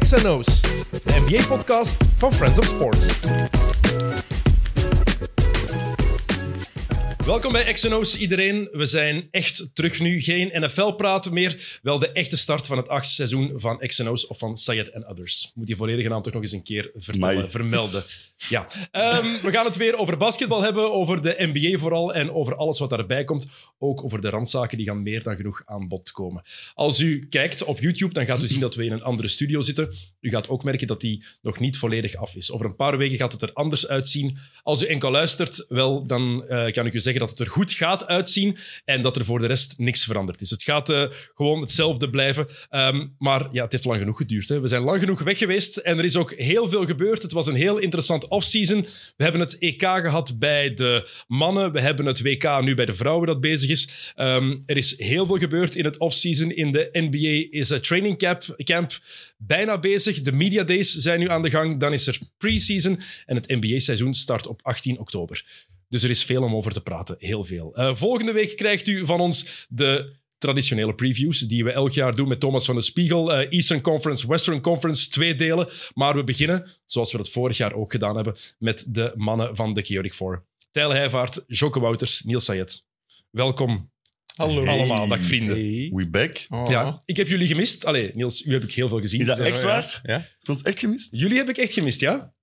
XNO's, de NBA-podcast van Friends of Sports. Welkom bij XNO's iedereen. We zijn echt terug nu. Geen NFL-praten meer. Wel de echte start van het achtste seizoen van XNO's of van Sayed and Others. Moet je volledige naam toch nog eens een keer vertellen, Amai. vermelden. Ja. Ehm, we gaan het weer over basketbal hebben, over de NBA vooral en over alles wat daarbij komt. Ook over de randzaken, die gaan meer dan genoeg aan bod komen. Als u kijkt op YouTube, dan gaat u zien dat we in een andere studio zitten. U gaat ook merken dat die nog niet volledig af is. Over een paar weken gaat het er anders uitzien. Als u enkel luistert, wel, dan eh, kan ik u zeggen dat het er goed gaat uitzien en dat er voor de rest niks veranderd is. Het gaat eh, gewoon hetzelfde blijven. Ehm, maar ja, het heeft lang genoeg geduurd. Hè. We zijn lang genoeg weg geweest en er is ook heel veel gebeurd. Het was een heel interessant offseason. We hebben het EK gehad bij de mannen. We hebben het WK nu bij de vrouwen dat bezig is. Ehm, er is heel veel gebeurd in het offseason. In de NBA is het training camp, camp bijna bezig. De media days zijn nu aan de gang. Dan is er preseason en het NBA-seizoen start op 18 oktober. Dus er is veel om over te praten, heel veel. Eh, volgende week krijgt u van ons de traditionele previews die we elk jaar doen met Thomas van de Spiegel. Eh, Eastern Conference, Western Conference, twee delen. Maar we beginnen, zoals we dat vorig jaar ook gedaan hebben, met de mannen van de Chaotic Four. Tijl Heijvaart, Jocke Wouters, Niels Sayed. Welkom Hallo. Hey. allemaal, dag vrienden. We back. Oh. Ja, ik heb jullie gemist. Allee, Niels, u heb ik heel veel gezien. Is dat Dus- echt waar? Ja? Heb je ons echt gemist? Jullie heb ik echt gemist, ja?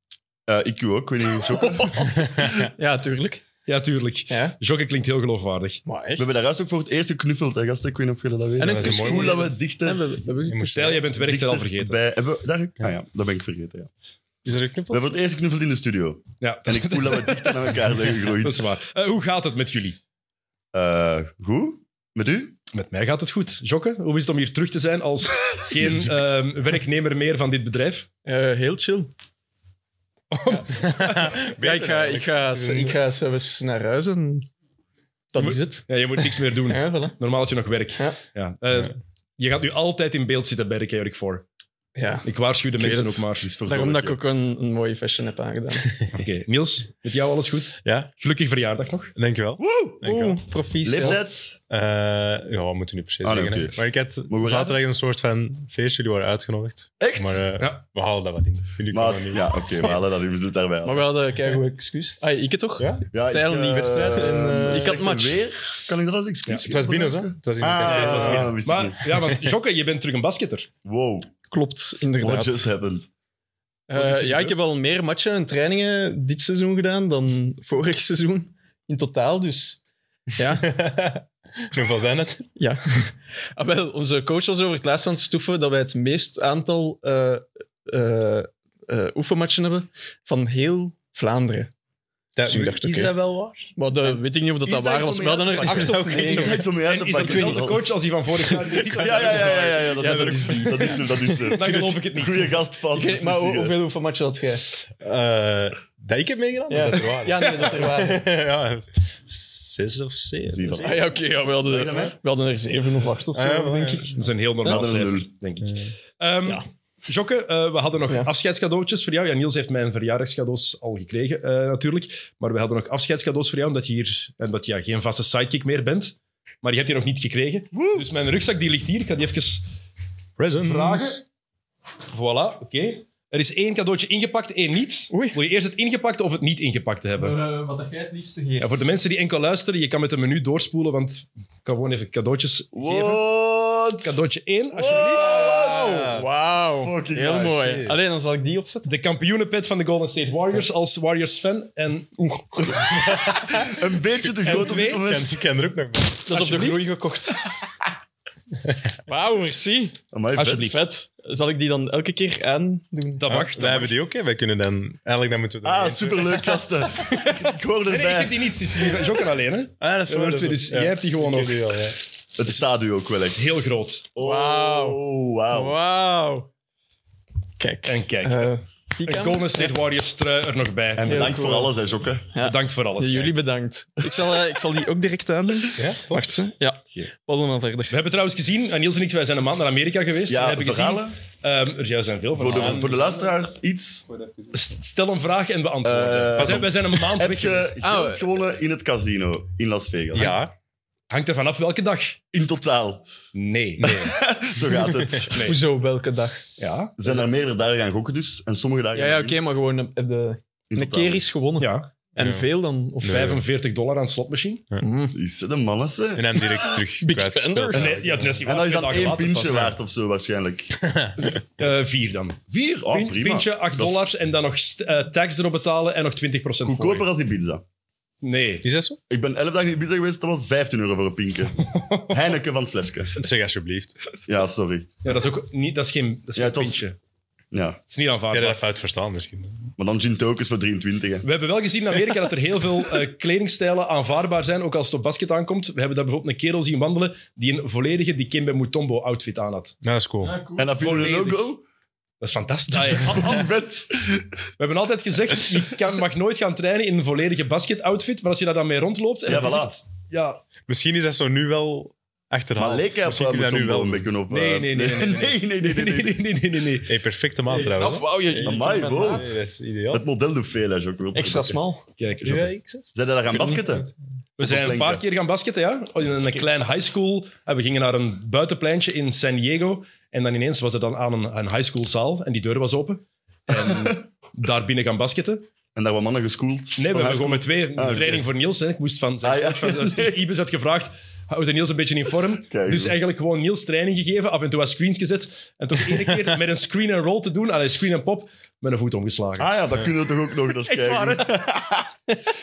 Eh, ik u ook, ik weet niet. Zo. We ja, tuurlijk. Ja, tuurlijk. Ja. Jocke klinkt heel geloofwaardig. Maar echt. hebben daar ook voor het eerst geknuffeld, hè, gasten. Ik weet niet of jullie dat weten. En Maar het het is is mooi goed dat moment. we dichter... Ja, we- we- we- Stel, jij bent werktijd al dichter vergeten. Bij, hebben we, daar, ah ja, dat ben ik vergeten, ja. Is er een We knuffel? hebben het eerst geknuffeld in de studio. Ja, En ik voel dat we dichter naar elkaar zijn gegroeid. dat is waar. Eh, hoe gaat het met jullie? Eh, goed? Met u? Met mij gaat het goed. Jokke, hoe is het om hier terug te zijn als geen ehm, werknemer meer van dit bedrijf? Eh, heel chill. ja, ik ga, ik, ga, ik ga zelfs naar huis en dat is het. Ja, je moet niks meer doen. Ja, voilà. Normaal had je nog werk. Ja. Ja. Eh, Ja. Je gaat nu altijd in beeld zitten bij de Chaotic 4. ja. Ik waarschuw de Ik mensen weet ook het. maar. Dus voor Daarom dat ik zorg, ook een, een mooie fashion heb aangedaan. Oké, Niels, met jou alles goed? Ja, Gelukkig verjaardag nog. dankjewel. Dankjewel. Oeh, ja. profies. Leeftijds? Eh, ja, we moeten nu per se Ah, nee, zeggen. hè. oké. Maar ik had we zaterdag een soort van feestje, jullie waren uitgenodigd. Echt? Maar eh, Ja. we halen dat wat in. Jullie Maar, kunnen dat niet. ja, oké, we halen dat. U bedoelt daarbij al. Maar we hadden een goed excuus. Ah, ik het toch? Ja? ja, Tijl niet. eh, Wedstrijd en, eh, ik had slechte match. Weer? Kan ik dat als excuus Het was binnen, hè? Het was in de Ah, café. het was binnen. Ah, wist ik maar, ja, want Jokke, je bent terug een basketter. Wow, Klopt, what inderdaad. just happened? Eh, Wat is er ja, gebeurd? ik heb al meer matchen en trainingen dit seizoen gedaan dan vorig seizoen in totaal. Dus ja, Hoeveel zijn het? Ja. Ah, wel, onze coach was over het laatst aan het stoeven dat wij het meest aantal eh, eh, eh, oefenmatchen hebben van heel Vlaanderen. Dat Dus ik dacht, oké. wel waar? Maar dat weet ik niet of dat, dat waar was. Maar dan er acht of Is dat negen. iets om je En uit te is dat pakken? dezelfde coach als die van vorig jaar? die de titel Ja, ja, ja, ja, ja, ja, dat, Ja, is, dat er. is die. Dat is hem, dat is hem. Dan geloof ik het niet. Goeie gast van. Ik weet- Maar hoe- hoeveel oefenmatchen had jij? Eh, dat ik heb meegedaan? Ja. Dat er waren. Ja, nee, dat er waren. ja, zes of zeven. Zeven. Ah, ja, oké. ja, we, hadden Zeg dat er- maar. we hadden er zeven of acht of zo, Ah, ja, denk ja. ik. Dat is een heel normaal Ja, dat is een cijfer, denk ik. Ehm, Ja. Jokke, eh, we hadden nog Ja. afscheidscadeautjes voor jou. Ja, Niels heeft mijn verjaardagscadeaus al gekregen, eh, natuurlijk. Maar we hadden nog afscheidscadeaus voor jou, omdat je hier en dat je ja, geen vaste sidekick meer bent. Maar je hebt die nog niet gekregen. Dus mijn rugzak die ligt hier. Ik ga die even Presents. vragen. Voilà, oké. Er is één cadeautje ingepakt, één niet. Oei. Wil je eerst het ingepakte of het niet ingepakte hebben? eh, wat jij het liefste geeft. Ja, voor de mensen die enkel luisteren, je kan met een menu doorspoelen, want ik kan gewoon even cadeautjes geven. What? Cadeautje 1, alsjeblieft. Ja. Wauw. Fucking Heel nice. mooi. Alleen dan zal ik die opzetten. De kampioenenpet van de Golden State Warriors als Warriors-fan. En Een beetje te groot op twee? dit Ik moment. ken- Ik ken er ook nog bij. Dat is op de Alsjeblieft. groei gekocht. Wauw, merci. Amai, vet. Alsjeblieft. Vet. Zal ik die dan elke keer aan doen? dat mag. Ah, wij hebben die ook, hè? Wij kunnen dan... Eigenlijk dan moeten we er Ah, één- superleuk gasten. Ik hoor Nee, nee, ik heb erbij. die niet. Het is hier Jokken alleen, hè? Ah, dat is Er waar, wordt dat weer- is dus waar. jij hebt die gewoon Ik ook. heb die wel, ja. Het staat u ook wel echt. Heel groot. Wauw. Oh, wauw. Wauw. Kijk. En kijk, Eh, een Pika, Golden State Warriors trui er nog bij. En bedankt cool. voor alles, hè, Jokke. Ja. Bedankt voor alles. jullie bedankt. Ik zal, eh, ik zal die ook direct aandoen. Ja, toch? Wacht, hè? Ja. Babbel maar verder. We hebben trouwens gezien, en Niels en ik, wij zijn een maand naar Amerika geweest. Ja, we hebben verhalen? gezien. ehm, er ja, zijn veel Voor verhalen. de, voor de luisteraars, iets. S- Stel een vraag en beantwoord. Eh, Pas op, wij zijn een maand Heb weg je geweest. geld gewonnen in het casino in Las Vegas? Ja. Hangt er vanaf welke dag? In totaal. Nee. nee. Zo gaat het. Nee. Hoezo, welke dag? Ja. Zijn er meerdere dagen gaan gokken dus? En sommige dagen Ja, ja gaan oké, winst. maar gewoon heb de, In een totaal. keer is gewonnen. ja. En Ja. veel dan? Of Nee. 45 dollar aan slotmachine. Mm. Is dat een mannen, ze? En dan direct terug Big kwijtgespeeld. spender. Nee, ja, dat is niet Eh, En waar, dat is twee dan dagen één later pintje pas. waard of zo waarschijnlijk. Eh, vier dan. Vier? Oh, Pin- prima. Pintje, 8 Dat is dollars en dan nog st- eh, tax erop betalen en nog 20% Goedkoper voor. als Ibiza. Nee. Is dat zo? Ik ben elf dagen in Ibiza geweest, dat was 15 euro voor een pinken. Heineken van het flesje. Zeg alsjeblieft. Ja, sorry. Ja, dat is ook niet, dat is geen, dat is Ja, geen het was- pintje. Ja. Dat is niet Jij aanvaardbaar. hebt dat fout verstaan misschien. Maar dan gin tokens voor 23. Hè. We hebben wel gezien in Amerika dat er heel veel eh, kledingstijlen aanvaardbaar zijn, ook als het op basket aankomt. We hebben daar bijvoorbeeld een kerel zien wandelen die een volledige Dikembe Mutombo-outfit aan had. Nou, dat is cool. En dan vind je een Volledig. logo. Dat is fantastisch. Ah, We Van vet. hebben altijd gezegd, je kan, mag nooit gaan trainen in een volledige basket-outfit, maar als je daar dan mee rondloopt... En Ja, het is voilà. echt- ja, Misschien is dat zo nu wel Nou, achterhaald. Maar leek hij op Misschien kun je uh, dat nu wel een beetje of... eh, Nee, nee, nee, nee, nee, nee, nee, nee, nee, nee, nee, nee, nee. nee, nee. nee. Hey, perfecte maand trouwens. Oh, wauw, je, je Amai, bent wow. laat. Nee, dat is ideaal. Het model doet veel, hè, Jacques. Extra smal. Kijk, zo. Ja, ik zeg. Zijn daar gaan basketten? We zijn een Lenken. paar keer gaan basketten, ja. In een klein high school. En we gingen naar een buitenpleintje in San Diego. En dan ineens was er dan aan een, een high schoolzaal en die deur was open. En daar binnen gaan basketten. En daar waren mannen geschoold? Nee, we hebben Van gewoon met twee een Ah, oké. training voor Niels. Hè. Ik moest van zijn Ah, ja. coach van Steve Ibis had gevraagd, houdt Niels een beetje in vorm? Kijk, dus goed. eigenlijk gewoon Niels training gegeven, af en toe wat screens gezet. En toch één keer met een screen and roll te doen, allee, screen en pop, met een voet omgeslagen. Ah ja, dat kunnen we toch ook nog eens Echt kijken. waar, hè?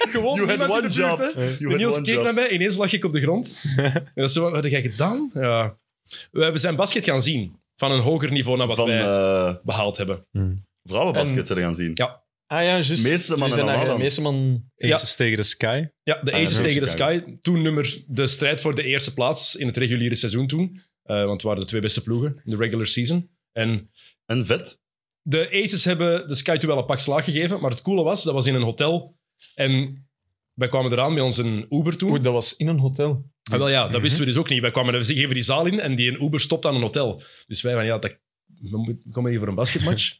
Gewoon You had niemand in de one buurt, job. hè. You De had Niels one keek job. naar mij, ineens lag ik op de grond. en dat is zo, wat heb jij gedaan? Ja. We we zijn basket gaan zien, van een hoger niveau dan wat Van wij eh, behaald hebben. vrouwenbasket zijn er gaan zien. Ja. Ah ja, juist. Meeste mannen Jullie zijn dan daar- wel dan. meeste man. Ja. Aces tegen de Sky. Ja, de Ah, Aces dat is tegen de Chicago. Sky. Toen nummer de strijd voor de eerste plaats in het reguliere seizoen toen. Eh, want het waren de twee beste ploegen in de regular season. En En vet. de Aces hebben de Sky toen wel een pak slaag gegeven. Maar het coole was, dat was in een hotel. En wij kwamen eraan met onze Uber toen. Oeh, dat was in een hotel. Ah, wel ja, dat wisten we dus ook niet. Wij kwamen, we geven die zaal in en die een Uber stopt aan een hotel. Dus wij van, ja, dat, we moeten- we komen hier voor een basketmatch.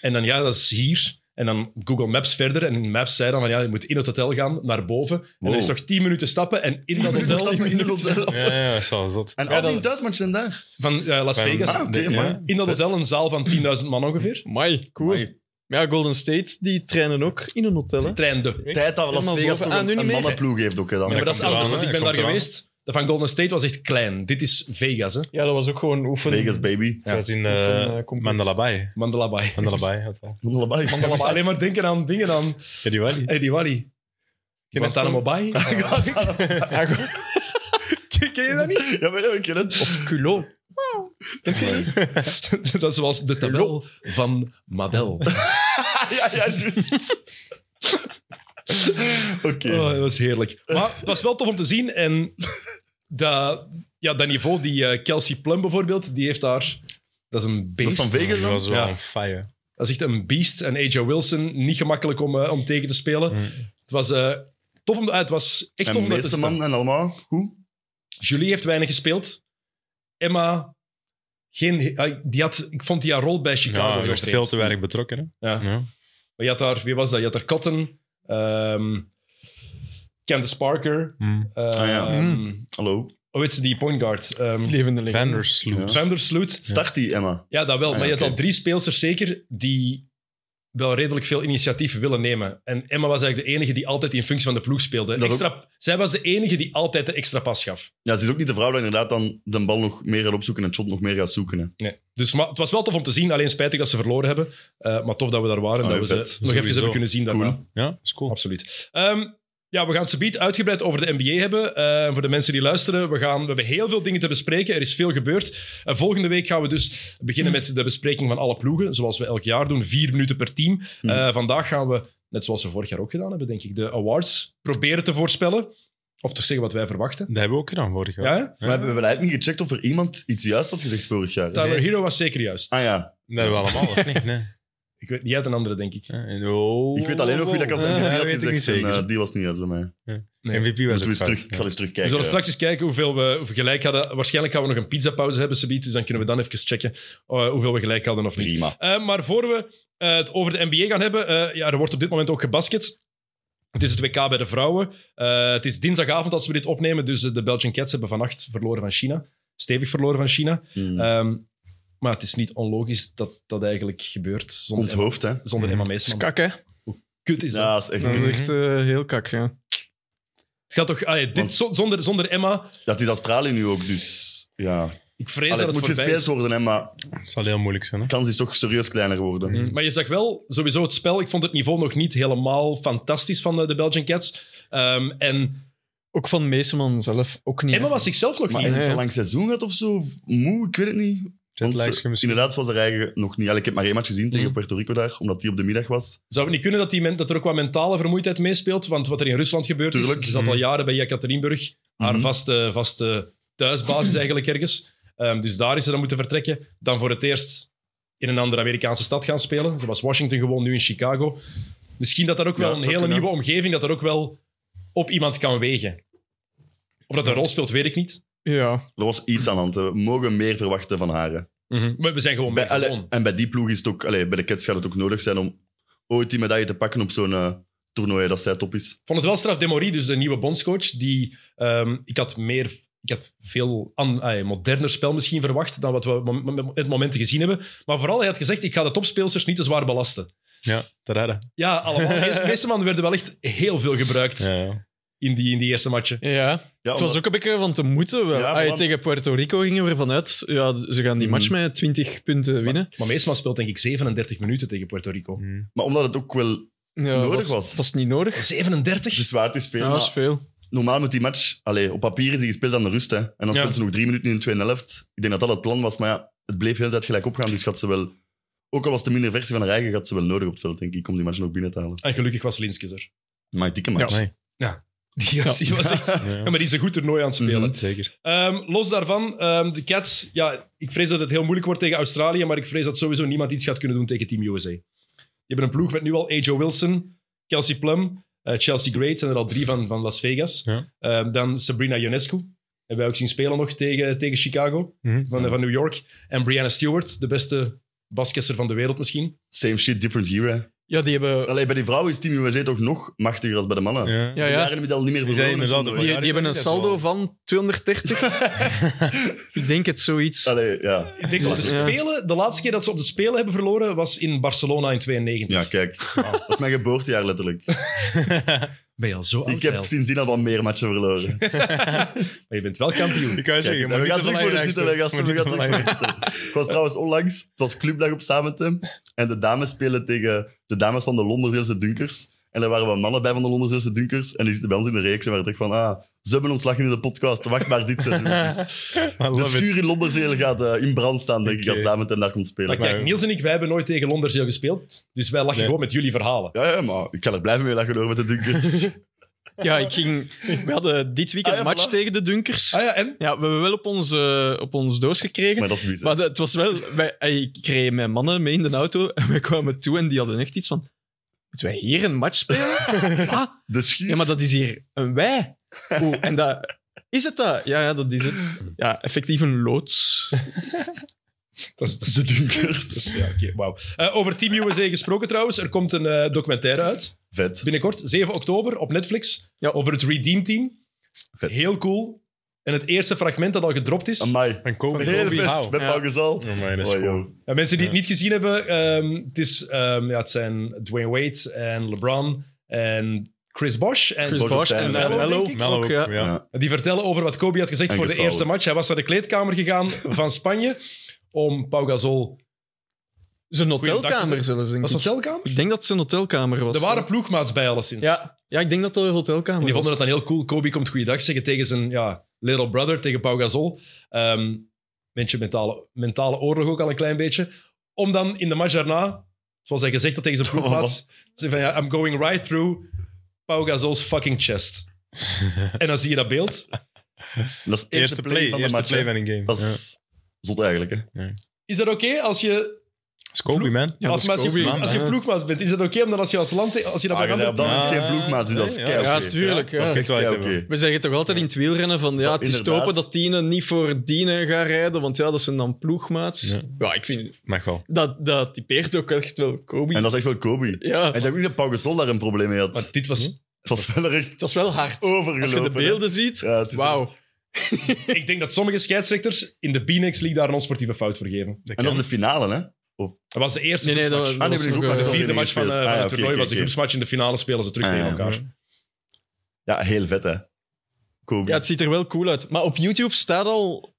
en dan, ja, dat is hier. En dan Google Maps verder. En in Maps zei dan van, ja, je moet in het hotel gaan, naar boven. En Wow. er is nog 10 minuten stappen en in dat hotel... Stappen in de hotel. Ja, ja, dat is wel zot. En Ja, al dat- die Duitsmatchen zijn daar. Van eh, Las Vegas. Ah, oké, Ja. man. In dat Vet. hotel een zaal van 10.000 man ongeveer. Mai, cool. Amai. Ja, Golden State, die trainen ook in een hotel. Ze Hè? treinde. Ja, Tijd dat Las Helemaal Vegas boven. toch Ah, nu een, niet een meer. mannenploeg heeft ook. Hè, dan. maar dat is komt anders, eraan, want ik hè. ben daar Komt eraan. geweest. Dat van Golden State was echt klein. Dit is Vegas, hè. Ja, dat was ook gewoon oefen. Vegas, baby. Dat was in Of eh, een, eh, complex. Mandala Bay. Mandela Bay. Mandala Bay had dat. Allebei. Ik moest alleen maar denken aan dingen aan... Ja, die wel niet. Hey, die Wally. Guantanamo Bay. Ja, gewoon- Ken je dat niet? Ja, maar ja, ik ken het. culot. Dat is zoals de tabel van Madel. ja, ja, juist. Oké. Oh, dat was heerlijk. Maar het was wel tof om te zien. En dat, ja, dat niveau, die eh, Kelsey Plum bijvoorbeeld, die heeft daar... Dat is een Dat beest. is van Vegas Die dan? was wel Ja. on fire. Dat is echt een beest. En AJ Wilson, niet gemakkelijk om, eh, om tegen te spelen. Mm. Het was eh, tof om, eh, het was echt tof En om naar te meeste staan. man en allemaal. Goed. Julie heeft weinig gespeeld. Emma, geen, eh, die had, ik vond die haar rol bij Chicago Ja, heel er was vreemd. veel te weinig betrokken. Ja. Hè? Ja. Maar je had daar, wie was dat? Je had daar Cotton, ehm, Candace Parker, Mm. ehm, Ah, ja. Hallo. hoe heet ze die point guard? Ehm Levende legende. Vandersloot. Ja. Vandersloot. Start die, Emma. Ja, dat wel. Ah, maar je ja, had oké. al drie speelsters zeker die wel redelijk veel initiatief willen nemen. En Emma was eigenlijk de enige die altijd in functie van de ploeg speelde. Dat Extra, Zij was de enige die altijd de extra pas gaf. Ja, ze is ook niet de vrouw die inderdaad dan de bal nog meer gaat opzoeken en het shot nog meer gaat zoeken. Hè. Dus maar het was wel tof om te zien. Alleen spijtig dat ze verloren hebben. Eh, maar tof dat we daar waren. en Ah, dat we ze vet. nog even Sowieso. hebben kunnen zien daarna. Oh, Cool. Ja, is cool. Absoluut. Ehm, ja, we gaan het subiet uitgebreid over de NBA hebben. Eh, voor de mensen die luisteren, we, gaan, we hebben heel veel dingen te bespreken. Er is veel gebeurd. Eh, volgende week gaan we dus beginnen met de bespreking van alle ploegen, zoals we elk jaar doen. Vier minuten per team. Eh, vandaag gaan we, net zoals we vorig jaar ook gedaan hebben, denk ik, de awards proberen te voorspellen. Of toch zeggen wat wij verwachten. Dat hebben we ook gedaan vorig jaar. Ja? hè? Maar hebben we eigenlijk niet gecheckt of er iemand iets juist had gezegd vorig jaar? Tyler Hero was zeker juist. Ah ja. Dat hebben we allemaal, of niet? Nee. Ik weet, jij had een andere, denk ik. Ja, en- oh, Ik weet alleen nog wie dat ik als Ja, MVP had weet ik niet gezegd. En, zeker. eh, die was niet juist bij mij. Nee. MVP was Moeten we ook eens terug, fout. Ik zal eens terugkijken. We zullen straks eens kijken hoeveel we, hoeveel gelijk hadden. Waarschijnlijk gaan we nog een pizzapauze hebben, Sabiet. Dus dan kunnen we dan even checken eh, hoeveel we gelijk hadden of niet. Prima. Eh, maar voor we eh, het over de NBA gaan hebben, eh, ja, er wordt op dit moment ook gebasket. Het is het WK bij de vrouwen. Eh, het is dinsdagavond als we dit opnemen, dus eh, de Belgian Cats hebben vannacht verloren van China. Stevig verloren van China. Hmm. Ehm, maar het is niet onlogisch dat dat eigenlijk gebeurt zonder, Emma, Onthoofd, hè? zonder Emma Dat is Meesman. kak, hè? Kut is dat. Hm. Ja, dat is Dat echt... is echt eh, heel kak, ja. Het gaat toch... allee, dit, Want- zo- zonder, zonder Emma, Dat is Australië nu ook, dus ja. ik vrees Allee, dat het het moet voorbij gespeeld is. worden, hè, maar Het zal heel moeilijk zijn. Hè? de kans is toch serieus kleiner geworden. Mhm. Maar je zag wel, sowieso het spel, ik vond het niveau nog niet helemaal fantastisch van de, de Belgian Cats. Ehm, en Ook van Meeseman zelf, ook niet. Emma was zichzelf nog Maar niet. heeft het ja. een lang seizoen gehad of zo? Of Moe, ik weet het niet. Want Jetlags ze- misschien. inderdaad, ze was er eigenlijk nog niet. Allee, ik heb maar één match gezien tegen Mm. Mhm. Puerto Rico daar, omdat die op de middag was. Zou het niet kunnen dat, die men- dat er ook wat mentale vermoeidheid meespeelt? Want wat er in Rusland gebeurt Tuurlijk. Hm. is, ze zat al jaren bij Jekaterinburg, haar Mhm. vaste, vaste thuisbasis eigenlijk ergens. Ehm, dus daar is ze dan moeten vertrekken. Dan voor het eerst in een andere Amerikaanse stad gaan spelen. Ze was Washington gewoon, nu in Chicago. Misschien dat dat ook Ja, wel dat een zou hele kunnen. nieuwe omgeving, dat er ook wel op iemand kan wegen. Of dat een rol speelt, weet ik niet. Ja, Er was iets aan de hand. hè. We mogen meer verwachten van haar. hè. Maar we zijn gewoon bij, Bij, allee, gewoon. en bij die ploeg is het ook... Allee, bij de Cats gaat het ook nodig zijn om ooit die medaille te pakken op zo'n eh, toernooi dat zij top is. vond het wel straf Demory, dus de nieuwe bondscoach, die ehm, ik had meer ik had veel an, ah, moderner spel misschien verwacht dan wat we mom- mom- met momenten gezien hebben. Maar vooral, hij had gezegd, ik ga de topspeelsters niet te zwaar belasten. Ja, te raden. Ja, allemaal. De meeste mannen werden wel echt heel veel gebruikt Ja, ja. in, die, in die eerste matchen. ja. Ja, het was omdat- ook een beetje van te moeten. Wel. Ja, Ah, ja, want- Tegen Puerto Rico gingen we ervan uit, ja, ze gaan die match Mhm. met 20 punten winnen. Maar Meesman speelt denk ik 37 minuten tegen Puerto Rico. Hm. Maar omdat het ook wel... Ja, Nodig was, was. was niet nodig. 37? Dus waar, het is veel. Ja, maar dat is veel. normaal moet die match... Allee, op papier is die gespeeld aan de rust. Hè. En dan speelt ze nog drie minuten in de tweede helft. Ik denk dat dat het plan was. Maar ja, het bleef heel de tijd gelijk opgaan. Dus gaat ze wel... Ook al was het de minder versie van haar eigen, gaat ze wel nodig op het veld, denk ik, om die match nog binnen te halen. En gelukkig was Linskes er. Maar dikke match. Nee. Die was, die was echt... Ja, Ja, maar die is een goed toernooi aan het spelen. Mhm. Zeker. Ehm, los daarvan, ehm, de Cats. Ja, ik vrees dat het heel moeilijk wordt tegen Australië, maar ik vrees dat sowieso niemand iets gaat kunnen doen tegen Team USA. Je hebt een ploeg met nu al Ajo Wilson, Kelsey Plum, eh, Chelsea Great, zijn er al drie van, van Las Vegas. Ja. Ehm, dan Sabrina Ionescu, hebben wij ook zien spelen nog tegen, tegen Chicago, Hm. Mhm. van, van New York. En Brianna Stewart, de beste basketster van de wereld misschien. Same shit, different year. hè. Ja, die hebben, Allee, bij die vrouwen is Team USA toch nog machtiger dan bij de mannen. Ja. ja, Die ja, jaren hebben al niet meer Die zijn verloren. inderdaad Toen- een die, Ja, die die hebben een zijn niet saldo echt van 230. Ik denk het zoiets. Allee, ja. Ik denk dat de Ja. Spelen, de laatste keer dat ze op de Spelen hebben verloren, was in Barcelona in 92. ja, kijk. Dat is mijn geboortejaar letterlijk. Ben je al Oh, zo oud, Ik heb Nijl? sindsdien al wat meer matchen verloren. Kijk, Maar je bent wel kampioen. Ik wou zeggen, maar we niet gaan te terug voor de belangrijk titel, hè, stellen. gasten. Maar We niet gaan te terug voor de titel. Ik was trouwens onlangs, het was clubdag op Samentem, en de dames spelen tegen de dames van de Londendeelse Dunkers. En er waren wat mannen bij van de Londendeelse Dunkers, en die zitten bij ons in de reeks en waren direct van, ah, ze hebben ons lachen in de podcast, wacht maar dit seizoen. Dus belangrijk. I de love it. schuur in Londerzeel gaat eh, in brand staan, denk ik, als Oké. Samentem daar komt spelen. Maar kijk, Maar- Niels en ik, wij hebben nooit tegen Londerzeel gespeeld. Dus wij lachen Nee. gewoon met jullie verhalen. Ja, ja, maar ik kan er blijven mee lachen door met de Dunkers. Ja, ik ging, we hadden dit weekend Ah, ja, match voilà. tegen de Dunkers. Ah ja, en? Ja, we hebben wel op ons, eh, op ons doos gekregen. maar dat is mis. hè. Maar dat- het was wel... Wij, ey, ik kreeg mijn mannen mee in de auto en wij kwamen toe en die hadden echt iets van... Moeten wij hier een match spelen? ah, De schuur. ja, maar dat is hier een wij. Oeh, en dat... Is het dat? Ja, ja, dat is het. Ja, effectief een loods. Dat is, dat is de Dunkers. Ja, oké, wauw. Eh, over Team USA gesproken trouwens. Er komt een eh, documentaire uit. Vet. Binnenkort, 7 oktober, op Netflix. Ja. Over het Redeem Team. Vet. Heel cool. En het eerste fragment dat al gedropt is. Amai. En Kobe. Heel Kobe, vet. hou. Met Ja. Pau Gasol. Oh, my, dat is Oh, cool. joh. Ja, mensen die het Ja. niet gezien hebben, ehm, het, is, ehm, ja, het zijn Dwayne Wade en LeBron en Chris Bosh. En Chris Bosh Bosch en Tyler. eh, Mello, Mello. denk ik. Mello ook, ook, ja. ja. Ja. Die vertellen over wat Kobe had gezegd En voor de Gasol. eerste match. Hij was naar de kleedkamer gegaan van Spanje om Pau Gasol... Zijn Goeiedag, hotelkamer zelfs, denk Was het ik. hotelkamer? Ik denk dat het zijn hotelkamer was. Er waren ploegmaats bij, alleszins. Ja, ja, ik denk dat dat een En hotelkamer die vonden was. het dan heel cool. Kobe komt goeiedag zeggen tegen zijn ja, little brother, tegen Pau Gasol. Ehm beetje mentale, mentale oorlog ook al een klein beetje. Om dan in de match daarna, zoals hij gezegd had tegen zijn ploegmaats, zei van ja, I'm going right through Pau Gasol's fucking chest. en dan zie je dat beeld. Dat is de Eerste play, van de eerste match. play hè. van een game. Dat Ja. is zot eigenlijk. Hè. Is dat oké als je, Dat is Kobe, man. Ja, als, dat is als je, Kobe, als je ja. ploegmaat bent, is dat oké om dan als je als land, als je dat Ah, bij je andere zei, dan ploegen- is het Ja. geen vloekmaat, dus dat is Nee, kei ja, oké. tuurlijk, ja. Dat is echt Kwijt, kei hè, oké. wel. We zeggen toch altijd in het wielrennen van ja, Ja, het is te inderdaad. hopen dat Tine niet voor Dine gaat rijden, want ja, dat zijn dan ploegmaats. Ja, Ja. ik vind Mag wel. dat, dat typeert ook echt wel Kobe. En dat is echt wel Kobe. ja, En ik denk ook niet dat Pau Gasol daar een probleem mee had. Maar dit was Het was wel er echt Het was wel hard. overgelopen. Als je de Oh, hè. beelden ziet, Ja, het is wauw. Hm? Ik denk dat sommige scheidsrechters in de B-Next League daar een onsportieve fout voor geven. Dat En dat is kan. de finale, hè? Dat was de eerste Nee, nee, dat, groepsmatch. dat Ah, nee, was maar die nog, groep eh, De waren vierde match van, eh, Ah, van ja, het oké, toernooi oké, was de oké. groepsmatch. In de finale spelen ze terug Ah, tegen ja. elkaar. Ja, heel vet, hè? Kobe. Ja, het ziet er wel cool uit. Maar op YouTube staat al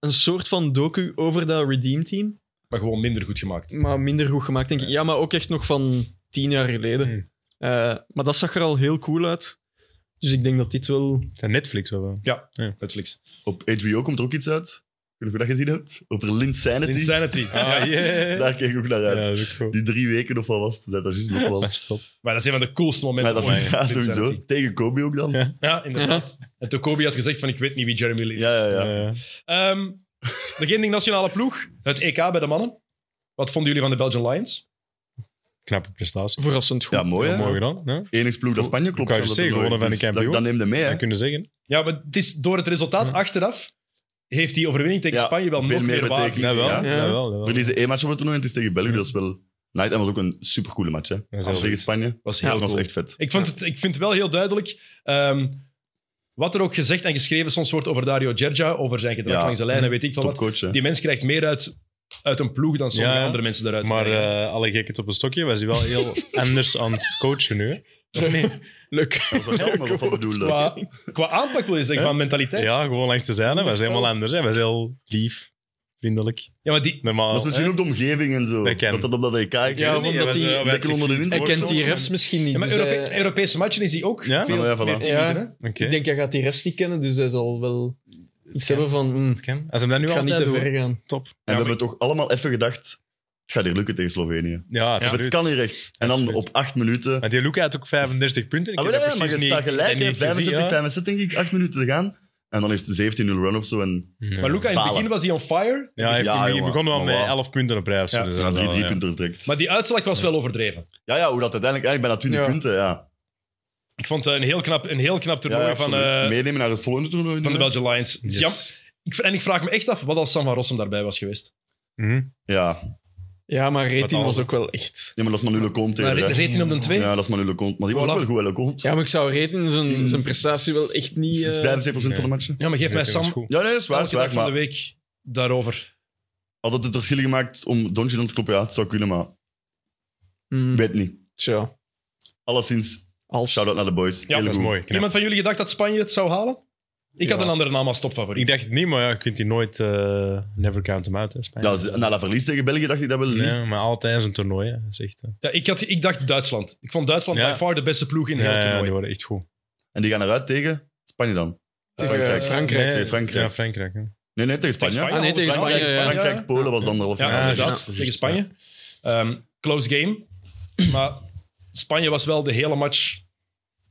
een soort van docu over dat Redeem Team. Maar gewoon minder goed Hm. gemaakt. Maar minder goed gemaakt, denk ik. Ja, maar ook echt nog van tien jaar geleden. Hmm. Eh, maar dat zag er al heel cool uit. Dus ik denk dat dit wel... Is dat Netflix of wel? Netflix. Op HBO komt er ook iets uit. Ik weet niet of je dat gezien hebt. Over Linsanity. Insanity. Ja. Ah, yeah. Daar keek ik ook naar Ja, uit. dat is ook goed. Die drie weken of wat was het? Dat is juist nog wel. Dat is top. Maar dat is een van de coolste Maar momenten dat ooit. ja, Insanity. sowieso. Tegen Kobe ook dan. Ja. Ja, inderdaad. En Tokobi had gezegd van ik weet niet wie Jeremy Lin is. Ja, ja, ja. Ja. Ehm, de Gending Nationale Ploeg, het EK bij de mannen. Wat vonden jullie van de Belgian Lions? Knappe prestatie. Verrassend goed. Ja, mooi, hè? Mooi gedaan. Ja? Enigst ploeg dat Spanje klopt. Ik wou je aan dat toernooi. zeggen, gewonnen van de Dus kampioen. Dat, dat neemde mee, hè? Dat kunnen zeggen. Ja, maar het is door het resultaat Ja. achteraf heeft die overwinning tegen Hm. Ja, Spanje wel veel nog meer meer waarde. betekenis. Dat wel. Ja. Dat wel, dat wel. Verliezen één match op het toernooi en het is tegen België. Ja. Dat is wel... Nee, dat was ook een supercoole match, hè? is Als wel tegen goed. Spanje. was heel Dat was cool. echt vet. Ik, vond het, ik vind het wel heel duidelijk. ehm, wat er ook gezegd en geschreven soms wordt over Dario Gergia, over zijn gedrag Ja. langs de lijn en weet ik veel wat. Topcoach, hè? Die mens krijgt meer uit, uit een ploeg dan sommige Ja, ja. andere mensen daaruit Maar krijgen. eh, alle gekheid op een stokje was hij wel heel anders aan het coachen nu. hè. Of niet? Leuk. Dat was wel helemaal wat van bedoelde. qua, qua aanpak wil je zeggen, Hè? van mentaliteit. Ja, Ja, gewoon langs te zijn. Hij was helemaal anders. Hij was heel lief, vriendelijk, maar die, normaal. Dat is misschien Oh, hè. ook de omgeving en zo. Dat kan. Dat dat op dat EK... ik Ja, weet want niet, dat die- hij een beetje onder de invloed Hij kent die refs misschien niet. ja, maar dus Europe- hij- Europese matchen is hij ook Ja? veel Nou ja, voilà. meer tegen Ja. iedereen, hè? Oké. Ik denk, hij gaat die refs niet kennen, dus hij zal wel iets hebben van... mm, Het kan. Als hem dat nu ik ga al niet te ver gaan. Top. En Ja, we hebben toch allemaal even gedacht, het gaat hier lukken tegen Slovenië. Ja, Of het absoluut. kan hier echt. En dan Absoluut. op acht minuten... Maar die Luca had ook 35 punten. Ik Ah, heb wel, dat ja, maar je precies staat niet- gelijk, niet hè, gezien, 65, ja. 65 denk ik, acht minuten te gaan. En dan is het 17-0 run of zo. En Ja. Maar Luca, in het Balen. begin was hij on fire. Ja, hij heeft Ja, in het begin jongen. begon wel Maar met wauw. 11 punten op rij. of zo, Ja. dus dan dat is drie wel, ja. punters direct. Maar die uitslag was wel overdreven. Ja, ja, hoe dat uiteindelijk eigenlijk bijna 20 Ja. punten. Ja. Ik vond het een heel knap, een heel knap toernooi Ja, ja, van, absoluut. eh, Meenemen naar het volgende toernooi. van de doen, hè. Belgian Lions. Het is jammer. Yes. Ik, en ik vraag me echt af wat als Sam van Rossum daarbij was geweest. Mhm. Ja. Ja, maar Wat Retin al- was ook wel echt... ja, maar dat is Manu Lecomte. Maar tegen, hè. reed hij op de twee? Ja, dat is Manu Lecomte. Maar die was Voilà. ook wel goed, hè, Lecomte. Ja, maar ik zou Retin zijn, zijn prestatie wel echt niet... Het is eh, 75% van de Nee. matchen. Ja, maar geef mij Dat is Sam goed. Ja, nee, dat is waar. elke is waar dag van de maar week daarover. had het het verschil gemaakt om Donji te kloppen? Ja, het zou kunnen, maar mm, ik weet niet. Tja, Alleszins, als... shout-out naar de boys. Heel Dat is goed. mooi. knap. Iemand van jullie gedacht dat Spanje het zou halen? Ik Ja. had een andere naam als topfavoriet. Ik dacht het niet, maar ja, je kunt die nooit... eh, never count hem out, hè, Spanje. Ja, ze- na dat verlies tegen België dacht ik dat wel niet. Nee, maar altijd zo'n toernooi. Hè. Dat is echt, eh, ja, ik, had, ik dacht Duitsland. Ik vond Duitsland Ja. by far de beste ploeg in heel ja, het ja, toernooi. die worden echt goed. En die gaan eruit tegen Spanje dan. Tegen, Frankrijk. eh, Frankrijk. Nee, Frankrijk. Ja, Frankrijk. hè. Nee, nee, tegen Spanje. Spanje. Ah, nee, tegen Frankrijk, Spanje, ja, ja. Frankrijk, Polen was dan half Ja, Ja, finale. inderdaad. juist, tegen juist, Spanje. Ehm, close game. Maar Spanje was wel de hele match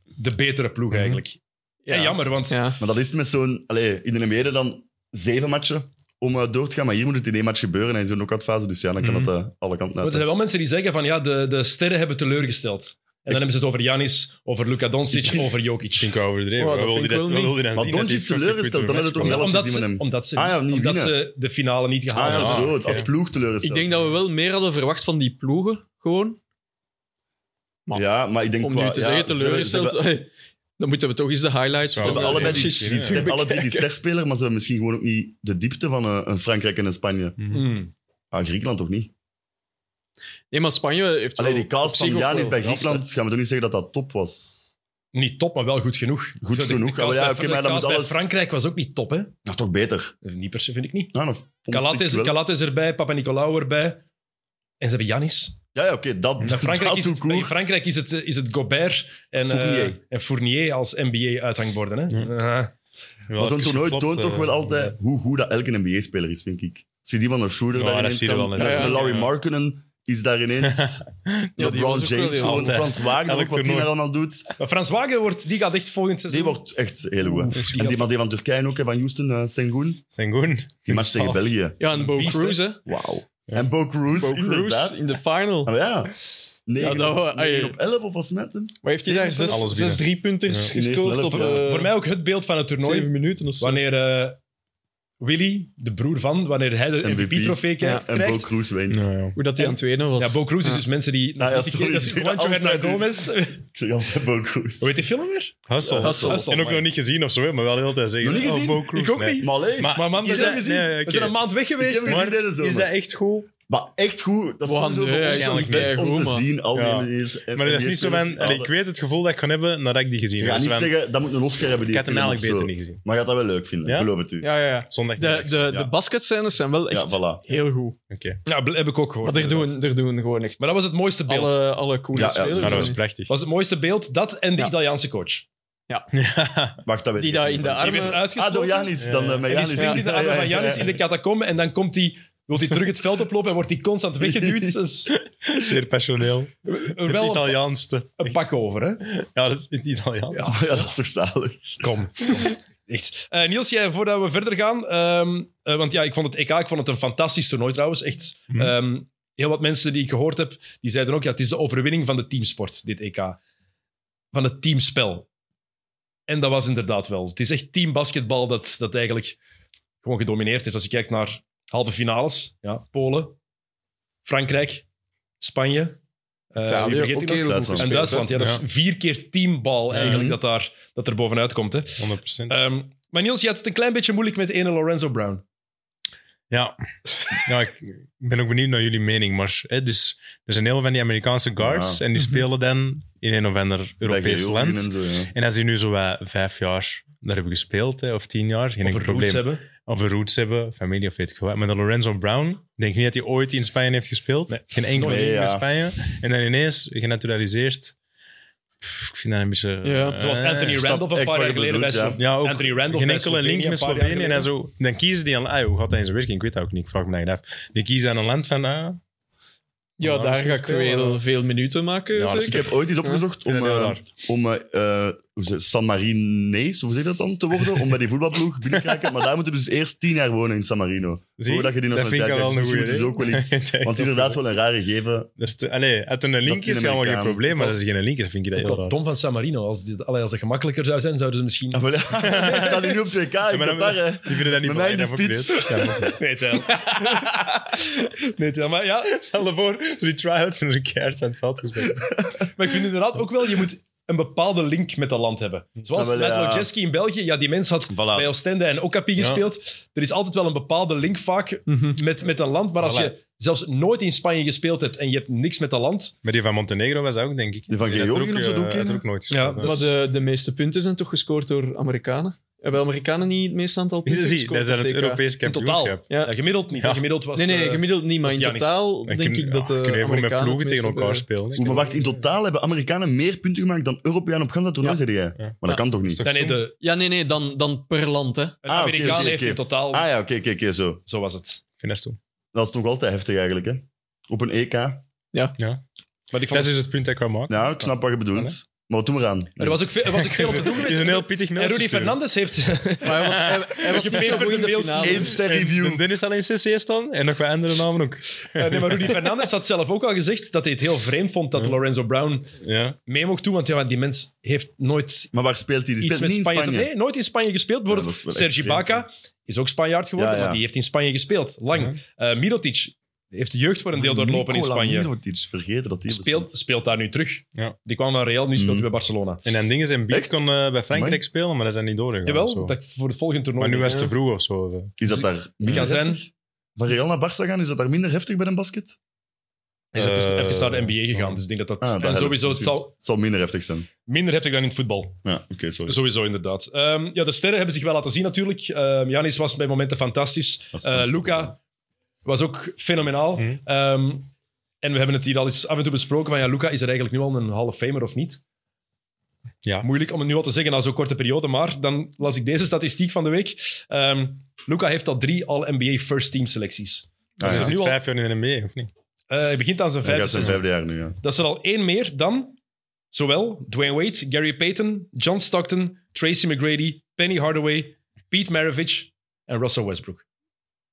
de betere ploeg Mhm. eigenlijk. Ja. En jammer, want Ja. Maar dat is het met zo'n... Allee, in de mede dan zeven matchen om eh, door te gaan. Maar hier moet het in één match gebeuren. En in zo'n knock-out-fase. Dus ja, dan kan Mhm. dat eh, alle want kanten er uit. hè. zijn wel mensen die zeggen van ja, de, de sterren hebben teleurgesteld. En dan hebben ze het over Janis, over Luka Doncic, over Ik Jokic. vind ik overdreven. Oh, dat Wat vind wil je ik dat- wel wat niet. wil je dan Maar zien? Dat Doncic die 50 teleurgesteld, dan punten had het match ook kwam. niet Omdat gezien met ze, hem. omdat ze, Ah ja, niet omdat winnen. ze de finale niet Ah gehaald ja, hebben. zo. oké. Als ploeg Ik teleurgesteld. denk dat we wel meer hadden verwacht van die ploegen, gewoon. dat- Ja, maar ik denk... Om qua- nu te ja, zeggen, ze hebben- teleurgesteld. eh, Ze hebben, dan moeten we toch eens de highlights Ze ze hebben Ja, allebei die, die, precies, die, ja. ster- alle drie die sterspeler, maar ze hebben misschien gewoon ook niet de diepte van eh, een Frankrijk en een Spanje. Mhm. Hmm. Ah, Griekenland toch niet? Nee, maar Spanje heeft Allee, wel die kaas op zich van ook Janis wel bij verrast, Griekenland, gaan we toch niet zeggen dat dat top was? Niet top, maar wel goed genoeg. Goed Zo, de- de genoeg. kans Ah, ja, bij- oké, de maar dan kans moet bij alles- Frankrijk was ook niet top, hè? Nou, toch beter. Niet per se, vind ik niet. Ja, dat vond Kalat ik is, wel. Kalat is erbij, Papa Nicolau erbij. En ze hebben Janis. Ja, ja oké, dat, Bij dat Frankrijk, is het, doet bij goed. Frankrijk is, het, eh, is het Gobert en eh, Fournier. en Fournier als NBA-uithangborden. Hè? Ja. Ah. Wel Maar zo'n even toernooi geflopt, toont toch eh, wel altijd hoe goed dat elke NBA-speler is, vind ik. Zie die van een shooter Ja, daar dat ineens zie je kan. wel, Met- ja. met Ja, Larry ja. Markenen is daar ineens. was ook LeBron wel heel James, gewoon altijd. Frans Wagner, Elk ook wat die toernooi. daar allemaal doet. Eh, Maar Frans Wagen wordt, die gaat echt volgend seizoen... Die wordt echt heel goed. hè. Die En die gaat- van, die van Turkije ook, hè, van Houston, eh, Sengun. Sengun. Die match tegen België. Ja, en Bo Beest, Cruz, hè. Wauw. En Bo Cruz, Bo inderdaad. Cruz in de final. Ah, ja. Nee, Ja, dat wa- ai. op 11 of was met hem? Maar heeft hij daar Zeven zes, punten? zes driepunters Ja. In de eerste gescoord helft, op ja. eh, Voor mij ook het beeld van het toernooi. zeven minuten of zo? Wanneer eh, Willy, de broer van, wanneer hij de MVP. MVP-trofee krijgt. En Bo Cruz wint. Nou ja. Hoe dat hij aan het wenen was. Ja, Bo Cruz is dus mensen die... Ah, ja, die- die- sorry, dat is ik deed Juancho altijd Hernan nu. Gomez. Hoe Ik zeg altijd Bo Cruz. heet die film weer? Hustle. Hustle. Hustle, En ook man. nog niet gezien of zo, hè, maar wel de hele tijd zeggen. Nog niet oh, gezien? Bo Cruz, Ik ook nee. niet. Maar alleen, Maar- Maar man, we is zijn, dat gezien? Nee, we oké. zijn een maand weg ik heb geweest. hem gezien deze zomer. Is dat echt goed? Maar echt goed. Dat is Wow, sowieso nee, voor ons eigenlijk een vet om keigoed, te man. zien. Al die Ja. LED's en- Maar en dat is die niet zo spelers van... die allee, hadden. ik weet het gevoel dat ik kan hebben nadat ik die gezien Je heb. gaat niet Dat is van, zeggen, dat moet een Oscar hebben. Ik Die had hem film eigenlijk of beter zo. niet gezien. Maar je gaat dat wel leuk vinden, Ja? beloof het u. ja, ja, ja. Zondag. De, de, Ja. de basketscènes zijn wel echt voilà. heel goed. Oké. Ja, bl- heb ik ook gehoord. Maar er doen, er doen gewoon echt Maar dat was het mooiste beeld. alle, alle coole Ja, ja, spelers. Nou, dat was in. prachtig. was het mooiste beeld, dat en de Ja. Italiaanse coach. Wacht, dat weet die ik daar niet in de van. Die werd armen... Ah, uitgesloten. door Janis. Dan eh, met en die Janis. springt in de armen van Janis in de catacombe en dan komt hij... Wil hij terug het veld oplopen en wordt hij constant weggeduwd? Dat is Zeer passioneel. er Het wel een, Italiaanste. een pak over, hè? Ja, dat is in het Italiaans. Ja. Oh, Ja, dat is toch zalig. Kom. kom. Echt. Eh, Niels, jij, voordat we verder gaan, ehm, eh, want ja, ik vond het EK, ik vond het een fantastisch toernooi trouwens. Echt. Mhm. Ehm, heel wat mensen die ik gehoord heb, die zeiden ook, ja, het is de overwinning van de teamsport, dit EK. Van het teamspel. En dat was inderdaad wel. Het is echt teambasketbal dat, dat eigenlijk gewoon gedomineerd is. Als je kijkt naar halve finales, ja, Polen, Frankrijk, Spanje. eh, Italië, wie vergeet ik ook nog? heel goed Duitsland. En gespeeld, Duitsland, ja, dat is Ja. vier keer teambal eigenlijk Mhm. dat, daar, dat er bovenuit komt. Hè. 100%. Ehm, maar Niels, je had het een klein beetje moeilijk met de ene Lorenzo Brown. Ja, ja ik ik ben ook benieuwd naar jullie mening. Maar hè, dus, er zijn heel veel van die Amerikaanse guards Ja. en Mhm. die spelen dan in een of ander Europees Bij land. Georgië en zo, ja. En als die nu zo wat vijf jaar daar hebben gespeeld, hè, of tien jaar, geen Of enkel een probleem. roots hebben. Of een roots hebben, familie of weet ik veel wat. Maar de Lorenzo Brown, ik denk niet dat hij ooit in Spanje heeft gespeeld. geen enkel Nooit. team Nee, in ja. Spanje. En dan ineens genaturaliseerd. Pff, ik vind dat een beetje... Ja, eh, Zoals Anthony snap Randolph een echt paar wat jaar je geleden bij bedoelt, ja. Slo- Ja, ook Anthony Randolph geen bij enkele Slovenië link een met paar jaar Slovenië. En geleden. dan, zo, dan kiezen die aan... Ah, hoe gaat dat in zijn werking? Ik weet dat ook niet. Ik vraag me dat af. Die kiezen aan een land van... Ah, Ja, Ja, daar dat is ga ik gespeeld, wel ja. veel minuten maken, Ja, dat is Dus Ik zeker? heb ooit iets opgezocht om, Ja, heel eh, raar. om eh, eh, hoe ze- San Marinees, hoe zeg je dat dan, te worden? Om bij die voetbalploeg binnen te raken. Maar daar moeten dus eerst tien jaar wonen in San Marino. zie, Voordat je die dat vind ik nationaliteit al wel een krijgt. goede Dus je moet dus ook wel iets- Want het is inderdaad wel een rare gegeven. Dat is te- allee, uit een link die is helemaal geen Amerikaan- probleem, maar als er geen link is, vind ik dat Ook heel wel raar. dom van San Marino. Als, dit, allee, als dat gemakkelijker zou zijn, zouden ze misschien... Ah, wel, ja. Ik sta nu op 2K in maar dan- Qatar, hè. Die vinden dat niet Met mij in de belangrijk, dat spits. heb ik geleerd. Ja, Nee, tel. nee, tel. Maar ja, maar- Stel je voor, zo die try-outs en een keihard aan het veld gespeeld. maar ik vind inderdaad ook wel, je moet een bepaalde link met dat land hebben. Zoals Ah, wel, Matt ja. Lojeski in België. Ja, die mens had bij Oostende en Okapi gespeeld. Er is altijd wel een bepaalde link vaak Mhm. met, met een land. Maar als Voilà. je zelfs nooit in Spanje gespeeld hebt en je hebt niks met dat land, Maar die van Montenegro was dat ook, denk ik. Die van had er Georgië ook, of zo eh, doen had er kennen? ook nooit Ja, gespeeld, hè. dat Maar de, de meeste punten zijn toch gescoord door Amerikanen? Hebben Amerikanen niet het meeste aantal punten Zie, zie, gescoord dat is dan op het TK? Europese in totaal. kampioenschap. Ja. Ja. gemiddeld niet. Ja. Gemiddeld was Nee, nee, de- gemiddeld niet, maar was in Giannis. totaal Dan denk kun- ik ja, dat de eh, kunnen even met Amerikanen ploegen het eh, tegen meeste elkaar hebben. spelen. Oeh, maar wacht, in totaal hebben Amerikanen meer punten gemaakt dan Europeanen op gans dat toernooi, Ja. zeg jij. Ja. Maar dat kan toch niet? Is Nee, nee, de, Ja, nee, nee, dan, dan per land, hè. een Ah, oké, Amerikaan oké, heeft oké. in totaal... Ah ja, oké, oké, oké, zo. Zo was het. Ik vind dat stom. Dat is nog altijd heftig eigenlijk, hè. Op een E EK. Maar ik Dat vond is dus het punt dat ik wou maken. Nou, ik snap wat je bedoelt. Maar wat doen we eraan? er was ook, veel, er was ook veel om te doen Het geweest. is een heel pittig En mailtje Rudy sturen. Fernandes heeft... Eh, Maar hij was, hij, hij was Je niet zo paper goed in de mails finale. Eén ster En review. Dennis alleen CC staan en nog wat andere namen ook. Eh, nee, maar Rudy Fernandes had zelf ook al gezegd dat hij het heel vreemd vond dat Lorenzo Brown Ja. mee mocht doen. Want ja, die mens heeft nooit Maar waar speelt hij? Die iets speelt met niet in Spanje... Spanje. te- Nee, nooit in Spanje gespeeld. Ja, Bijvoorbeeld dat is wel echt Sergi vreemd, Baca is ook Spanjaard geworden, Ja, ja. maar die heeft in Spanje gespeeld. Lang. Eh Mirotic heeft de jeugd voor een deel doorlopen in Nikola Spanje. Mirotic, vergeten dat die speelt, speelt daar nu terug. Ja. Die kwam naar Real, nu speelt Mhm. hij bij Barcelona. En dan dingen zijn beat Echt? kon eh, bij Frankrijk Amai. spelen, maar dat is dan niet doorgegaan. of zo. Jawel, dat voor het volgende toernooi. Maar nu was het Ja. te vroeg of eh, zo. Is dat daar Het minder kan zijn. heftig? Van Real naar Barça gaan, is dat daar minder heftig bij een basket? Hij is even, Eh, even naar de NBA gegaan, ja. dus ik denk dat dat... Ah, dat en helpt sowieso, het zal Het zal minder heftig zijn. minder heftig dan in het voetbal. Ja, oké, sorry. Sowieso, inderdaad. Ehm, ja, de sterren hebben zich wel laten zien natuurlijk. Ehm Janis was bij momenten fantastisch. Dat is Ah, Eh best. Luca was ook fenomenaal. Mhm. Ehm, en we hebben het hier al eens af en toe besproken van ja, Luca is er eigenlijk nu al een half famer of niet? Ja. Moeilijk om het nu al te zeggen na zo'n korte periode, maar dan las ik deze statistiek van de week. Ehm, Luca heeft al drie All-NBA First Team selecties. Ah, Hij is er ja. nu zit al- dus vijf jaar in de NBA, of niet? Eh, hij begint aan zijn Hij dus vijfde gaat zijn seizoen. vijfde jaar nu, ja. Dat is er al één meer dan zowel Dwayne Wade, Gary Payton, John Stockton, Tracy McGrady, Penny Hardaway, Pete Maravich en Russell Westbrook.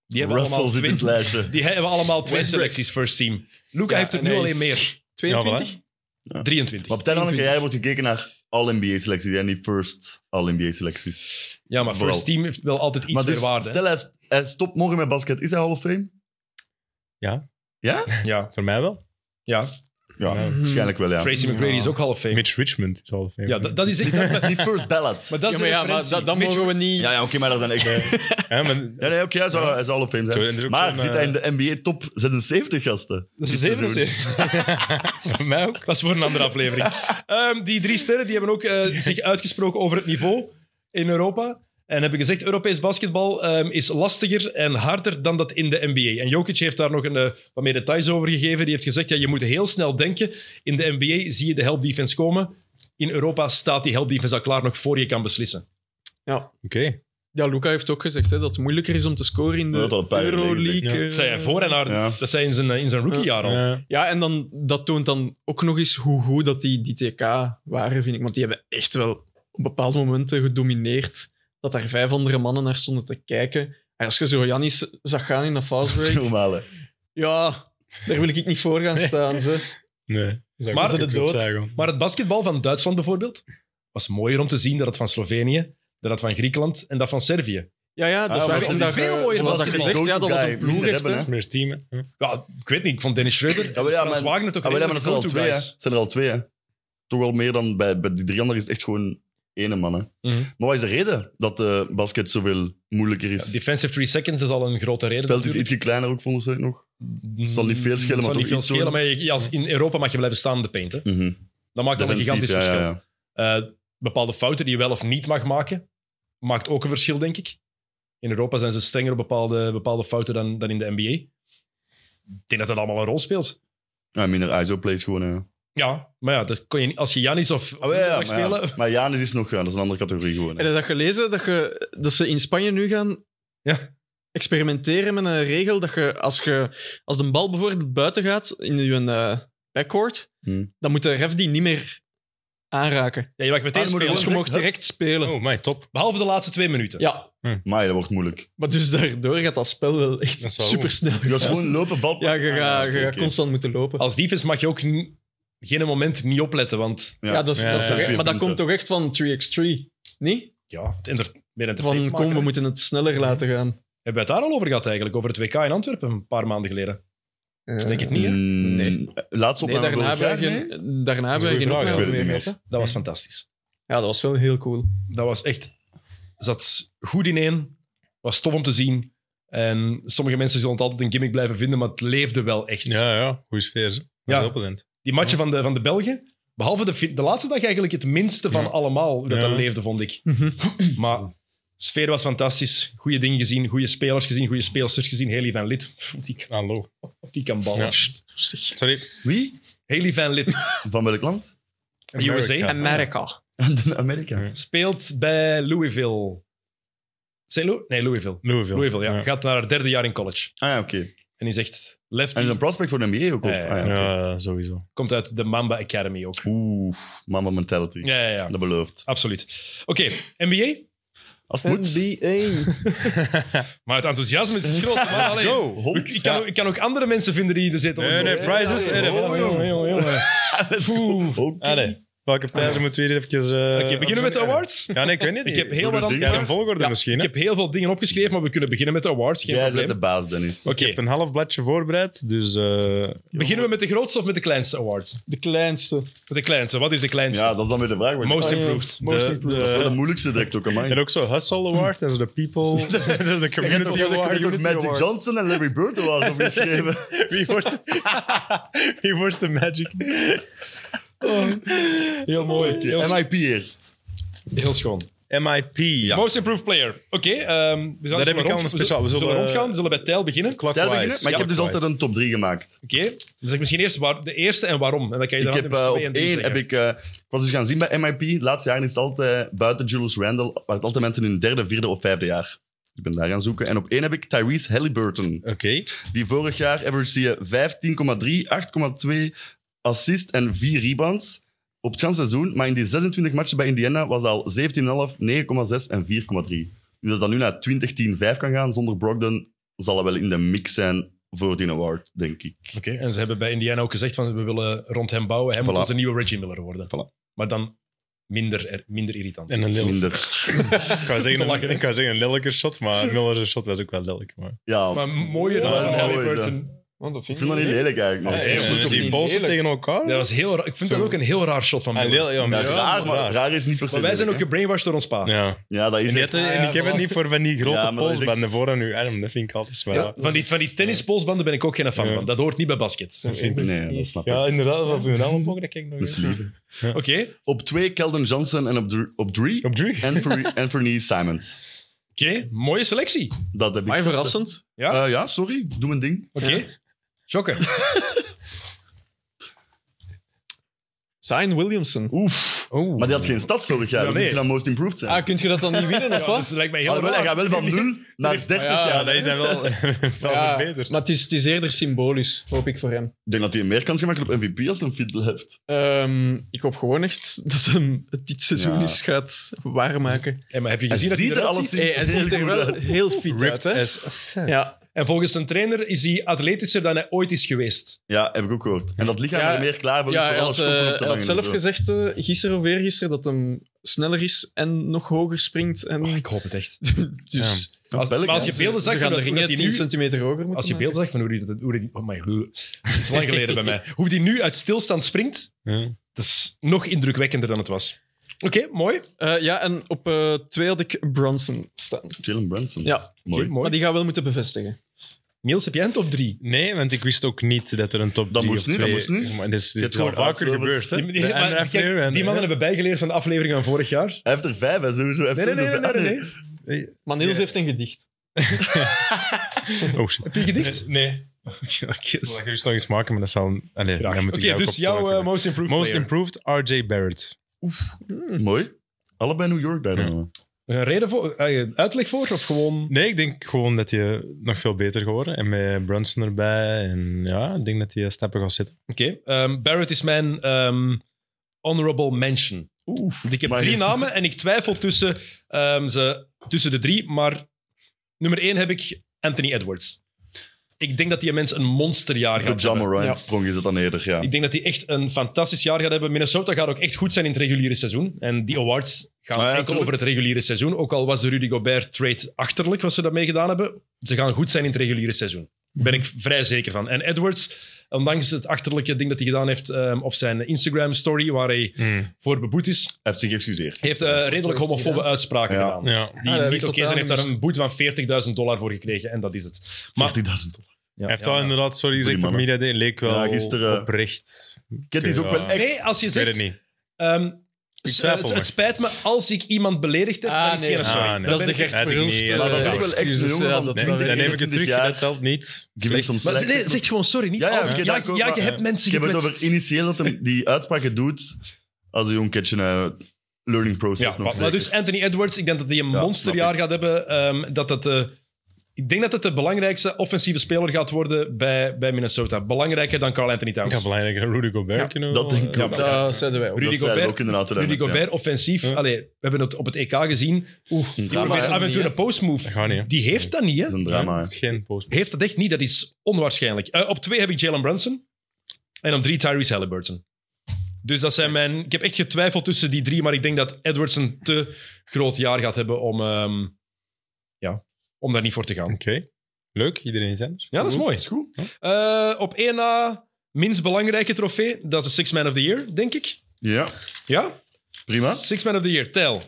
Die hebben Russell allemaal zit in twee, het lijstje. die hebben allemaal twee Westbrook. selecties first team. Luca Ja, heeft het en nu hij alleen is meer. 22? Ja. 23. Maar op het einde, Anneke, jij wordt gekeken naar All-NBA-selecties en niet first All-NBA-selecties. Ja, maar Vooral. first team heeft wel altijd iets Maar meer dus, waarde. hè. stel, hij, hij stopt morgen met basket. Is hij Hall of Fame? Ja, Voor mij wel. ja. Ja, Hmm. Ja. waarschijnlijk wel, ja. Tracy McGrady Ja. is ook Hall of Fame. Mitch Richmond is al of Fame. ja, dat, dat is echt... dat- Die first ballot. maar dat is ja, maar, de ja, maar referentie. dat, dat Mitch- mogen we niet... Ja, ja oké, maar daar zijn echt... Ja, maar- Ja, nee, oké, hij, zou, hij zou Hall of Fame Zo, en er is zijn. ook Maar zo'n, zit hij in de NBA top 76, gasten? dat Dit is seizoen. even voor mij ook. Dat is voor een andere aflevering. Ehm, die drie sterren die hebben ook eh, zich uitgesproken over het niveau in Europa. En hebben gezegd, Europees basketbal ehm, is lastiger en harder dan dat in de NBA. En Jokic heeft daar nog een, eh, wat meer details over gegeven. Die heeft gezegd, ja, je moet heel snel denken. In de NBA zie je de help defense komen. In Europa staat die help defense al klaar nog voor je kan beslissen. Ja. Oké. ja, Luca heeft ook gezegd hè, dat het moeilijker is om te scoren in de Dat had al een paar jaar geleden Euroleague. gezegd, ja. eh. Dat zei hij voor en haar, Ja. dat zei in zijn, eh, in zijn rookiejaar al. Ja. Ja, en dan, dat toont dan ook nog eens hoe goed dat die, die TK waren, vind ik. Want die hebben echt wel op bepaalde momenten gedomineerd. Dat daar vijf andere mannen naar stonden te kijken. En als je zo Janis zag gaan in de fast Dat is break, normaal, hè. ja, daar wil ik niet voor gaan staan. Ze. Nee. Maar- Maar de dood. Zeggen. Maar het basketbal van Duitsland bijvoorbeeld was mooier om te zien dan dat van Slovenië, dan dat van Griekenland en dat van Servië. Ja, ja, dat Ah, is maar waar. dat Omdat die veel je- mooier zoals was dat die gezegd, go-to ja, dat was guy een minder ploegrecht. hebben, hè. hè. Meer teamen. Ja. Ja, ik weet niet, ik vond Dennis Schroeder Ja, en maar ja, Frans maar- Wagner toch Ja, maar ja, maar redelijk dat zijn er al go-to twee, hè. guys. Het zijn er al twee, hè. Toch wel meer dan bij, bij die drie anderen is het echt gewoon ene man, hè. Mhm. Maar wat is de reden dat de basket zoveel moeilijker is? Ja, defensive three seconds is al een grote reden. het veld is natuurlijk. ietsje kleiner ook, volgens mij nog. Het zal niet veel schelen, maar zal toch niet veel iets doen. schelen. Maar je- als in Europa mag je blijven staan in de paint. Hè. Mhm. Dat maakt al een Defensief, gigantisch ja, ja, verschil. ja. Eh, bepaalde fouten die je wel of niet mag maken, maakt ook een verschil, denk ik. In Europa zijn ze strenger op bepaalde, bepaalde fouten dan, dan in de NBA. Ik denk dat dat allemaal een rol speelt. Ja, minder ISO-plays gewoon, hè. Ja, maar ja, dat kon je, niet- als je Janis of, of Oh, ja, ja, Luka mag maar, spelen... ja. maar Janis is nog, ja, dat is een andere categorie gewoon. hè. Heb je dat gelezen? Dat, je, dat ze in Spanje nu gaan Ja. experimenteren met een regel dat je als, je, als de bal bijvoorbeeld buiten gaat in je eh, backcourt, Hmm. dan moet de ref die niet meer aanraken. Ja, je mag meteen Ah, moet je spelen. Dus je direct- mag direct spelen. Oh, my top. Behalve de laatste twee minuten. Ja, Maar ja, dat wordt moeilijk. maar dus daardoor gaat dat spel wel Dat echt is wel supersnel. Je gaat gewoon lopen, bal... Ja, je Ah, gaat, je oké, gaat oké. constant moeten lopen. Als defense mag je ook n- geen moment niet opletten, want ja, Ja. dat is, Ja, dat is ja, toch ja. echt- maar dat Punten. komt toch echt van 3x3, niet? ja, het enter, meer entertainment maken, Van kom, we hè. moeten het sneller laten gaan. Hebben we het daar al over gehad eigenlijk? Over het WK in Antwerpen een paar maanden geleden. Eh, Denk het niet, hè? Mm, Nee. Laatste Nee, opname daarna vorig hebben jaar, we nee? geen, daarna Dat is hebben we geen een goeie vraag, opname ik weet meer het gehad. niet hè. Dat was fantastisch. Ja, dat was wel heel cool. Dat was echt... Zat goed ineen. Was tof om te zien. En sommige mensen zullen het altijd een gimmick blijven vinden, maar het leefde wel echt. Ja, ja. Goeie sfeer. ze. Ja. 100%. Die matchen van de, van de Belgen, behalve de, fi- de laatste dag eigenlijk het minste van Ja. allemaal hoe dat, Ja. Mhm. dat leefde, vond ik. Maar de sfeer was fantastisch. Goede dingen gezien, goede spelers gezien, goede speelsters gezien. Haley van Lid, pff, die, kan- Hallo. die kan ballen. Ja. Sorry. Wie? Haley van Lid, Van welk land? USA, America. America. Amerika. Ja. speelt bij Louisville. St. Lou- Nee, Louisville. Louisville. Louisville, ja. Gaat naar haar derde jaar in college. Ah ja, oké. En die zegt, En is lefty, een prospect voor de NBA ook? Of? Ja, ja. Ah, ja, oké. Ja, sowieso. komt uit de Mamba Academy ook. Oeh, mama mentality. Ja, ja, ja. Dat belooft. Absoluut. Oké, NBA. Als het moet. Maar het enthousiasme het is groot. Maar allee, Hond. Ik, ik kan, Ja. ook- ik kan ook andere mensen vinden die er zitten. Nee, nee, prizes. Ja, Eh, dat was- jongen, jongen, jongen. Let's Oeh. go. Oké. Allee. Welke prijzen moeten we hier even... eh, Oké, beginnen met de opzommen? awards. Ja, nee, ik weet niet. Ik heb heel Doe wat de aan- ding Ja, maar. een volgorde Ja, misschien. Ik hè? heb heel veel dingen opgeschreven, maar we kunnen beginnen met de awards. Geen Jij bent probleem. de baas, Dennis. Oké, Ik heb een half bladje voorbereid, dus... eh, beginnen we met de grootste of met de kleinste awards? De kleinste. Oh, Met de kleinste. Wat is de kleinste? Ja, dat is dan weer de vraag. want- Most Ah, ja. improved. De- dat is wel de moeilijkste direct ook, amai. En ook zo Hustle Award, en zo de People, en zo de Je hebt toch Community wel de Award. Community Magic Award. Johnson en Larry Bird Award opgeschreven. Wie wordt, wie wordt de Magic? Heel mooi. Heel, MIP eerst. heel schoon. MIP. Ja. Most improved player. Oké, ehm, we zullen heb ik rond- al een we zullen- speciaal. We We zullen zullen, rondgaan. We zullen bij Tijl beginnen. Oké. Jij beginnen? Maar ik heb dus altijd een top 3 gemaakt. Dan zeg ik misschien eerst waar, de eerste en waarom. En dan kan je Ik daarna heb nummers eh, op twee en drie één, heb zeggen. ik, eh, ik was dus gaan zien bij MIP. De laatste jaren is het altijd, eh, buiten Julius Randle, waren het altijd mensen in hun derde, vierde of vijfde jaar. Dus Ik ben daar gaan zoeken. En op één heb ik Tyrese Halliburton. Oké. Die vorig jaar averageerde 15,3, 8,2 assist en 4 rebounds. Op het ganse seizoen. Maar in die 26 matchen bij Indiana was al 17,5, 9,6 en 4,3. Dus als dat nu naar 20, 10, 5 kan gaan zonder Brogdon, zal het wel in de mix zijn voor die award, denk ik. Oké, en ze hebben bij Indiana ook gezegd van we willen rond hem bouwen. Hij moet Voilà. onze nieuwe Reggie Miller worden. Voilà. Maar dan minder, er- minder irritant. En een lelijk. Minder. Ik wou Te zeggen, lachen, een, hè? ik wou zeggen een lelijke shot, maar Miller's shot was ook wel lelijk. Maar. Ja, Maar mooier dan Ja, een Harry mooi, Burton. Want dat ik vind dat niet lelijk Nee, eigenlijk. Nee, dat is En goed, toch Eh, die niet polsen lelijk? tegen elkaar. Ja, dat is heel raar. Ik vind Zo. dat ook een heel raar shot van Ah, Miller. leel- ja, dat is ja, raar, maar raar is niet per se. Maar wij zijn ook lelijk, gebrainwashed door ons pa. Ja. hè. Ja, dat En, is die het. had- en ik heb het niet voor van die grote Ja, maar dat is polsbanden echt- voor aan uw arm. Dat vind ik altijd wel. Ja, van, die, van die tennispolsbanden ben ik ook geen fan Ja. van. Dat hoort niet bij basket. Dat vind ik- Nee, dat snap ik. Ja, inderdaad. Op uw arm ook, dat kijk ik nog Dat is eens. lief. Oké, oké. Op twee Keldon Johnson en op, dr- op drie Op drie. Anthony, Anthony Simons. Mooie selectie. Dat heb ik. Maar verrassend. Ja. Eh, ja, sorry. Doe mijn ding. Oké. Shocken. Zion Williamson. Oef. Oeh. Maar die had geen stads vorig jaar. Ja, Dan nee. moet je dan most improved zijn. Ah, kun je dat dan niet winnen, Ja, dat of wat? lijkt mij heel Alhoewel, hij raar. gaat wel van 0 naar 30 Ja, Ja, jaar. dat is dan wel, wel Ja, verbeterd. maar het is, het is eerder symbolisch, hoop ik voor hem. Ik denk dat hij meer kans gemaakt heeft op MVP als hij fit blijft. Ehm, ik hoop gewoon echt dat hem het dit seizoen Ja. eens gaat waarmaken. Hey, maar heb je Hij gezien dat hij ziet er eruit alles ziet? in. Hey, hij ziet er wel heel fit uit, Ripped hè? as- Ja, En volgens zijn trainer is hij atletischer dan hij ooit is geweest. Ja, heb ik ook gehoord. En dat lichaam Ja, er meer klaar voor ja is hij voor alles had, eh, koppen op te dus, hij had vangen en zelf zo. gezegd eh, gisteren of eergisteren dat hem sneller is en nog hoger springt. En, Oh, ik hoop het echt. dus Als, welk, maar als ja. je beelden ze zag gaan van de hoe ringen dat 10 hij nu... centimeter hoger moeten Als je maken. beelden zag van hoe hij... dat- Hoe hij oh my, hoe, het is lang geleden bij mij. Hoe hij nu uit stilstand springt, Ja. dat is nog indrukwekkender dan het was. Oké, mooi. Oké, Eh, ja, en op eh, twee had ik Bronson staan. Jalen Brunson. Ja, Mooi. mooi. maar die gaan wel moeten bevestigen. Niels, heb jij een top 3? Nee, want ik wist ook niet dat er een top Dat 3 moest of niet, dat 2... moest niet. Maar dit is, dit hebt is al gewoon vaker uitgelopen, gebeurd. hè? Die, die- De maar NRF kijk, en- die mannen hebben bijgeleerd van de aflevering van vorig jaar. Hij heeft er vijf, hè, sowieso. Hij heeft Nee, nee, nee. sowieso nee, nee, vijf. nee. Maar Niels heeft een gedicht. Oh, shit. Heb je gedicht? Nee. Oké, Ik wil dat gerust nog eens maken, maar dat zal... Allee, Graag. dan moet ik Oké, jou ook dus op- jouw eh, most improved Most player. improved, R.J. Barrett. Mooi. Allebei New York daar dan. wel. Een reden voor, eh, uitleg voor of gewoon... Nee, ik denk gewoon dat hij nog veel beter geworden. En met Brunson erbij. En ja, ik denk dat hij stappen gaat zitten. Oké, ehm, Barrett is mijn ehm, honorable mention. Want ik heb Maar drie je- namen en ik twijfel tussen, ehm, ze, tussen de drie, maar nummer één heb ik Anthony Edwards. Ik denk dat die mens een monsterjaar De gaat John hebben. Morant Ja. sprong is het dan eerder, ja. Ik denk dat die echt een fantastisch jaar gaat hebben. Minnesota gaat ook echt goed zijn in het reguliere seizoen. En die awards gaan Ah ja, enkel tuurlijk. over het reguliere seizoen. Ook al was de Rudy Gobert trade achterlijk, wat ze daarmee gedaan hebben. Ze gaan goed zijn in het reguliere seizoen. Daar ben ik vrij zeker van. En Edwards, ondanks het achterlijke ding dat hij gedaan heeft ehm, op zijn Instagram-story, waar hij voor beboet is, Hij heeft zich geëxcuseerd. heeft eh, redelijk heeft hij homofobe gedaan? uitspraken Ja. gedaan. Ja. Die Ah, dat heb niet ik oké zijn, heeft daar dus- totaal een boete van 40.000 dollar voor gekregen. En dat is het. Maar, 40.000 dollar. ja, Hij heeft ja, wel ja. inderdaad, sorry die gezegd, op mannen. media day leek wel Ja, gisteren- oprecht. Ket is ook Ja. wel echt... Nee, als je Ik weet het zegt... niet. Ehm, s- twijfel het, nog. het spijt me als ik iemand beledigd heb. Ah, dan is nee. die een Ah, sorry. nee. Dan Dat ben is de ik echt- Gert had ik Verhulst. niet, eh, Maar dat is ook wel echt een excuses, jongen ja, van dat Nee, wel dan weer. neem ik het 21 terug, jaar. dat telt niet. Give him some Slecht. Maar slack. nee, zeg gewoon sorry. Niet Ja, ja, als- ik ja, heb dat ook, ja, je maar- hebt mensen Ik heb het over gekwetst. initieel dat hem die uitspraken doet als een jong ketje eh, learning Ja, process nog maar, maar zeker. dus Anthony Edwards, ik denk dat hij een Ja, monsterjaar snap gaat hebben. Ehm, dat dat, eh, ik denk dat het de belangrijkste offensieve speler gaat worden bij, bij Minnesota. Belangrijker dan Carl Anthony Ik had Towns. belangrijk Rudy Gobert Ja, kunnen dat wel, denk ik eh, ook. ja. Dat zeiden wij ook. Rudy Dat zeiden we Gobert- ook inderdaad toen Rudy daarnet, ja. Gobert offensief. Ja. Allee, we hebben het op het EK gezien. Oeh, die drama, probeert hè? af en toe een postmove. Dat gaat niet, hè. Die heeft dat niet, hè? Dat is een drama. hè. Het is Geen post. Heeft dat echt niet. Dat is onwaarschijnlijk. Eh, op twee heb ik Jalen Brunson. En op drie Tyrese Halliburton. Dus dat zijn mijn... Ik heb echt getwijfeld tussen die drie, maar ik denk dat Edwards een te groot jaar gaat hebben om, ehm, ja, om daar niet voor te gaan. Oké. Leuk, iedereen iets anders. Ja, dat is mooi. goed. Ja. Eh, op één na minst belangrijke trofee, dat is de Six Man of the Year, denk ik. Ja, Ja? prima. Six Man of the Year, tel.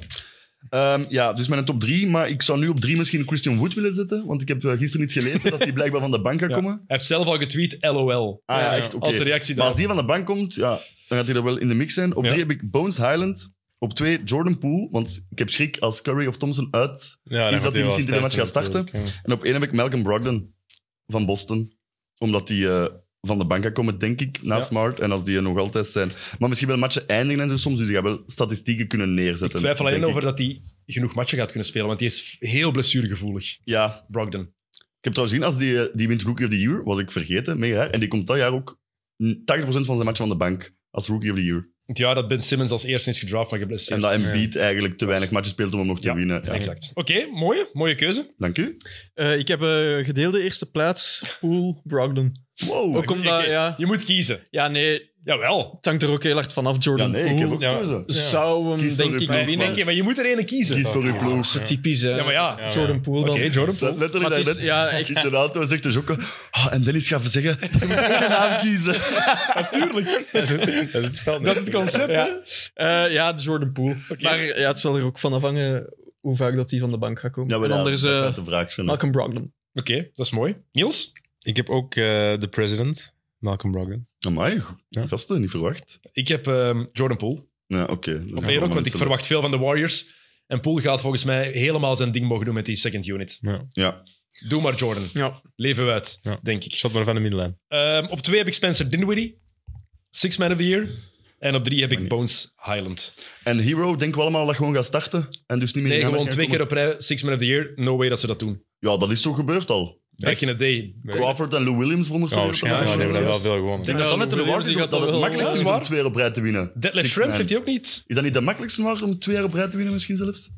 Ehm, ja, dus met een top 3, maar ik zou nu op 3 misschien Christian Wood willen zetten, want ik heb eh, gisteren iets gelezen dat hij blijkbaar van de bank gaat Ja. Hij komen. heeft zelf al getweet, LOL. Ah ja, Ja, echt, oké. Als reactie Maar daar. als die van de bank komt, ja, dan gaat hij er wel in de mix zijn. Op Ja. drie heb ik Bones Highland. Op twee Jordan Poole, want ik heb schrik als Curry of Thompson uit. Ja, Is dat hij misschien de match gaat starten? En op één heb ik Malcolm Brogdon van Boston. Omdat die eh, van de bank gaat komen, denk ik, na Ja. Smart. En als die er nog altijd zijn. Maar misschien wel matchen eindigen en zo soms. Dus die gaat wel statistieken kunnen Ik neerzetten. twijfel alleen denk over ik. dat hij genoeg matchen gaat kunnen spelen, want die is heel blessuregevoelig, Ja, Brogdon. ik heb trouwens gezien, als die, eh, die wint Rookie of the Year, was ik vergeten, mega raar. En die komt dat jaar ook mm, 80% van zijn matchen van de bank als Rookie of the Year. Het jaar dat Ben Simmons als eerste is gedraft, maar En geblesseerd. dat Embiid eigenlijk te weinig matchen speelt om hem nog te Ja, winnen. Ja. Exact. Oké, mooie, mooie keuze. Dank u. Eh, ik heb eh, gedeelde eerste plaats, Poel, Brogdon. Wow. Ook omdat, Oké, ja, Je moet kiezen. ja, nee, Jawel. het hangt er ook heel hard vanaf. ja, Jordan nee, ik Poole heb ook Ja. keuze. zou hem, Kies voor denk uw ik, ploeg, Maar, winnen. denk je, maar je moet er ene kiezen. eh, Kies voor uw ploeg. Zo typisch, hè. Ja, maar ja. Ja. Jordan Poole Oké, dan. Jordan Dat- Poole. Letterlijk, Maar het dat- is- ja, echt. Iets in de auto zegt dus ook... ah, en Dennis gaat zeggen, je moet één naam kiezen. Natuurlijk. Dat is, dat is het spel. Dat is het concept, Ja. hè? Eh, ja, Jordan Poole. Maar ja, het zal er ook van afhangen hoe vaak dat hij van de bank gaat komen. Ja, maar en ja, anders dat eh, gaat de vraag zijn. hè. Malcolm Brogdon. Oké, dat is mooi. Niels? Ik heb ook eh The President, Malcolm Brogdon. Amai, goed. Ja. gasten, niet verwacht. Ik heb ehm, Jordan Poole. Ja, oké. Dat is Op allemaal één ook, want ik mensen. verwacht veel van de Warriors. En Poole gaat volgens mij helemaal zijn ding mogen doen met die second unit. Ja, Doe maar, Jordan. Ja. Leven we uit, Ja. denk ik. Shot maar van de middenlijn. Ehm, op twee heb ik Spencer Dinwiddie. Six Man of the Year. En op drie heb ik Bones Highland. en Hero denken we allemaal dat gewoon gaat starten en dus niet Nee, meer in de gewoon aandacht twee gaat keer op rij. Six Man of the Year. No way dat ze dat doen. komen. Ja, dat is zo gebeurd al. Back in the day. Crawford en Lou Williams vonden ze Ja, weer op de waarschijnlijk. Ja, lijst. Ja, die hebben ja, dat ja. wel veel gewonnen. Ik denk dat dat met de Williams, Warriors die is gaat dat dat het wel- makkelijkste Ja, is dat is om twee op rij te winnen. Detlef Six Schrempf man. heeft hij ook niet. Is dat niet de makkelijkste maar om twee op rij te winnen misschien zelfs?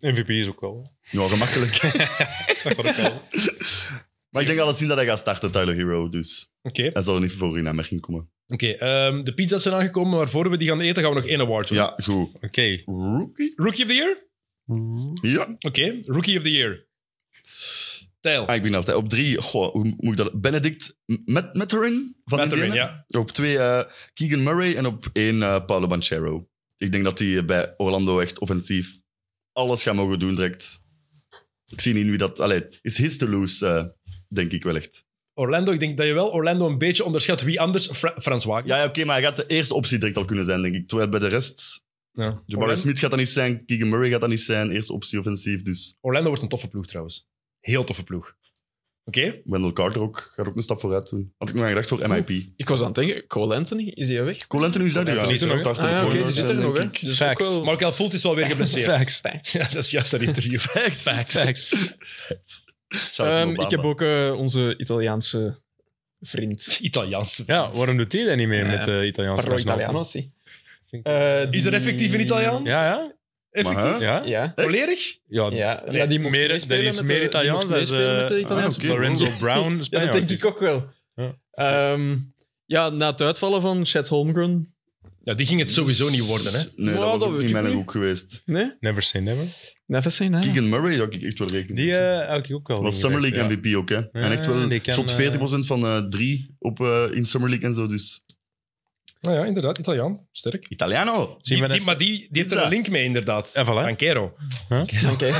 MVP is ook wel. Ja, gemakkelijk. maar ik denk al zien dat hij gaat starten, Tyler Hero. Dus Oké, hij zal er niet voor in aanmerking komen. oké. ehm, de pizza's zijn aangekomen, maar voor we die gaan eten, gaan we nog één award doen. Ja, goed. Oké. Rookie? Rookie of the Year? Mhm. Ja. Oké, Rookie of the Year. Tijl. Ah, ik ben altijd op drie. Goh, hoe moet ik dat? Benedict Met Metterin van Mathurin, Indiana. ja. Op twee eh, Keegan Murray en op één eh, Paolo Banchero. Ik denk dat die eh, bij Orlando echt offensief alles gaat mogen doen direct. Ik zie niet wie dat... Allee, is his to lose, eh, denk ik wel echt. Orlando, ik denk dat je wel Orlando een beetje onderschat. Wie anders? Fra Frans Wagner. Ja, ja, oké, maar hij gaat de eerste optie direct al kunnen zijn, denk ik. Terwijl bij de rest... Ja. Jabari Nou, Orlando, Smith gaat dat niet zijn, Keegan Murray gaat dat niet zijn. Eerste optie offensief, dus... Orlando wordt een toffe ploeg trouwens. Heel toffe ploeg. Oké, Wendell Carter ook, gaat ook een stap vooruit doen. Had ik nog aan gedacht voor MIP. Ik was aan het denken, Cole Anthony, is hij weg? Cole Anthony is daar nu Cole aan. Anthony is er nog, Start Ah, achter de ja, oké, die Warriors, zit er denk nog, hè. ik. Dus Facts. ook wel- Markel Fult is wel weer geblesseerd. Facts. Ja, dat is juist dat interview. Facts. Ah, Shout-out Ehm, aan Obama. ik heb ook eh, onze Italiaanse vriend. Italiaanse Ja, waarom doet hij dat niet mee Ja. met de Italiaanse Parlo nationale Italiano, ploeg? zie. Vind ik- Eh, die- Is er effectief een Italiaan? Ja, ja. Effectief? Maar, hè? Ja. Ja. Volledig? Ja, Ja, Allee, ja, die mocht meer, meespelen er is met de- meer die Italiaans mocht dan meespelen eh, met de Italiaanse ah, oké. Lorenzo Brown. Ja, dat Spanjaard denk is. ik ook wel. Ja. Ehm, ja, na het uitvallen van Chet Holmgren. Ja, die ging het sowieso niet worden, hè? Nee, Nou, dat was dat ook weet niet ik mijn niet. hoek geweest. Nee? Never say never. Never say Ah. never. Keegan Murray had ik echt wel rekening Die mee. eh had ik ook wel. was niet Summer gedacht, League MVP ook, hè. en echt Ah, wel, die kan, shot eh, 40% van eh, drie op, eh, in Summer League en zo, dus... Nou ja, inderdaad, Italiaan. Sterk. Italiano! Zie Die, maar die, dat- maar die, die heeft er Pizza. een link mee, inderdaad. Ja, voilà. Banquero. Oké.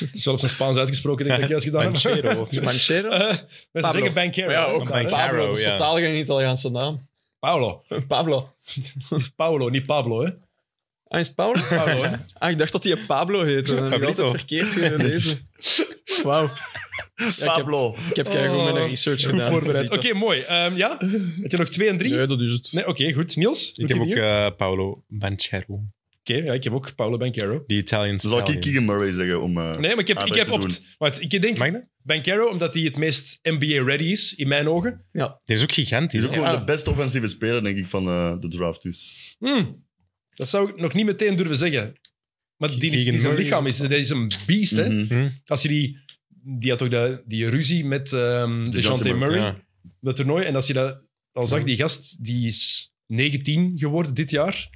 Dat is wel op zijn Spaans uitgesproken, denk ik, dat je juist gedaan hebt. Banchero. Manchero. Eh, Mensen Pablo. zeggen Banquero. Maar ja, ook Vandaar, hè? Pablo. Banchero, dat is ja. totaal geen Italiaanse naam. Paolo. Pablo. Het is Paolo, niet Pablo, hè? Ah, is het Pablo? Paolo, hè? Ah, ik dacht dat hij Pablo heette. Dat heb ik Pablito. altijd verkeerd gelezen. Wauw. Ja, ik heb, Pablo! Dus ik heb keigoed Oh, mijn research Goed gedaan. voorbereid. Ziet Oké, dat. mooi. Ehm, ja? Heb je nog twee en drie? Nee, dat is het. Nee, oké, goed. Niels? Ik Rookie heb ook of the Year? eh, Paolo Banchero. Oké, ja, ik heb ook Paolo Banquero. Die Italian Zal ik stallion. Keegan Murray zeggen om... eh, Nee, maar ik heb, Ah, ik dat heb te op... doen. het- want ik denk Mag ik dat? Banquero, omdat hij het meest NBA-ready is, in mijn ogen. Die is ook Die gigantisch. is ook hè? wel Ah. Ja. de beste offensieve speler, denk ik, van eh, de draft, dus... Hmm, Dat zou ik nog niet meteen durven zeggen. Maar die, is, Keegan die zijn Murray is lichaam is, dat is een beest, hè? Mhm. Hm? Als je die... Die had toch de, die ruzie met ehm DeJounte Murray. Murray, Ja. dat toernooi. En als je dat al zag, Ja. die gast, die is 19 geworden dit jaar.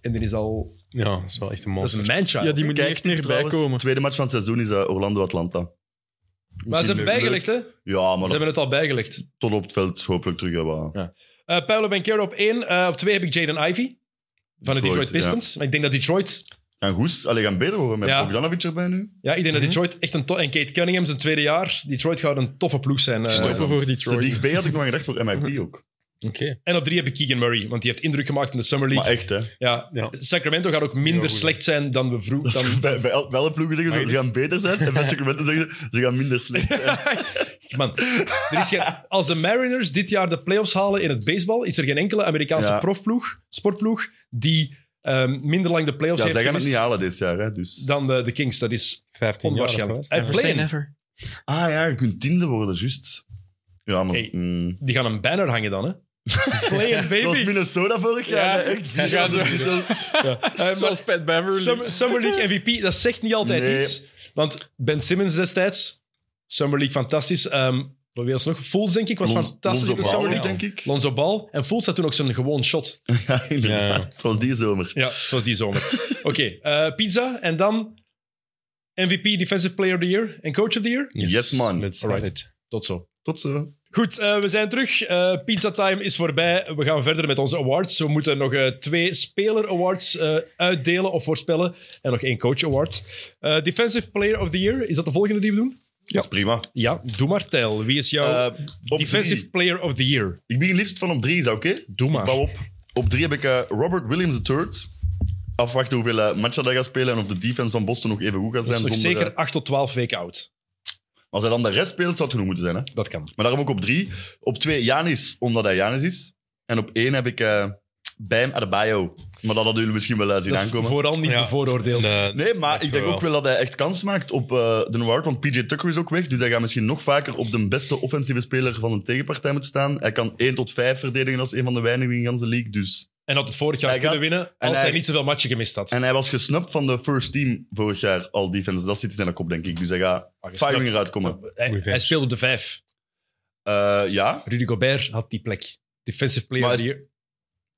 En die is al... Ja, dat is wel echt een Dat is monster. een manchild. Ja, die moet niet Kijk, echt meer trouwens, bijkomen. tweede match van het seizoen is eh, Orlando-Atlanta. maar ze hebben bijgelegd, hè? Ze Ja, maar dat- hebben het al bijgelegd. tot op het veld hopelijk terug. Ja, maar- Eh Paolo Banchero op één. Eh, op twee heb ik Jaden Ivey van de Detroit, Detroit Pistons. Maar ik denk dat Detroit... En Goes, alleen gaan beter worden met Ja. Bogdanovic erbij nu. Ja, ik denk dat Detroit echt een... to- En Kate Cunningham, zijn tweede jaar. Detroit gaat een toffe ploeg zijn. eh. Stoppen voor Detroit. Sadiq Bey had ik nog aan gedacht voor MIP ook. Oké. en op drie heb ik Keegan Murray, want die heeft indruk gemaakt in de Summer Maar League. echt, hè. ja, Ja. Sacramento gaat ook minder Ja, goed, hè. slecht zijn dan we vroeg... Dat is- Dan... bij, bij, el- bij alle ploegen zeggen ze, Maar ze gaan beter zijn. En bij Sacramento zeggen ze, ze gaan minder slecht zijn. Man, er is geen- als de Mariners dit jaar de playoffs halen in het baseball, is er geen enkele Amerikaanse Ja. profploeg, sportploeg, die ehm, minder lang de playoffs Ja, zij heeft gaan het niet gemist halen dit jaar, hè. Dus. dan de, de Kings. Dat is 15 jaar. onwaarschijnlijk. dat En was. Never say play-in. never. Ah ja, je kunt tiende worden, juist. Ja, maar... Hey. mm. Die gaan een banner hangen dan, hè? Play-in, Zoals baby. Minnesota vorig jaar, hè. echt. Ja, Ja, zo. Ja. Eh, maar Zoals Pat Beverly. Summer, Summer League MVP, dat zegt niet altijd Nee. iets. Want Ben Simmons destijds, Summer League fantastisch. ehm, Wat was nog? Fools, denk ik, was Lon- fantastisch in de Lonzo Summer Ball, League. denk ik. Lonzo Ball. En Fools had toen ook zijn gewoon shot. Ja, inderdaad. Ja. Het was die zomer. Ja, zoals die zomer. Oké, eh, pizza en dan MVP, Defensive Player of the Year en Coach of the Year. Yes, man. Let's Alright. have it. Tot zo. Tot zo. Goed, eh, we zijn terug. Eh, pizza time is voorbij. We gaan verder met onze awards. We moeten nog eh, twee speler awards eh, uitdelen of voorspellen. En nog één coach award. Eh, Defensive Player of the Year, is dat de volgende die we doen? Dat is prima. Ja, doe maar tel. Wie is jouw Eh, op Defensive drie. Player of the Year? Ik begin liefst van op drie, is dat oké? Doe maar. Bouw op. Op drie heb ik eh, Robert Williams III. Afwachten hoeveel eh, matchen hij gaat spelen en of de defense van Boston nog even goed gaat Dat zijn. is nog zonder, zeker eh, 8 tot 12 weken oud. als hij dan de rest speelt, zou het genoeg moeten zijn. Hè? Dat kan. Maar daarom ook op drie. Op twee, Janis, omdat hij Janis is. En op één heb ik eh Bam Adebayo. Maar dat hadden jullie misschien wel eh, zien Dat is aankomen. vooral niet Ja. bevooroordeeld. De- Nee, maar Echt ik denk wel. ook wel dat hij echt kans maakt op eh, de award, want PJ Tucker is ook weg, dus hij gaat misschien nog vaker op de beste offensieve speler van een tegenpartij moeten staan. Hij kan 1 tot 5 verdedigen als een van de weinigen in de hele league, dus... En had het vorig jaar Hij kunnen gaat- winnen als hij, hij- niet zoveel matchen gemist had. En hij was gesnapt van de first team vorig jaar, al defense. Dat zit in zijn kop, denk ik, dus hij gaat Maar gesnapt- firing eruit komen. hij, Revenge. hij speelde op de vijf. Eh, ja, Rudy Gobert had die plek. Defensive player Maar of the year.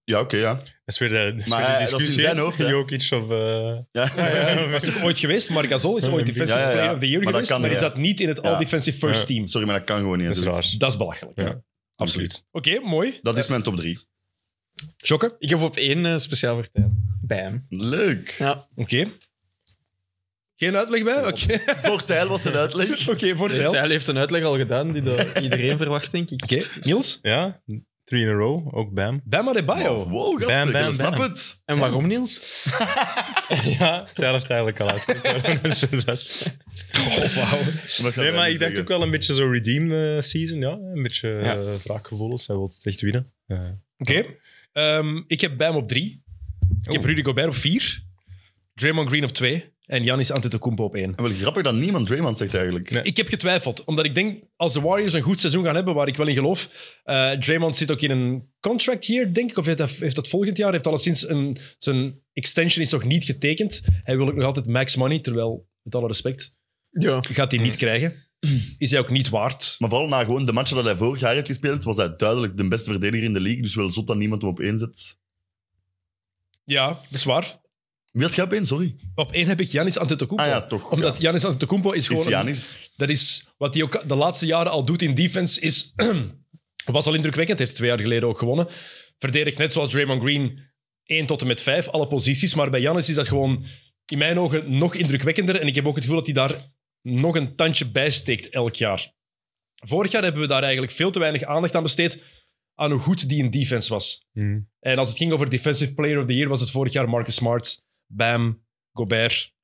ja oké, ja. Dat is weer de, dat is Maar weer de hij- dat is in discussie. zijn hoofd, hè? Jokic of... eh, Ja, ja, ja. Dat is toch ooit geweest? Marc Gasol is Ja, ooit ja, defensive ja. player of the year Maar dat geweest, kan maar is niet, dat niet in het Ja. all-defensive first Ja. team. Sorry, maar dat kan gewoon niet. dat is dus- raar. Dat is belachelijk. Ja. Absoluut. Oké, mooi. Dat is mijn top 3. Jokke? Ik heb op één eh, speciaal Eh, verteld. Bij hem. Leuk. Ja. Oké. Geen uitleg bij? Oké, Voor Tijl was een uitleg. Oké, voor Tijl. Oké, Tijl heeft een uitleg al gedaan die dat iedereen verwacht, denk ik. Niels? Ja, three in a row, ook Bam. Bam Adebayo. Wow, gasten, Bam, bam, ik snap bam. het. En waarom, Niels? ja, daar heeft eigenlijk al uitgekomen. Oh, wauw. Wat gaat Nee, hij maar nu ik dacht zeggen? ook wel een beetje zo redeem eh, season, ja. Een beetje Ja. eh, wraakgevoelens, hij wil het echt winnen. Eh, Oké. Ehm, ik heb Bam op drie. Ik heb Oh. Oeh. Rudy Gobert op vier. Draymond Green op twee. En Giannis Antetokounmpo op één. En wel grappig dat niemand Draymond zegt eigenlijk. Nee. Ik heb getwijfeld, omdat ik denk als de Warriors een goed seizoen gaan hebben, waar ik wel in geloof. eh, Draymond zit ook in een contract hier, denk ik, of heeft dat, heeft dat volgend jaar? Heeft alleszins een, zijn extension is nog niet getekend. Hij wil ook nog altijd max money, terwijl, met alle respect, Ja. gaat hij Mm. niet krijgen. Is hij ook niet waard? Maar vooral na gewoon de matchen dat hij vorig jaar heeft gespeeld, was hij duidelijk de beste verdediger in de league. Dus wel zot dat niemand hem op één zet. Ja, dat is waar. Wie had jij op één? Sorry. Op één heb ik Janis Antetokounmpo. Ah ja, toch. Omdat ja. Janis Antetokounmpo is gewoon Is een- Giannis. Dat is wat hij ook de laatste jaren al doet in defense. Is, was al indrukwekkend. Heeft twee jaar geleden ook gewonnen. Verdedigt net zoals Draymond Green 1 tot en met 5, alle posities. Maar bij Janis is dat gewoon in mijn ogen nog indrukwekkender. En ik heb ook het gevoel dat hij daar nog een tandje bij steekt elk jaar. Vorig jaar hebben we daar eigenlijk veel te weinig aandacht aan besteed. aan hoe goed die in defense was. mm. En als het ging over Defensive Player of the Year, was het vorig jaar Marcus Smart, Bam, Gobert.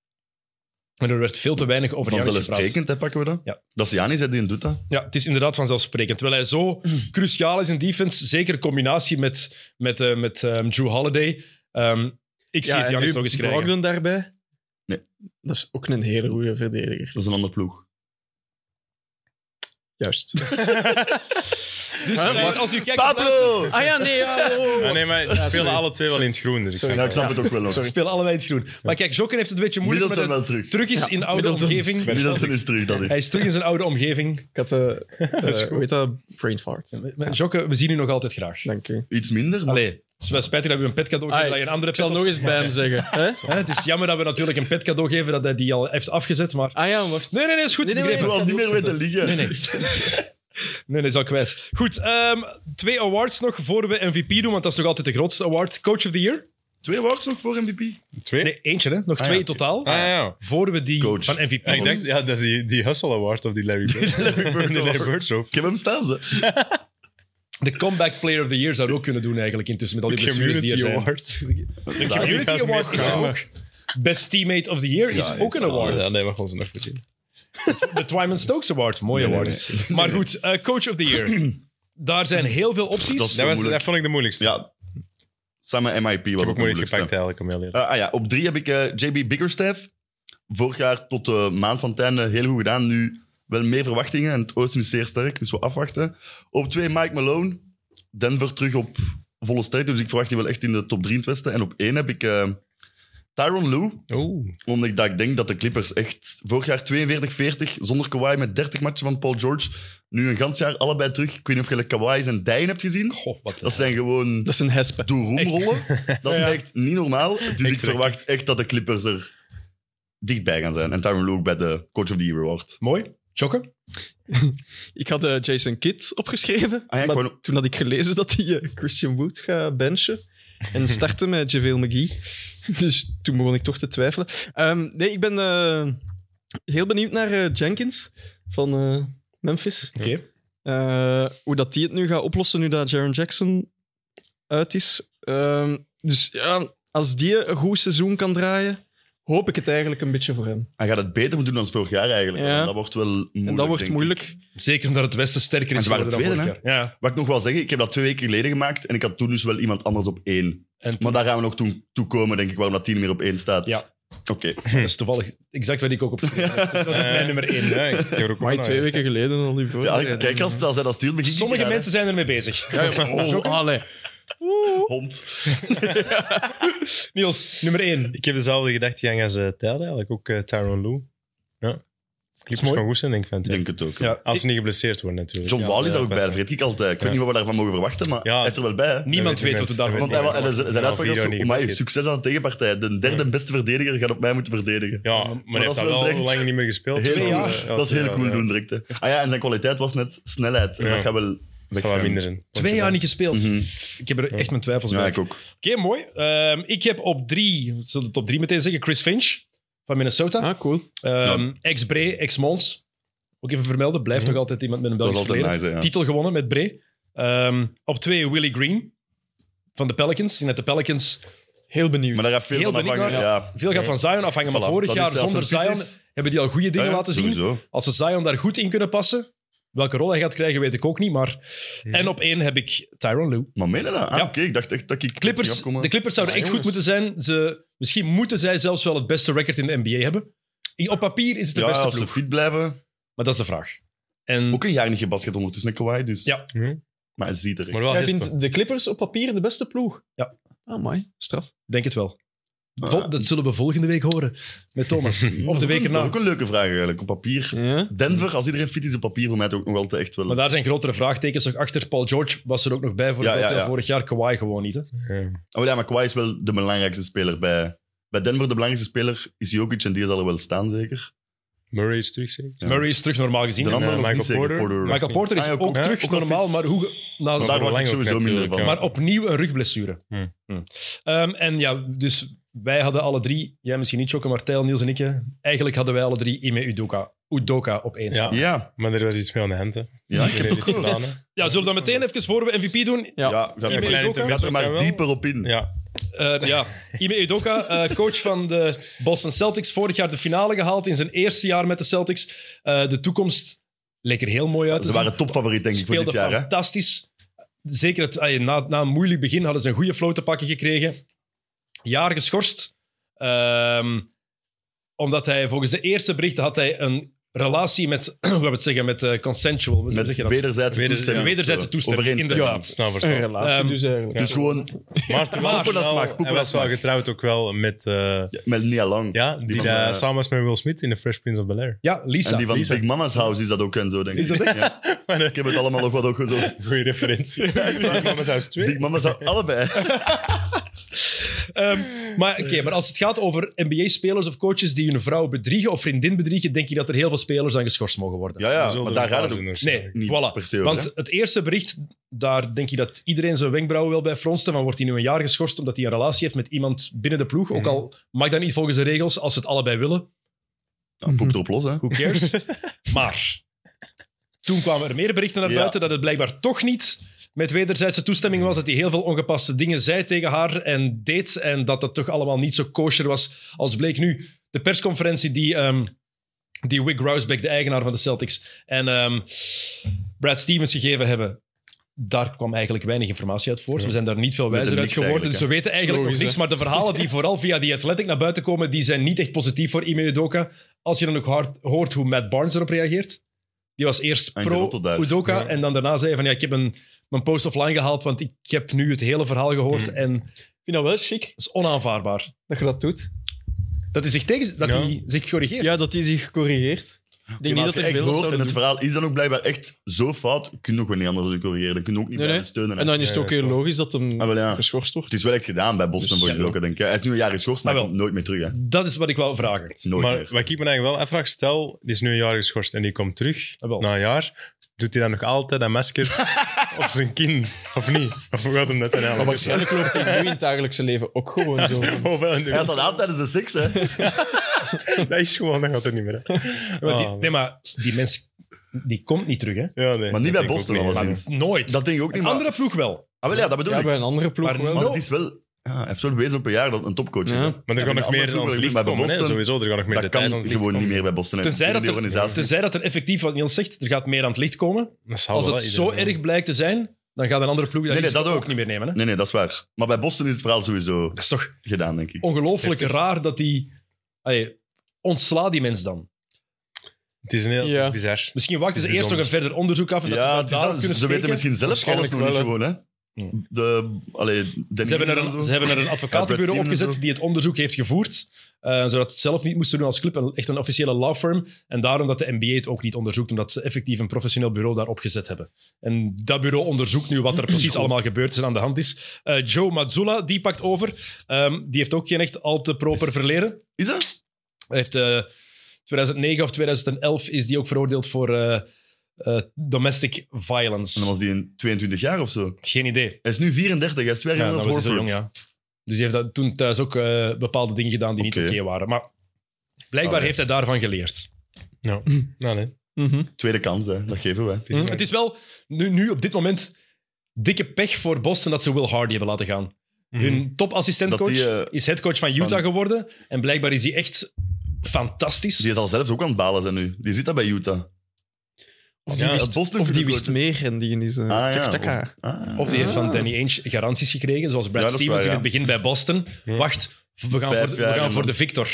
En er werd veel te weinig over Giannis gepraat. Vanzelfsprekend, hè, pakken we dat. Ja. Dat is Giannis, hè, die doet dat. Ja, het is inderdaad vanzelfsprekend. Terwijl hij zo cruciaal is in defense, zeker in combinatie met, met, eh, met ehm, Drew Holiday. Ehm, ik zie het en Janis nu nog eens krijgen. Brogdon daarbij? Nee. Dat is ook een hele goede verdediger. Dat is een ander ploeg. Juist. Dus Huh? eh, Wacht. als u kijkt... Pablo! ah ja, nee. Ja, oh, oh, Ah, nee, maar die Ja, spelen sorry. alle twee wel in het groen, dus ik Sorry. Ja, snap ik snap het. het ook wel nog. We spelen allebei in het groen. Maar kijk, Jokken heeft het een beetje moeilijk met Middleton het wel terug. terug is Ja, in oude Middleton is omgeving. Middleton is terug, dat is. Hij is terug in zijn oude omgeving. Ik had, eh eh, hoe heet dat? Brain fart. Maar Jokke, we zien u nog altijd graag. Dank u. Iets minder, maar Allee, het is wel spijtig dat we een pet cadeau geven, Ai, dat je een andere Ik pet zal nog op- eens bij hem zeggen. Hè? Hè, Het is jammer dat we natuurlijk een pet cadeau geven, dat hij die al heeft afgezet, maar... Ah ja, wacht. Nee, nee, nee, is goed. Nee, nee, begrepen. ik wil al niet meer weten liggen. Nee, nee. nee, nee, is al kwijt. Goed, ehm, twee awards nog voor we MVP doen, want dat is nog altijd de grootste award. Coach of the Year? Twee awards nog voor MVP. Twee? Nee, eentje, hè? Nog Ah, twee ja. totaal. Ah, ja. Voor we die Coach. van MVP Ja, ik denk, ja, dat is die, die Hustle Award of die Larry Bird. Larry Bird de Larry Award. Bird Show. Ik heb hem staan, ze. De Comeback Player of the Year zou we ook kunnen doen, eigenlijk, intussen, met al die blessures die er Community zijn. Award. De Community Gaat Award is meestal. er ook. Best Teammate of the Year Ja, is ook een is- award. Ja, nee, we gaan ze nog voorzien. De Twyman Stokes Award, mooie Nee, nee, award. Maar goed, eh, Coach of the Year. Daar zijn heel veel opties. Dat is- Dat, was, moeilijk. dat vond ik de moeilijkste. ik Ja. Samen MIP was ook heb ook de moeilijk moeilijkste. gepakt eigenlijk, om heel eerlijk. Eh, ah ja, op drie heb ik eh, JB Bickerstaff. Vorig jaar tot de maand van het einde heel goed gedaan. Nu wel meer verwachtingen. En het Oosten is zeer sterk, dus we afwachten. Op twee Mike Malone. Denver terug op volle sterkte. Dus ik verwacht die wel echt in de top drie in het Westen. En op één heb ik eh, Tyron Lou, Oeh. omdat ik, dat, ik denk dat de Clippers echt vorig jaar 42-40 zonder Kawhi met 30 matchen van Paul George. Nu een gans jaar allebei terug. Ik weet niet of je de Kawhi zijn dijen hebt gezien. Goh, wat Dat zijn gewoon Dat is een hespe. door roemrollen. Dat is Ja. echt niet normaal. Dus ik Extra. verwacht echt dat de Clippers er dichtbij gaan zijn. En Tyron Lou ook bij de Coach of the Year wordt. Mooi. Chokken. Ik had eh, Jason Kidd opgeschreven. Ah ja, ik maar wou- Toen had ik gelezen dat hij eh, Christian Wood gaat benchen. En starten met JaVale McGee. Dus toen begon ik toch te twijfelen. Ehm, nee, ik ben eh, heel benieuwd naar eh, Jenkins van eh, Memphis. Oké. Eh, hoe dat die het nu gaat oplossen, nu dat Jaron Jackson uit is. Ehm, dus ja, als die een goed seizoen kan draaien, hoop ik het eigenlijk een beetje voor hem. Hij gaat het beter moeten doen dan vorig jaar eigenlijk. Ja. En Dat wordt wel moeilijk. en dat wordt denk ik. moeilijk. Zeker omdat het Westen sterker En is ze waren geworden dan tweede, vorig jaar. Ja. Wat ik nog wel zeggen, ik heb dat twee weken geleden gemaakt en ik had toen dus wel iemand anders op één. En Maar daar gaan we nog toe, toe komen, denk ik, waarom dat team meer op één staat. Ja. Oké. dat is toevallig exact wat ik ook op. Dat was echt mijn nummer één. Ja, ik heb er ook Maar wel twee naar weken geleden al die voor. Ja, kijk, als, als hij dat stuurt, begin ik Sommige eraan, hè. mensen zijn ermee bezig. Oh, allee. Hond. Niels, nummer één. Ik heb dezelfde gedachte gang als eh Tijl eigenlijk, ook eh, Tyronn Lou. Ja. is Clippers mooi. gaan goed zijn, denk ik. Van Ik Tijl. denk het ook. Ja. Als ze niet geblesseerd worden natuurlijk. John Ja, Wall is ja, daar ook bij, best. dat vergeet ik altijd. Ik Ja. weet niet wat we daarvan mogen verwachten, maar Ja. hij is er wel bij. hè. Niemand weet wat we mensen. daarvan Want Want hij, wa- hij wel- en hij- zijn Ja, uitspraak was video zo, niet "Amai, geblesseerd." succes aan de tegenpartij. De derde beste verdediger gaat op mij moeten verdedigen. Ja, maar, hij dat heeft is dat wel wel direct- lang niet meer gespeeld. Heel Dus, cool. eh, ja, dat is heel ja, cool ja. doen direct. Hè. Ah ja, en zijn kwaliteit was net snelheid. En Ja. dat gaat wel Het weg zal wel zijn. minder zijn. Twee jaar niet gespeeld. Mhm. Ik heb er echt mijn twijfels Ja, bij. ik ook. Oké, mooi. Ehm, ik heb op drie, ik zal de top drie meteen zeggen, Chris Finch van Minnesota. Ah, cool. Ehm, Ex-Bray, ex-Mons. Ook even vermelden, blijft Mhm. nog altijd iemand met een Dat is Belgisch altijd verleden. nice, hè, ja. Titel gewonnen met Bray. Ehm, op twee, Willie Green van de Pelicans. Net de Pelicans Heel benieuwd. Maar daar gaat veel Heel van benieuwd afhangen. naar. Ja. Veel gaat van Zion afhangen, maar Voilà, vorig dat jaar is- als zonder het fit Zion is- hebben die al goede dingen Ja, laten zien. Sowieso. Als ze Zion daar goed in kunnen passen, welke rol hij gaat krijgen, weet ik ook niet. Maar... En op één heb ik Tyron Lou. Maar meen je dat? Ah, Ja. Oké, ik dacht echt dat ik... Clippers, de Clippers zouden Ja, echt goed moeten jongens. zijn. Ze, misschien moeten zij zelfs wel het beste record in de NBA hebben. I- Op papier is het de ja, beste als ze ploeg, fit blijven. maar dat is de vraag. Hm. En Ook een jaar niet gebasket ondertussen, hè, Kawhi. Dus. Ja. Mhm. Maar hij ziet er echt. Maar wel Jij hispen. vindt de Clippers op papier de beste ploeg? Ja. Ah, mooi. Straf. denk het wel. Ah. Vol- dat zullen we volgende week horen met Thomas. of de week Dat is erna. ook een leuke vraag eigenlijk, op papier. Ja. Denver, als iedereen fit is op papier, voor mij toch ook nog altijd echt wel... Maar daar zijn grotere vraagtekens nog achter. Paul George was er ook nog bij voor Ja, dat, ja, eh, ja. vorig jaar. Kawhi gewoon niet. Hè? Ja. Oh ja, maar Kawhi is wel de belangrijkste speler bij... Bij Denver de belangrijkste speler is Jokic en die zal er wel staan, zeker. Murray is terug, zeker. Ja. Murray is terug normaal gezien. De En, andere eh, nog Michael niet zeker, Porter. Michael niet. Porter is Ah, ja, ook, ook- terug ook wel normaal, fit. maar, hoe, nou, Maar maar, daar verwacht ik Lang ook sowieso natuurlijk, minder van. ja. opnieuw een rugblessure. Hmm. Hm. Hmm. Ehm, en ja, dus wij hadden alle drie, jij misschien niet, Jokke, maar Tijl, Niels en ik, hè, eigenlijk hadden wij alle drie Ime Udoka, Udoka op één Ja. staan. Ja, Maar er was iets mee aan de hand, hè. ja, ik heb Iedereen ook dit wel- gedaan, hè. Ja, zullen we dan meteen even voor we MVP doen? Ja, Ja. ga Iedereen er- ook, hè? ga er maar Jawel. dieper op in. Ja. Eh, ja, Ime Udoka, eh, coach van de Boston Celtics. Vorig jaar de finale gehaald in zijn eerste jaar met de Celtics. Eh, de toekomst leek er heel mooi uit. te Ze zien. waren topfavoriet, denk ik, voor dit Speelden jaar. Hè? fantastisch. Zeker het, ay, na, na een moeilijk begin hadden ze een goede flow te pakken gekregen. Jaar geschorst. Ehm, omdat hij volgens de eerste berichten had hij een relatie met, hoe gaan we het zeggen, met eh, consensual. Hoe Met zeg je dat? wederzijdse Weder- toestemming. ja, wederzijdse toestemming, Overeenstemming. inderdaad. Snel Een verstaan. relatie Ehm, dus eigenlijk. Dus gewoon Maar toen Maar- was Poepen als wel- maag, poepen hij was als wel maag. getrouwd ook wel met... eh, met Nia Lang. Ja, die van, daar eh, samen was met Will Smith in The Fresh Prince of Bel-Air. Ja, Lisa. En die van Lisa. Big Mama's House is dat ook en zo, denk ik. Is dat echt? Ja. Ik heb het allemaal nog wat ook gezocht. Goeie referentie. Big Mama's House 2. Big Mama's House, allebei. Ehm, maar, oké, maar als het gaat over NBA-spelers of coaches die hun vrouw bedriegen of vriendin bedriegen, denk je dat er heel veel spelers aan geschorst mogen worden. Ja, ja, maar daar gaat het ook Nee, niet voilà. per se over, Want het eerste bericht, daar denk je dat iedereen zijn wenkbrauwen wil bij fronsten. Van wordt hij nu een jaar geschorst omdat hij een relatie heeft met iemand binnen de ploeg? Mhm. Ook al mag dat niet volgens de regels, als ze het allebei willen, Ja, poep erop los, hè. who cares? maar toen kwamen er meer berichten naar Ja. buiten dat het blijkbaar toch niet met wederzijdse toestemming was. Dat hij heel veel ongepaste dingen zei tegen haar en deed. En dat dat toch allemaal niet zo kosher was als bleek nu. De persconferentie die, ehm, die Wick Rousbeck, de eigenaar van de Celtics, en ehm, Brad Stevens gegeven hebben. Daar kwam eigenlijk weinig informatie uit voort. We zijn daar niet veel Met wijzer een uit niks geworden. Dus we eigenlijk, weten eigenlijk nog Logisch, niks. hè? Maar de verhalen die vooral via die Athletic naar buiten komen, die zijn niet echt positief voor Ime Udoka. Als je dan ook hard hoort hoe Matt Barnes erop reageert. Die was eerst Hij is pro rotte daar. Udoka Ja. en dan daarna zei hij van ja, ik heb een, mijn post offline gehaald, want Mm. ik heb nu het hele verhaal gehoord Hmm. en het Ik vind dat wel chic is onaanvaardbaar. dat je dat doet. Dat hij zich, tegen, dat Ja. hij zich corrigeert. Ja, dat die zich corrigeert. Ik denk Ja, niet maar als dat er je echt veel hoort en zouden het doen. verhaal is dan ook blijkbaar echt zo fout, kun je ook weer niet anders dan corrigeren. Dan kun je ook niet Nee, bij nee. steunen. En dan is het Ja, ook ja, heel is wel. logisch dat hem Ah, wel, ja. geschorst wordt. Het is wel echt gedaan bij Boston Dus, voor ja. Jokken, denk ik. Hij is nu een jaar geschorst, maar Ah, hij wel. komt nooit meer terug. Hè. Dat is wat ik wel vragen. Het is nooit maar meer. wat ik me dan wel afvraag, stel, die is nu een jaar geschorst en die komt terug Ah, wel. na een jaar. Doet hij dan nog altijd dat masker op zijn kin? Of niet? Of hoe gaat hem dat dan Maar eigenlijk? waarschijnlijk loopt hij nu in het dagelijkse leven ook gewoon zo. rond. Oh, wel, in de- Hij had dat aan tijdens de seks, hè. dat is gewoon, dat gaat er niet meer. hè. Maar die- Ah, nee, maar die mens die komt niet terug, hè? Ja, nee, Maar niet dat bij denk ik Boston, ook niet, hè. alleszins. Nooit. Dat denk ik ook niet, Een maar... andere ploeg wel. Ah, wel, ja, dat bedoel Ja, ik. bij een andere ploeg Maar wel. Maar No. het is wel... Ja, hij heeft zo'n wezen op een jaar dat een topcoach is. Ja. hè. Maar er Ja, bij gaan nog de andere meer aan ploeg het wel, licht maar bij komen, hè, Boston- sowieso. Er gaan nog meer Dat details aan kan het licht gewoon komen. niet meer bij Boston. Hij heeft Tenzij een dat, er, organisatie. tenzij dat er effectief, wat Niels zegt, er gaat meer aan het licht komen. Dat zou Als wel het zo Ah, iedereen doen. erg blijkt te zijn, dan gaat een andere ploeg dat, Nee, nee, risico dat ook. niet meer nemen. Hè? Nee, nee, dat is waar. Maar bij Boston is het verhaal sowieso Dat is toch gedaan, denk ik. ongelooflijk raar dat die... Allee, ontsla die mens dan. Het is, een heel, Ja. het is bizar. Misschien wachten ze eerst nog Bijzonder. een verder onderzoek af en dat ze ja, dat het is daarop dat. kunnen ze weten steken. misschien zelf alles Waarschijnlijk nog niet wel, gewoon, hè. Hm. De, allee, Ze hebben, er een, ze hebben er een Brad advocatenbureau Steven en opgezet zo. die het onderzoek heeft gevoerd, eh, zodat ze het zelf niet moesten doen als club, en echt een officiële law firm. En daarom dat de NBA het ook niet onderzoekt, omdat ze effectief een professioneel bureau daarop gezet hebben. En dat bureau onderzoekt nu wat er precies allemaal gebeurd is en aan de hand is. Eh, Joe Mazzulla, die pakt over. Ehm, die heeft ook geen echt al te proper Is- verleden. Is dat? Hij heeft eh, 2009 of 2011 is die ook veroordeeld voor eh, eh, domestic En violence. dan was die in 22 jaar of zo. Geen idee. Hij is nu 34, hij is twee jaar Ja, jonger dat dan was hij zo jong, Horford. ja. Dus die heeft dat toen thuis ook eh, bepaalde dingen gedaan die niet Oké. oké waren. Maar blijkbaar Allee. heeft hij daarvan geleerd. Ja. Nou, nee. Mhm. Tweede kans, hè. dat geven we. Het is niet Het is wel nu, nu op dit moment dikke pech voor Boston dat ze Will Hardy hebben laten gaan. Hm. meer. Hun topassistentcoach Dat die, eh, is headcoach van Utah van- geworden. En blijkbaar is hij echt fantastisch. Die is al zelfs ook aan het balen zijn nu. Die zit daar bij Utah. Of die Ja, wist het Boston Of die gebeurt. wist meer en die is eh Ah, ja, tjak-tjaka. Ah. Of die heeft van Ah. Danny Ainge garanties gekregen, zoals Brad Ja, dat is Stevens waar, in ja. het begin bij Boston. Ja. Wacht, we gaan, Vijf voor de, we jaar gaan en voor dan- de Victor.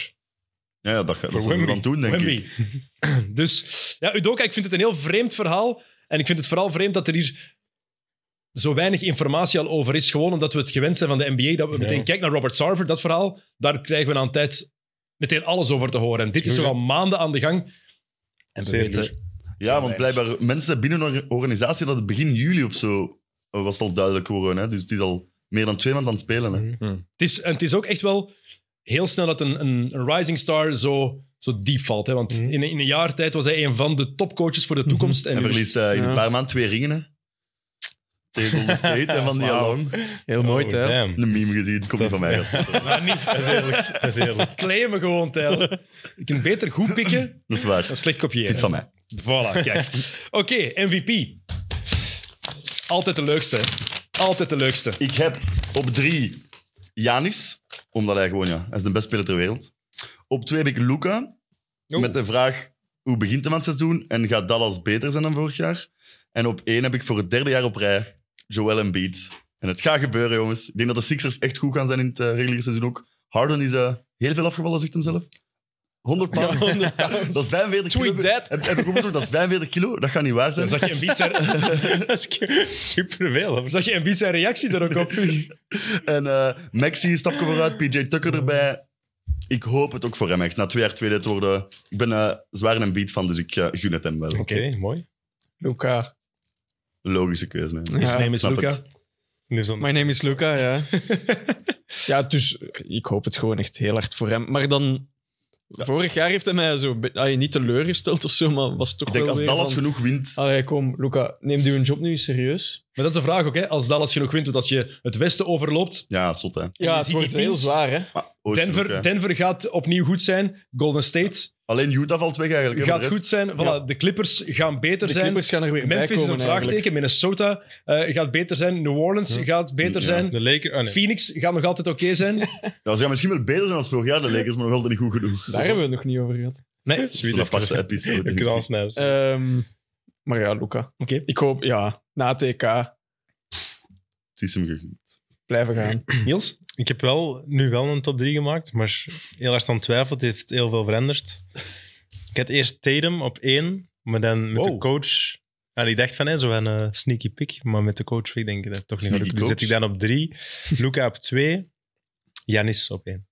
Ja, ja, dat, dat Voor is er Wemby. aan doen, denk ik. Wemby. dus ja, Udoka, ik vind het een heel vreemd verhaal. En ik vind het vooral vreemd dat er hier zo weinig informatie al over is. Gewoon omdat we het gewend zijn van de NBA. Dat we Ja. meteen kijken naar Robert Sarver, dat verhaal. Daar krijgen we na een tijd meteen alles over te horen. En dit is Sowieso. toch al maanden aan de gang. En we Zeer weten- duur. Ja, want blijkbaar mensen binnen een organisatie, dat het begin juli of zo eh, was al duidelijk geworden. Hè? Dus het is al meer dan twee maanden aan het spelen. Hè? Het is, en het is ook echt wel heel snel dat een, een, een rising star zo, zo diep valt. Hè? Want Mhm. in, in een jaar tijd was hij een van de topcoaches voor de toekomst. Mhm. En nu is- verliest eh, in Ja. een paar maanden twee ringen. Hè? Tegen Golden State en van die Wauw. Along. Heel mooi, hè? Een meme gezien, komt niet van mij. gast. Maar niet Dat is eerlijk. Dat is eerlijk. claimen gewoon, Tijl. Je kunt beter goed pikken Dat is waar. dan Het slecht kopiëren. is van mij. Voilà, kijk. Oké, MVP. Altijd de leukste. hè. Altijd de leukste. Ik heb op drie Janis, omdat hij gewoon, ja, hij is de beste speler ter wereld. Op twee heb ik Luca, Oeh. met de vraag hoe begint hem aan het seizoen en gaat Dallas beter zijn dan vorig jaar? En op één heb ik voor het derde jaar op rij Joel Embiid. En het gaat gebeuren, jongens. Ik denk dat de Sixers echt goed gaan zijn in het eh, reguliere seizoen ook. Harden is eh, heel veel afgevallen, zegt hem zelf. 100 pound. dat is 45 Tweet kilo. that. Heb, heb ik opgezocht, dat is 45 kilo. Dat gaat niet waar zijn. Dan zag je Embiid zijn, Dat is superveel. of zo. zag je Embiid zijn reactie er ook op. En eh, Maxi een stapje vooruit, PJ Tucker erbij. Ik hoop het ook voor hem echt. Na twee jaar tweede te worden. Ik ben eh, zwaar een beat van, dus ik eh, gun het hem wel. Oké, mooi. Luca. Logische keuze. hè. His Ja, name is snap Luca. het. Dus dan My name is Luca, ja. ja, dus ik hoop het gewoon echt heel hard voor hem. Maar dan... Vorig jaar heeft hij mij zo... be- Allee, niet teleurgesteld of zo, maar was toch Ik denk wel als weer Dallas van- genoeg Ah. wint. Allee, kom, Luca, neem je job nu eens serieus. Maar dat is de vraag ook, hè. Als Dallas genoeg wint, want als je het Westen overloopt... Ja, zot hè. je Ja, het ziet wordt die heel teams- zwaar, hè. Maar Oosten Denver, ook, hè. Denver gaat opnieuw goed zijn. Golden State Alleen Utah valt weg eigenlijk. hè, gaat voor de goed rest. zijn. Voilà, Ja. De Clippers gaan beter De zijn. Clippers gaan er weer bij Memphis is komen een vraagteken. Minnesota eh, gaat beter zijn. New Orleans gaat beter Ja. zijn. De Lakers... oh, nee. Phoenix gaat nog altijd oké zijn. Ja, ze gaan misschien wel beter zijn als vorig jaar, de Lakers, maar nog altijd niet goed genoeg. Daar hebben we het nog niet over gehad. Nee, Dat is Sweden. een aparte episode. Ik denk kan ik. snijden. Ehm, maar ja, Luca. Oké. Ik hoop, ja, na TK Het is hem gegund. blijven gaan. Niels? Ik heb wel, nu wel een top 3 gemaakt, maar heel erg aan twijfel. Het heeft heel veel veranderd. Ik had eerst Tatum op 1, maar dan met de Wow. coach. En ik dacht van, hè, zo een eh, sneaky pick, maar met de coach ik denk ik dat toch niet Sneaky lukt. Dus coach. zet ik dan op 3, Luca op 2, Janis op 1.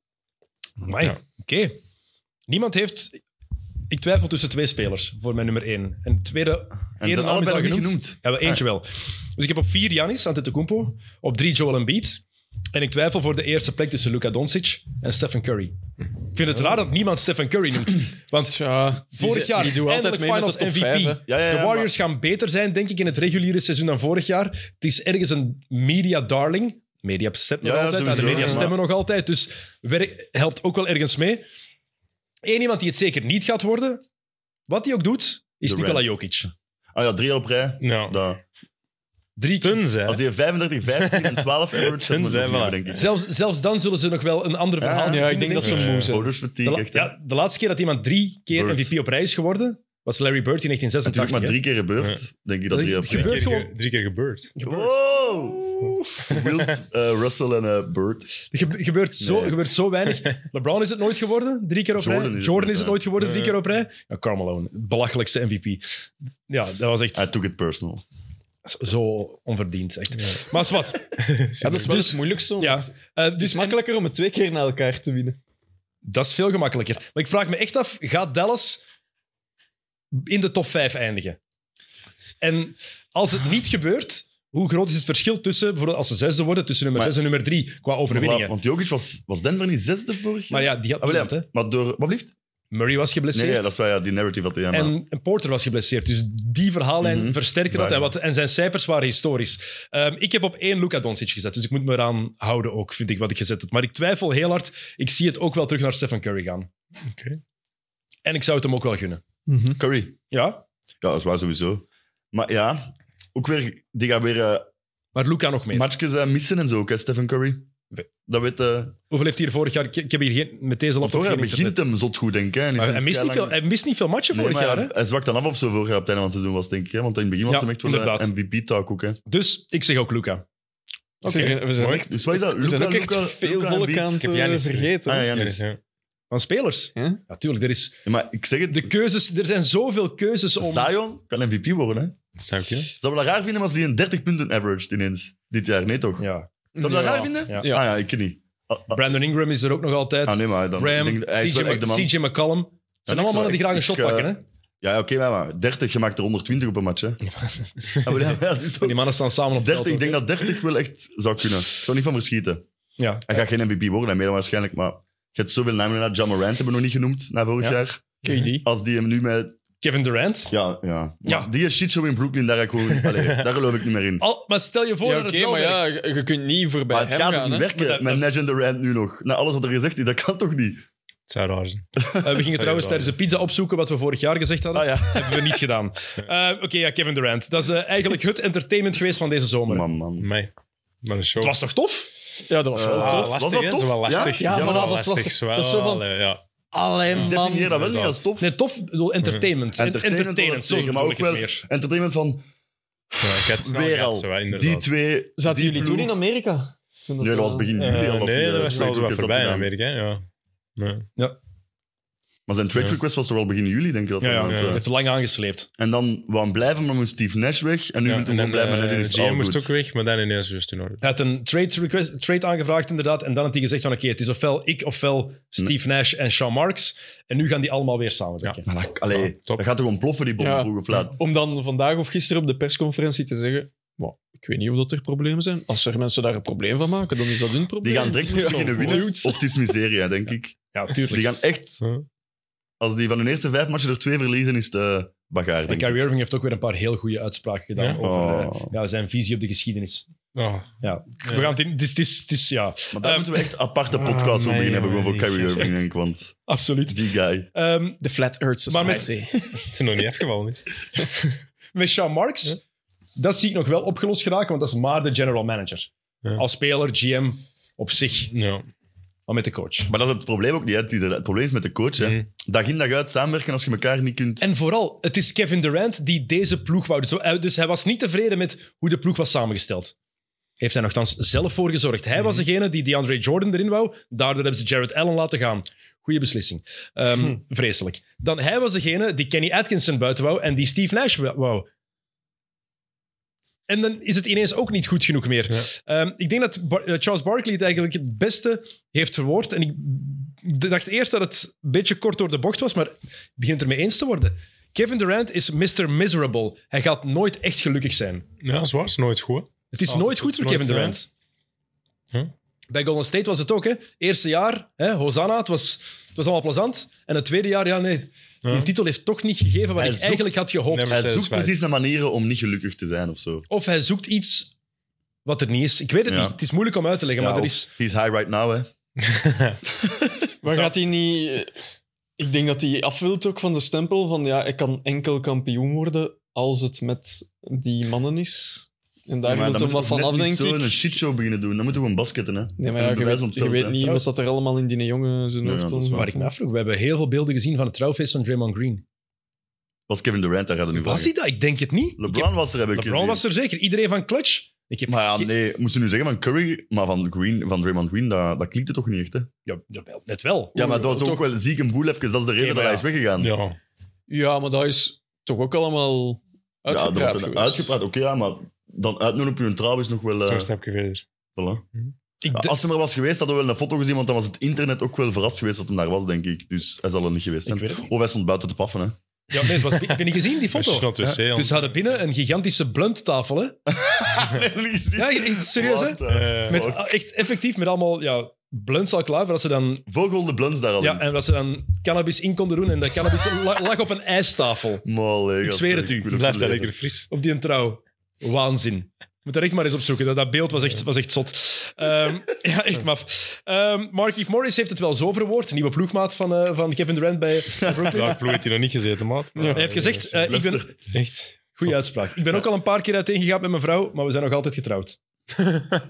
Amai, Ja. oké. Niemand heeft... Ik twijfel tussen twee spelers voor mijn nummer één. En de tweede En eerder zijn naam is al allebei nog genoemd. niet genoemd. Ah, Ja, wel, eentje wel. Dus ik heb op vier Janis Antetokounmpo, op drie Joel Embiid. En ik twijfel voor de eerste plek tussen Luka Doncic en Stephen Curry. Ik vind het raar dat niemand Stephen Curry noemt. Want Tja, vorig jaar die die doen altijd mee met Finals de top MVP. vijf, hè. Ja, ja, ja, de Warriors gaan beter zijn, denk ik, in het reguliere seizoen dan vorig jaar. Het is ergens een media darling. Media stemt nog Ja, ja, altijd. Ah, sowieso, de media maar- stemmen nog altijd. Dus werk- helpt ook wel ergens mee. Eén iemand die het zeker niet gaat worden, wat hij ook doet, is Durant. Nikola Jokic. Ah ja, drie jaar op rij. Nou, Da. Drie keer Tunze. Als hij 35, 15 en 12 average Hun had, moet zijn ik nog voilà. niet, denk ik. Zelfs, zelfs dan zullen ze nog wel een ander Ja, verhaal ja, Ja, ik denk dat ze ik. moe Ja. zijn. Voters De, fatigue, la- echt. hè. ja, de laatste keer dat iemand drie keer Bird. MVP op rij is geworden, was Larry Bird in Het is ook 1986. maar hè. drie keer gebeurd, denk ik, Dat dat drie jaar op gebeurt rij. Drie keer gewoon. ge- Drie keer gebeurd. Wow! Wild, eh, Russell en eh, Bird. Er gebe- gebeurt, zo, Nee. gebeurt zo weinig. LeBron is het nooit geworden, drie keer op Jordan rij. is het Jordan is nooit, het hè. nooit geworden, drie Nee. keer op rij. Ja, Carmelo, het belachelijkste MVP. Ja, dat was echt I took it personal. zo onverdiend. Echt. Maar zwart. Ja, dat is wel Dus- het moeilijkste. want Ja. Het Eh, is dus en- makkelijker om het twee keer na elkaar te winnen. Dat is veel gemakkelijker. Maar ik vraag me echt af, gaat Dallas in de top 5 eindigen? En als het niet gebeurt, hoe groot is het verschil tussen, bijvoorbeeld als ze zesde worden, tussen nummer Maar- 6 en nummer 3 qua Voilà, overwinningen? want Jokic was, was Denver niet zesde vorig Maar jaar? ja, die had Ah, wel, ja, niemand, hè. Maar door... Wat blieft? Murray was Nee, geblesseerd. ja, dat is wel ja, die narrative wat hij aan en, en Porter was geblesseerd. Dus die verhaallijn Mhm. versterkte dat. Waar. En, wat, en zijn cijfers waren historisch. Ehm, ik heb op één Luka Doncic gezet. Dus ik moet me eraan houden ook, vind ik, wat ik gezet heb. Maar ik twijfel heel hard. Ik zie het ook wel terug naar Stephen Curry gaan. Oké. En ik zou het hem ook wel gunnen. Mhm. Curry. Ja, Ja, dat is waar sowieso. Maar ja, ook weer, die gaat weer eh, Maar Luca nog meer. matchjes eh, missen en zo ook, hè, Stephen Curry. We- Dat weet... eh Hoeveel heeft hij er vorig jaar? Ik, ik heb hier geen, met deze laptop toch, hij geen begint internet. hem zot goed, denk ik. hè. En is Maar een hij, mist niet keilang- veel, hij mist niet veel matchen Nee, vorig maar jaar. hij- Hè? Hij zwakt dan af of zo vorig jaar op het einde van het seizoen was, denk ik. Hè? Want in het begin was Ja, hem echt wel eh, inderdaad. een MVP-talk ook. Hè? Dus ik zeg ook Luca. Oké. Zeg, We zijn Mooi. echt- Dus wat is dat? we zijn ook Luka, echt Luka, veel Luka en volk Beat. aan het heb eh, Giannis. vergeten. Ah, ja, hè. Ja, dus, Janis. ja. Van spelers. Huh? Natuurlijk, er, is, Ja, maar ik zeg het, de keuzes, er zijn zoveel keuzes om. Zion kan MVP worden. Hè? Zou ik kunnen. Zou we dat raar vinden als hij een 30 punten averaged ineens dit jaar? Nee, toch? Ja. Zou we dat Ja. raar vinden? Ja. Ah ja, ik niet. Ah, ah, Brandon Ingram is er ook nog altijd. ah, nee, maar dan, Graham, ik denk, hij is CJ, wel echt de man. CJ McCollum. Het zijn Ja, allemaal ik zou mannen die graag een echt- shot ik, eh, pakken. Hè? Ja, oké, maar, maar 30, je maakt er 120 op een match. Hè? Ja, maar ja, dat is toch- Maar die mannen staan samen op het 30, ik veld, denk hoor. dat 30 wel echt zou kunnen. Ik zou niet van verschieten. Ja. Hij gaat geen MVP worden, hè, meer dan waarschijnlijk. Maar je hebt zoveel namen naar John Morant hebben we nog niet genoemd na vorig Ja. jaar. KD. Als die hem nu met. Kevin Durant. Ja, ja. Ja. Maar Die shit show in Brooklyn, daar, ga ik gewoon, allee, daar geloof ik niet Oh, meer in. Al, maar stel je voor Ja, dat oké, het wel maar ja, werkt. je, je kunt niet voorbij Maar het hem gaat ook gaan. niet hè. Maar dat- werken met Legend Durant nu nog. Na alles wat er gezegd is, dat kan toch niet? Het zou raar zijn. Eh, we gingen trouwens tijdens de pizza opzoeken wat we vorig jaar gezegd hadden. Ah ja. hebben we niet gedaan. Eh, Oké, ja, Kevin Durant. Dat is eh, eigenlijk het entertainment geweest van deze zomer. Man, man. Mij. Maar een show. Het was toch tof? Ja, dat was wel Eh, tof. Ah, tof. lastig, Was dat hè? tof? Zo wel Ja? lastig. Ja, Ja, maar zo wel dat was lastig. lastig. zo Dat is zo wel, van- eh, ja. Alleen Ik man. definieer dat wel niet inderdaad. als tof. Nee, tof. Ik bedoel, entertainment. En- Entertainment, Entertainment, wil ik zo zeggen, maar bedoel ook ik het wel meer. Entertainment van Ja, ik had het snel weer gehad, al. zo, hè, inderdaad. Die twee. Zaten die jullie toen ploeg- in Amerika? Toen Nee, dat was begin Mhm. Eh, juli al. of, nee, eh, dat was trade al zo wat request had voorbij in gedaan. Amerika. Ja. Nee. Maar zijn trade Ja. request was toch al begin juli, denk ik. Dat Ja, hij ja. had, Hij eh, heeft lang aangesleept. En dan wou hem blijven, maar moest Steve Nash weg. En nu Ja, moet hij gewoon en dan, blijven. eh, en dat is GM al moest goed. ook weg, maar dan ineens just in orde. Hij had een trade, request, trade aangevraagd, inderdaad. En dan had hij gezegd van, oké, het is ofwel ik, ofwel Steve Nash en Sean Marks. En nu gaan die allemaal weer samenwerken. Maar dat, allee, Ja, Ah, top. dat gaat toch ontploffen, die bom, Ja. vroeg of laat. Om dan vandaag of gisteren op de persconferentie te zeggen... "Wow, ik weet niet of dat er problemen zijn. Als er mensen daar een probleem van maken, dan is dat hun probleem. Die gaan direct Ja, beginnen winnen. dudes. Of het is miseria, denk ik. Ja, Die tuurlijk. gaan echt... Huh? Als die van hun eerste vijf matchen er twee verliezen, is het eh, bagaar, En denk ik. Kyrie Irving heeft ook weer een paar heel goede uitspraken gedaan Ja? over Oh. eh, ja, zijn visie op de geschiedenis. Oh, Ja. We gaan het in... Het is, het is, het is- ja, Maar daar Ehm, moeten we echt aparte ah, podcast voor nee, beginnen hebben, gewoon nee, voor Kyrie gast. Irving, denk ik. Want absoluut. die guy... Ehm, De Flat Earth Maar met- Society. het is nog niet afgevallen, niet? met Sean Marks, Ja. dat zie ik nog wel opgelost geraken, want dat is maar de general manager. Ja. Als speler, GM, op zich, Ja. maar met de coach. Maar dat is het probleem ook niet. hè. Het, is er- het probleem is met de coach. Hè. Mm. Dag in dag uit samenwerken als je elkaar niet kunt. En vooral, het is Kevin Durant die deze ploeg wou. Zo- eh, Dus hij was niet tevreden met hoe de ploeg was samengesteld. Heeft hij nogthans zelf voor gezorgd. Hij was degene die DeAndre Jordan erin wou. Daardoor hebben ze Jared Allen laten gaan. Goeie beslissing. Ehm, Vreselijk. Dan hij was degene die Kenny Atkinson buiten wou en die Steve Nash wou. En dan is het ineens ook niet goed genoeg meer. Ja. Ehm, ik denk dat Bar- eh, Charles Barkley het eigenlijk het beste heeft verwoord. En ik d- dacht eerst dat het een beetje kort door de bocht was, maar het begint ermee eens te worden. Kevin Durant is Mr. Miserable. Hij gaat nooit echt gelukkig zijn. Ja, zwaar is nooit goed. Het is Ah, nooit het goed voor nooit, Kevin Durant. Huh? Bij Golden State was het ook, hè. Eerste jaar, hè, Hosanna, het was, het was allemaal plezant. En het tweede jaar, ja nee, Huh? de titel heeft toch niet gegeven wat Hij ik zoekt- eigenlijk had gehoopt. Nee, maar- Hij zoekt Satisfied. precies naar manieren om niet gelukkig te zijn of zo. Of hij zoekt iets wat er niet is. Ik weet het Ja. niet. Het is moeilijk om uit te leggen, Ja, maar er of is... He's high right now, hè. Maar gaat hij niet... eh, Ik denk dat hij afwilt ook van de stempel van ja, ik kan enkel kampioen worden als het met die mannen is. En daar maar moet dan hem moeten wat van we af, net denk niet ik. zo'n shitshow beginnen doen. Dan moeten we een basketten, hè. Nee, maar En ja, een je bewijs weet, op het je veld, weet hè. niet Trouwens- wat dat er allemaal in die jongen zijn Ja, hoofd dat is dan waar. Waar ik me afvroeg, we hebben heel veel beelden gezien van het trouwfeest van Draymond Green. Was Kevin Durant, daar gaat het nu van. Was hij dat? Ik denk het niet. Ik LeBron was er, heb ik heb- LeBron gezien. was er zeker. Iedereen van Clutch. Ik heb Maar ja, ge- nee, moesten nu zeggen van Curry, maar van, Green, van Draymond Green, dat, dat klinkt het toch niet echt, hè? Ja, jawel, net wel. Ja, maar dat was ook Toch? wel ziek een boel even. Dat is de reden maar dat hij ja. is weggegaan. Ja, ja. Ja, maar dat is toch ook allemaal dat wordt uitgepraat dan geweest. Uitgepraat, oké, ja, maar dan uitnodigen op hun trouw is nog wel... eh, Zo'n stapje verder. voilà. Ik d- Als hij maar was geweest, hadden we wel een foto gezien, want dan was het internet ook wel verrast geweest dat hem daar was, denk ik. Dus hij zal er niet ik geweest zijn. weet het niet. Of hij stond buiten te paffen, hè. Ja, nee, het was, heb je niet gezien, die Als je foto? snel het wc aan- Dus ze hadden binnen een gigantische blunttafel, hè? Ah, Ja, echt serieus, hè? Eh, Met, echt effectief met allemaal ja, blunts al klaar, voor als ze dan, Volgende blunts daar al ja, en dat ze dan cannabis in konden doen. En dat cannabis la- lag op een ijstafel. Molle, eh, Ik gast, zweer het u. wil Blijft daar lezen. lekker fris. Op die een trouw. Waanzin. Moet dat echt maar eens opzoeken. Dat, dat beeld was echt, was echt zot. Ehm, ja, echt maf. Ehm Mark Morris heeft het wel zo verwoord. Nieuwe ploegmaat van, eh, van Kevin Durant bij Brooklyn. Welke ploeg heeft hij nog niet gezeten, maat? Hij heeft gezegd, eh, ik ben... Echt? Goeie uitspraak. Ik ben ook al een paar keer uiteengegaan met mijn vrouw, maar we zijn nog altijd getrouwd.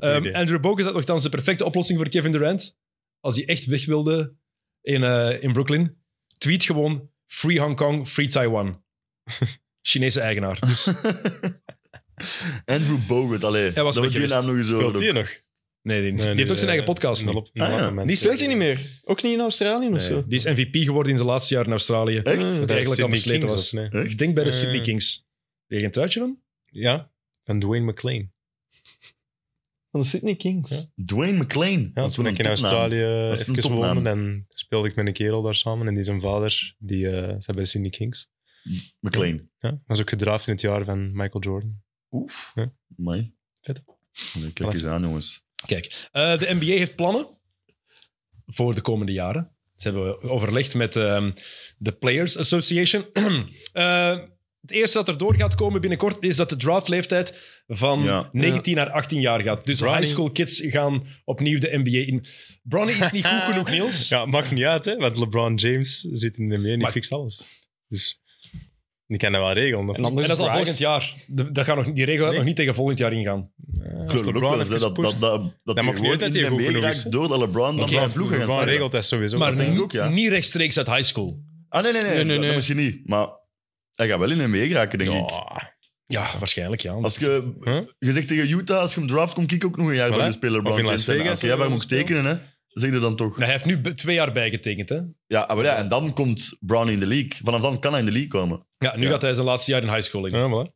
Ehm idee. Andrew Bogut had nogthans de perfecte oplossing voor Kevin Durant. Als hij echt weg wilde in, eh, in Brooklyn, tweet gewoon Free Hong Kong, Free Taiwan. Chinese eigenaar. Dus Andrew Bogut, allee. Hij was dat wordt die weggeweest. naam nog eens Speelt over. hij nog? Nee, nee, die, die heeft ook zijn eigen podcast. nu. Ah, ja. Die speelt hij niet meer. Ook niet in Australië of zo. Nee, Eh, die is MVP geworden in zijn laatste jaar in Australië. Echt? Ah. Dat hij eigenlijk al versleten was. Nee. Ik denk bij de Eh. Sydney Kings. Kreeg je een truitje van? Ja, van Dwayne McLean. Van de Sydney Kings. Ja. Dwayne McLean. Ja, Dat is toen wel ik in een topnaam. Australië Dat is een even topnaam. woonde, dan speelde ik met een kerel daar samen. En die zijn vader, die eh zat bij de Sydney Kings. McLean. Ja, was ook gedraafd in het jaar van Michael Jordan. Oef. Ja. Amai. Vet. Nee, kijk eens aan, jongens. Kijk, eh, de NBA heeft plannen voor de komende jaren. Dat hebben we overlegd met ehm, de Players Association. Eh, het eerste dat er door gaat komen binnenkort is dat de draftleeftijd van Ja. 19 naar 18 jaar gaat. Dus Bronny- high school kids gaan opnieuw de NBA in. Bronny is niet goed genoeg, Niels. Ja, maakt niet uit, hè, want LeBron James zit in de NBA en die Maar- fixt alles. Dus die kan dat wel regelen. of En niet? En anders dat is al Bryce. volgend jaar. De- dat gaat nog, die regel gaat Nee. nog niet tegen volgend jaar ingaan. Ja, als Ik wil ook wel Eh, LeBron eens, hè, even dat, dat, pusht, dat, dat die mag niet gewoon uit dat in die de goed NBA genoeg raakt is. door dat LeBron dan Oké, bij maar ploegen gaat LeBron spelen. regelt Mm. dat sowieso. maar denk ik ook, ja. niet rechtstreeks uit high school. Ah, nee, nee, nee. Nee, nee, dat- nee. Dat misschien niet. Maar hij gaat wel in de NBA raken, denk ik. Ja, Ja, waarschijnlijk, ja. Als je, Huh? je zegt tegen Utah, als je hem draft, kom ik ook nog een jaar Voilà. bij de speler. Of in Las Vegas, Oké, ja, waar eh, moet ik tekenen, hè? Zeg je dan toch. Nou, hij heeft nu be- twee jaar bijgetekend, hè? Ja, ah, wel ja, en dan komt Brown in de league. Vanaf dan kan hij in de league komen. Ja, nu Ja. gaat hij zijn laatste jaar in high school in. voilà.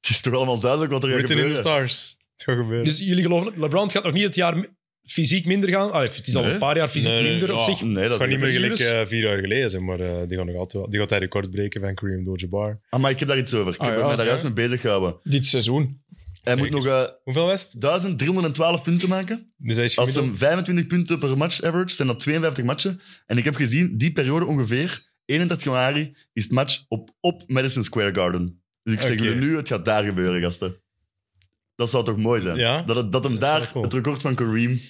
Het is toch allemaal duidelijk wat er gaat Written in the gebeuren. stars. Het gaat gebeuren. Dus jullie geloven het? LeBron gaat nog niet het jaar mi- fysiek minder gaan. Allee, het is al Nee. een paar jaar fysiek Nee, nee, minder op ja. zich. Ah, Nee, dat Het gaat niet meer is gelijk juist. eh, vier jaar geleden zijn, maar eh, die gaan nog altijd wel- die gaat hij record breken van Kareem Abdul-Jabbar. Ah, maar ik heb daar iets over. Ik Ah, heb ja, me daar ja. juist mee bezig gehouden. Dit seizoen. Hij Zeker. moet nog eh, Hoeveel was het? 1312 punten maken. Dus hij is Als gemiddeld- ze 25 punten per match average, zijn dat 52 matchen. En ik heb gezien, die periode ongeveer, 31 januari, is het match op, op Madison Square Garden. Dus ik zeg Oké. jullie nu, het gaat daar gebeuren, gasten. Dat zou toch mooi zijn? Ja. Dat, het- dat hem Dat is wel daar cool. het record van Kareem...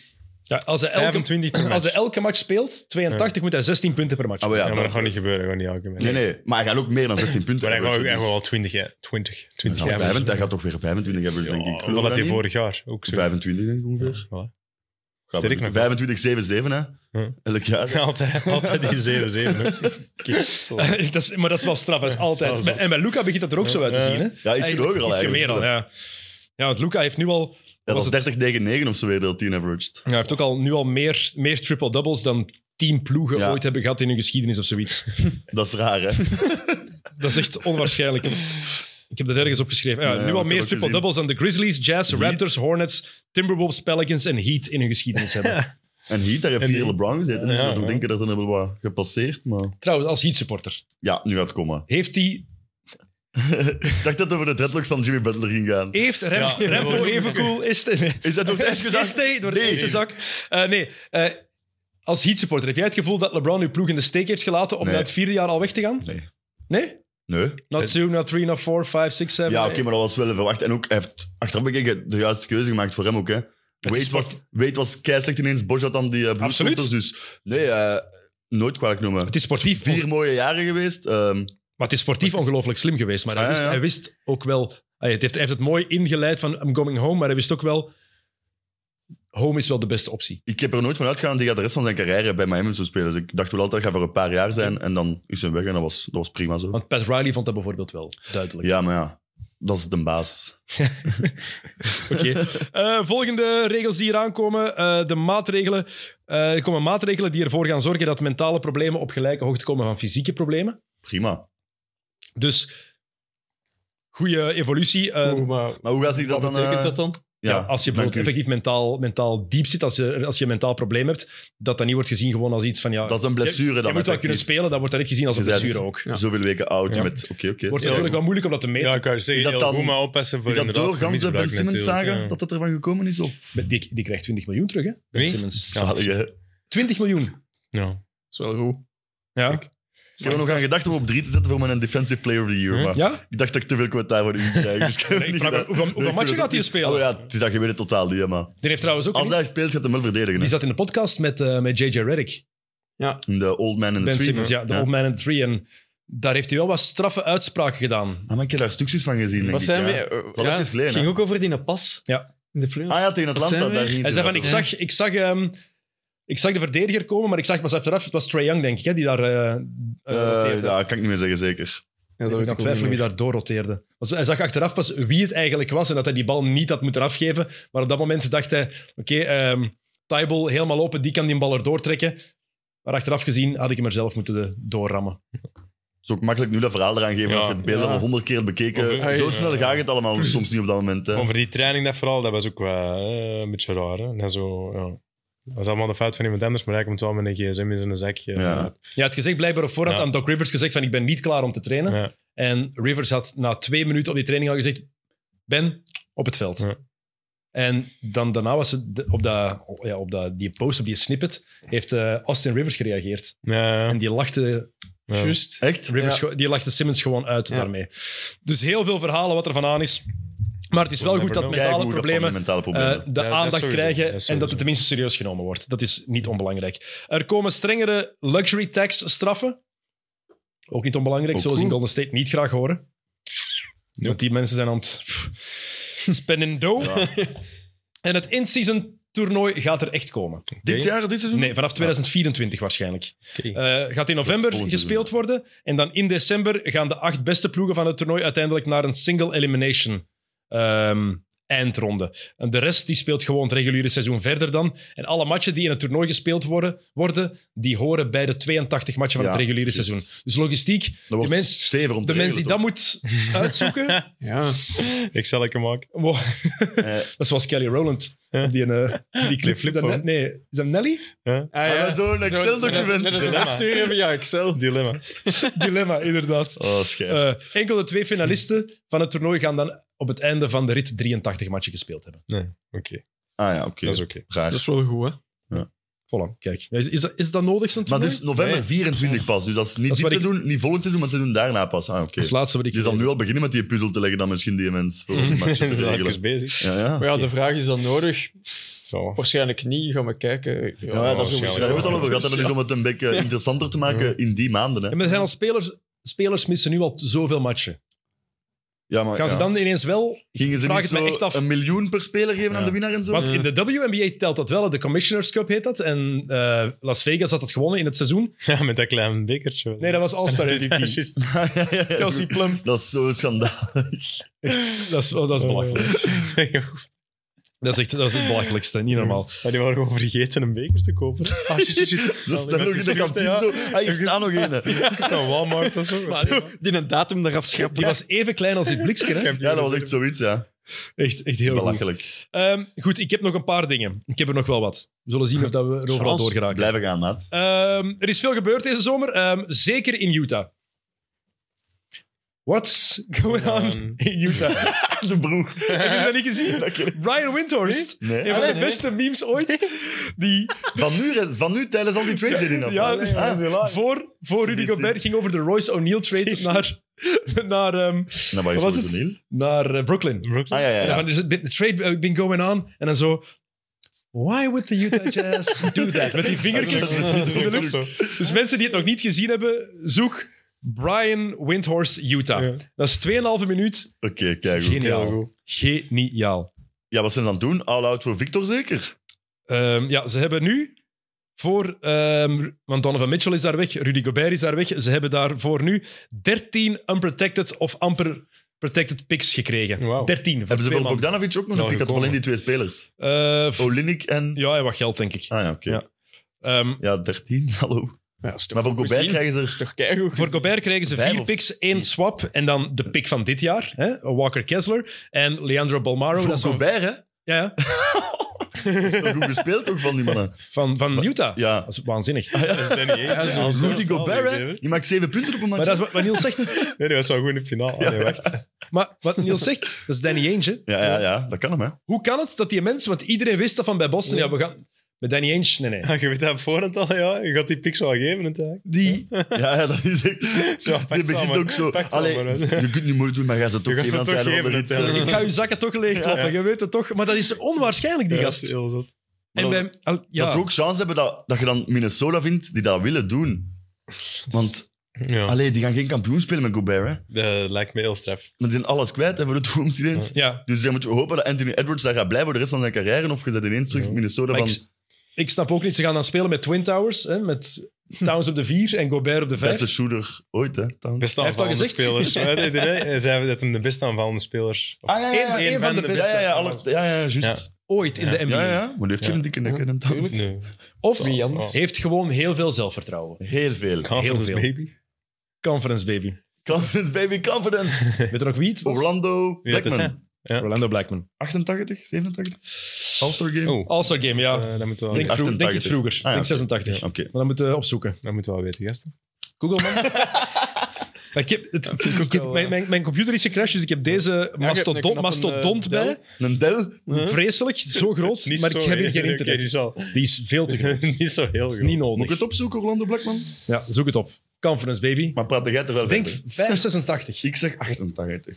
Ja, als, hij elke, 25 per als hij match. elke match speelt, 82, moet hij 16 punten per match. Ah, maar ja, Ja, maar dat- dat gaat niet gebeuren. Dat gaat niet elke match. Nee, nee, maar hij gaat ook meer dan 16 punten Maar hij gaat averagen, hij gaat dus- wel 20, hè. 20. 20 Hij gaat jaar. 25, hij gaat toch weer 25 hebben, denk ik. Hoeveel had hij vorig jaar? Ook zo. 25, denk ik ongeveer. Ja, voilà. Gaan we Sterk doen. nog. 25, 7-7, hè? Huh. Elk jaar. Altijd, altijd die 7-7. hè. Kijk, zo. dat is, maar dat is wel straf, dat is dat altijd. is wel en bij Luca begint dat er ook zo uit te Ja. zien. Hè? Ja, iets Eigenlijk hoger al ietsje eigenlijk. dus meer al, ja. Ja, want Luca heeft nu al, Ja, Was dat het- was 30-9-9 of zo weer dat 10 averaged. ja, hij heeft ook al, nu al meer, meer triple-doubles dan tien ploegen Ja. ooit hebben gehad in hun geschiedenis of zoiets. Dat is raar, hè? Dat is echt onwaarschijnlijk. Ik heb dat ergens opgeschreven. Ah Ja, Ja, nu ik al heb meer ook gezien. triple-doubles dan de Grizzlies, Jazz, Heat. Raptors, Hornets, Timberwolves, Pelicans en Heat in hun geschiedenis hebben. En hier, daar heeft En vier Heat. LeBron gezeten. Ja, dus ja. ik denk dat ze hebben wat gepasseerd, maar... Trouwens, als Heat-supporter, Ja, nu gaat het komen. heeft, die, ik dacht dat het over de dreadlocks van Jimmy Butler ging gaan. heeft Rem, Ja, dat Remco wil ik even cool? Is de, Is dat door het ijs gezakt? Is hij door de Nee. eerste zak? Eh, nee. Eh, als Heat-supporter, heb jij het gevoel dat LeBron uw ploeg in de steek heeft gelaten om Nee. na het vierde jaar al weg te gaan? Nee. Nee? Nee. Not two, not three, not four, five, six, seven. eh, Ja, oké, maar dat was wel verwacht. En ook, hij heeft achteraf bekeken de juiste keuze gemaakt voor hem ook. Hè. is Wade, was, Wade was keislecht ineens Boschat dan die eh Bruce Absoluut. Walters, Dus nee, eh, nooit kwalijk noemen. Het is sportief, Vier mooie jaren geweest. ehm, maar het is sportief ongelooflijk slim geweest. Maar hij Ah, ja, wist, ja. Hij wist ook wel... ah, het heeft, hij heeft het mooi ingeleid van I'm going home, maar hij wist ook wel... Home is wel de beste optie. ik heb er nooit van uitgegaan dat hij gaat de rest van zijn carrière bij Miami zou spelen. Dus ik dacht wel altijd, hij gaat voor een paar jaar zijn en dan is hij weg. En dat was, dat was prima zo. Want Pat Riley vond dat bijvoorbeeld wel duidelijk. Ja, maar ja, dat is de baas. Oké. Eh, volgende regels die hier aankomen. eh, de maatregelen. eh, er komen maatregelen die ervoor gaan zorgen dat mentale problemen op gelijke hoogte komen van fysieke problemen. Prima. Dus goede evolutie. Eh, Oeh, maar Maar hoe gaat zich dat wat Ehm, dan... betekent eh, dat dan? ja, als je dank bijvoorbeeld u. effectief mentaal, mentaal diep zit, als je, als je een mentaal probleem hebt, dat dat niet wordt gezien gewoon als iets van ja. Dat is een blessure je moet dan. wel kunnen effectief. spelen, dat wordt dan niet gezien als een Je bent- blessure ook. Het Ja. Zoveel weken oud, Ja. met... Oké, oké. wordt Ja. natuurlijk wel moeilijk om dat te meten. Ja, ik wou zeggen, Is dat heel dan- goed, maar oppassen voor Is dat inderdaad door ganse misbruik Ben Simmons natuurlijk, zagen ja. dat het ervan gekomen is? Of... Die, die krijgt 20 miljoen terug, hè? Ben Wie? Simmons. Zalig, hè? Ik 20 miljoen. Ja. Dat is wel goed. Ja. heb er nog aan gedacht om op drie te zetten voor mijn Defensive Player of the Year. Hm? Maar ja? ik dacht dat ik te veel commentaar voor u krijg. Dus ik heb Ik niet vraag me- gedaan. hoeveel- hoeveel Nee, ik matchen wil gaat hij het niet- spelen? Oh ja, het is dat je weet het totaal niet, hè, maar... Die heeft trouwens ook. Als hij speelt, gaat hij hem wel verdedigen. Die hè. zat in de podcast met, eh, met JJ Reddick. De Old Man in the Ben Tree. Simmons, ja, de Old Man and Three. En daar heeft hij wel wat straffe uitspraken gedaan. Ah, maar ik heb daar stukjes van gezien, denk Wat ik, zijn ja. we? eh, al ja, even geleden, het ging hè? ook over die pas. Ja. In de playoffs. Ah ja, tegen Wat zijn Atlanta. we? Daar ging Hij zei van, ik inderdaad. zag, ik zag, ehm, ik zag de verdediger komen, maar ik zag pas achteraf, het was Trae Young, denk ik, hè, die daar eh, eh, Eh, roteerde. ja, kan ik niet meer zeggen, zeker. Ja, ik ben aan dat weet het ik ook niet twijfelen wie meer. daar doorroteerde. Want hij zag achteraf pas wie het eigenlijk was en dat hij die bal niet had moeten afgeven. Maar op dat moment dacht hij, oké, ehm, Tybal helemaal open, die kan die bal erdoor trekken. Maar achteraf gezien had ik hem er zelf moeten eh, doorrammen. Het is ook makkelijk nu dat verhaal eraan geven. Ja. dat je het beeld Ja. al honderd keer hebt bekeken. Of- Zo Ja. snel gaat het allemaal soms niet op dat moment. Hè. Maar voor die training, dat vooral, dat was ook wel eh, een beetje raar. Hè? Dat, zo, ja. dat was allemaal de fout van iemand anders, maar hij komt wel met een gsm in zijn zakje. Ja. Je had gezegd, blijkbaar op voorhand Ja. aan Doc Rivers gezegd van ik ben niet klaar om te trainen. Ja. En Rivers had na twee minuten op die training al gezegd: Ben op het veld. Ja. En dan daarna was het de- op, dat, ja, op dat, die post, op die snippet, heeft eh, Austin Rivers gereageerd. Ja, ja, En die lachte, ja. Juist. Echt? Rivers, Ja. ge- die lachte Simmons gewoon uit Ja. daarmee. Dus heel veel verhalen wat er van aan is. Maar het is wel We'll goed dat never know. Kijk mentale hoe dat problemen van eh, die mentale problemen. de Ja, dat aandacht sowieso. krijgen Dat en dat sowieso. het tenminste serieus genomen wordt. Dat is niet onbelangrijk. Er komen strengere luxury tax straffen. Ook niet onbelangrijk, Ook zoals cool. in Golden State niet graag horen. Want die mensen zijn aan het pff, spenden dough. Ja. En het in-season toernooi gaat er echt komen. Dit jaar, dit seizoen? Nee, vanaf 2024 waarschijnlijk. Oké. Eh, gaat in Hm. Dat is november volgend gespeeld worden. En dan in december gaan de acht beste ploegen van het toernooi uiteindelijk naar een single elimination ehm, eindronde. En de rest die speelt gewoon het reguliere seizoen verder dan. En alle matchen die in het toernooi gespeeld worden, worden die horen bij de 82 matchen van Ja, het reguliere juist. seizoen. Dus logistiek, Dat die wordt mens, zeven om te de mens die regelen, dat moet uitzoeken... Ja. Ik zal het maken. wow. toch? Eh, Dat is zoals Kelly Rowland. Ja. Die, een, eh, die clip. flip Is dat phone. net- nee, is dat Nelly? Ah, Ah, ja. dat is zo'n Excel-document. Net als een Dilemma. afsturen via Excel. Dilemma. Dilemma, inderdaad. Oh, schijf. Eh, enkel de twee finalisten van het toernooi gaan dan op het einde van de rit 83 matchen gespeeld hebben. Oké, ah ja, oké. dat is oké. Raar. Dat is wel goed, hè? Voilà, kijk. Is, is, dat, is dat nodig, zo'n Maar toernooi? dit is november Nee. 24 pas. Dus dat is niet Dat is dit wat ik- seizoen, niet volgend seizoen, maar het seizoen daarna pas. Ah, oké. Dat is het laatste wat ik Je zal gelezen nu al beginnen met die puzzel te leggen dan misschien die mens. Voor die matchen te We zijn even regelen. bezig. Ja, ja. Maar ja, de vraag is dan nodig. Zo. Waarschijnlijk niet. Gaan we kijken. Ja, Ja, dat is, waarschijnlijk daar wel. hebben we het al over gehad. Dat is om het een beetje eh, interessanter te maken in die maanden. heb. En Hè. er zijn al spelers... Spelers missen nu al zoveel matchen. Ja, maar, Gaan ze ja. dan ineens wel... Gingen ze Vraag niet het mij zo echt af. een miljoen per speler geven aan Ja. de winnaar en zo? Want Ja. in de WNBA telt dat wel. hè. De Commissioners Cup heet dat. En eh, Las Vegas had het gewonnen in het seizoen. Ja, met dat kleine bekertje. Nee, dat was All-Star MVP. Ja, ja, ja. Kelsey Plum. Dat is zo'n schandaal. Echt, dat, is, dat is belachelijk. was... Oh. Dat is echt dat is het belachelijkste, niet normaal. Maar die waren gewoon vergeten een beker te kopen. Ah, shit, shit, shit. Ze staan met nog in de geschriften, kantine ja. zo. Ah, hier staat nog een. Dat is dan Walmart of zo. Maar Die een datum eraf schrappen. Die was even klein als dit blikske, hè? Ja, dat was echt zoiets, ja. Echt, echt heel goed. Belachelijk. Ehm, goed, ik heb nog een paar dingen. Ik heb er nog wel wat. We zullen zien of dat we er overal Chance. door geraken. Blijven gaan, maat. Ehm, er is veel gebeurd deze zomer, ehm, zeker in Utah. What's going on Um. in Utah? De broer. Heb je dat niet gezien? Brian Windhorst, Nee. een van de nee, nee. beste memes ooit, die Van nu, van nu tijdens al die trades zit in Ja, dat. ja. Ah, voor, voor Rudy CBC. Gobert ging over de Royce O'Neal trade naar, naar, ehm, Nou, maar Wat is was Royce het? O'Neal? naar eh, Brooklyn. Ah, ja, ja, En dan ja. van, is het been- the trade uh, been going on? En dan zo... Why would the Utah Jazz do that? Met die vingertjes. in de lucht. Dus mensen die het nog niet gezien hebben, zoek Brian Windhorst Utah. Ja. Dat is 2,5 minuut. Oké, kijk goed. Heel Geniaal. goed. Geniaal. Ja, wat zijn ze aan het doen? All out voor Victor zeker? Ehm, ja, ze hebben nu voor... ehm, want Donovan Mitchell is daar weg, Rudy Gobert is daar weg. Ze hebben daar voor nu 13 unprotected of amper protected picks gekregen. Wauw. 13 voor Hebben ze twee voor man. Bogdanovic ook nog Ja, een pick? had gekomen. alleen die twee spelers. Eh, f- Olinik en... ja, en wat geld, denk ik. Ah ja, oké. Ja. Ehm, Ja, 13, hallo. Ja, is toch Maar voor goed Gobert zien? krijgen ze is er... toch keigoed. Voor Gobert krijgen ze Vijf vier of- picks, één swap en dan de pick van dit jaar, hè? Walker Kessler en Leandro Balmaro. Voor dat is van- Gobert, hè? ja, ja, Dat is toch goed gespeeld ook van die mannen? van, van Utah. Ja. Dat is waanzinnig. Dat is Danny Ainge. sowieso. Ja, zo- Rudy zo- Gobert, hè? Nee, Die maakt zeven punten op een Maar match. dat is wat, wat Niels zegt. nee, dat was wel goed in de finale. Ah, nee, wacht. Maar wat Niels zegt, dat is Danny Ainge. hè. Ja, ja, ja, dat kan hem, hè. Hoe kan het dat die mensen, want iedereen wist dat van bij Boston, ja, we gaan... Met Danny Ainge, nee, nee. Ja, Ah, Je weet dat op voorhand al, ja. Je gaat die picks wel geven, natuurlijk. Die, Ja, ja, dat is echt... Zo, Je pak ze begint allemaal. ook zo... Pak ze Allee, allemaal, hè. je kunt niet moeilijk doen, maar ga ze toch Je gaat geven ze aan het toch einde van de geven, rit. uiteindelijk. ik ga je zakken toch leegklappen, je weet het toch. Maar dat is onwaarschijnlijk, die Ja, dat gast. is heel zot. En bij, al- ja, Dat ze ook chance hebben dat, dat je dan Minnesota vindt die dat willen doen. Want, Ja, allee, die gaan geen kampioen spelen met Gobert, hè. Ah, dat lijkt me heel straf. Maar die zijn alles kwijt, hè, voor de toekomst ineens. ja. Dus dan moet je hopen dat Anthony Edwards daar gaat blijven voor de rest van zijn carrière. Of je zet ineens terug Ja. in Minnesota Maar van... ik, ik snap ook niet, ze gaan dan spelen met Twin Towers, hè, met Towns op de vier en Gobert op de vijf. Beste shooter ooit, hè. Towns. Beste Hij heeft al aanvallende gezegd. spelers. Ja, nee, nee, nee, Zij hebben dat hem de beste aanvallende spelers. Ah, ja, Eén- ja, ja. één van de beste. Ja, ja, ja, alles- ja, ja, juist. ooit in Ja. de NBA. Ja, ja, maar die heeft geen Ja. dikke nek, hè, dan Towns. Tuurlijk. Nee. Of Wie anders? heeft gewoon heel veel zelfvertrouwen. Heel veel. Confidence veel. dus baby. Conference baby. Confidence, baby, confidence. Weet je nog wie het was? Orlando Ja, dat is hij. Blackman. Orlando Blackman. 88, 87? All-star game? Oh, All-Star Game, ja. eh, dat moeten we wel denk, weten. vroeg, denk iets 88. vroeger. ja, denk oké. 86. Oké. Maar dan moeten we opzoeken. Dat moeten we wel weten, gasten. Google, man. Maar ik heb, het- ik heb- wel, mijn, mijn, mijn computer is gecrashed, dus ik heb deze hebt een mastodont, knappe, mastodont eh, bij. Een Del? Vreselijk, zo groot. Niet maar zo ik heb hier heel- geen oké, internet. die is wel- die is veel te groot. Dat niet zo heel is groot. niet Moet ik nodig. het opzoeken, Orlando Blackman? Ja, zoek het op. Conference, baby. Maar praat jij er wel Denk verder? 586. Ik zeg 88.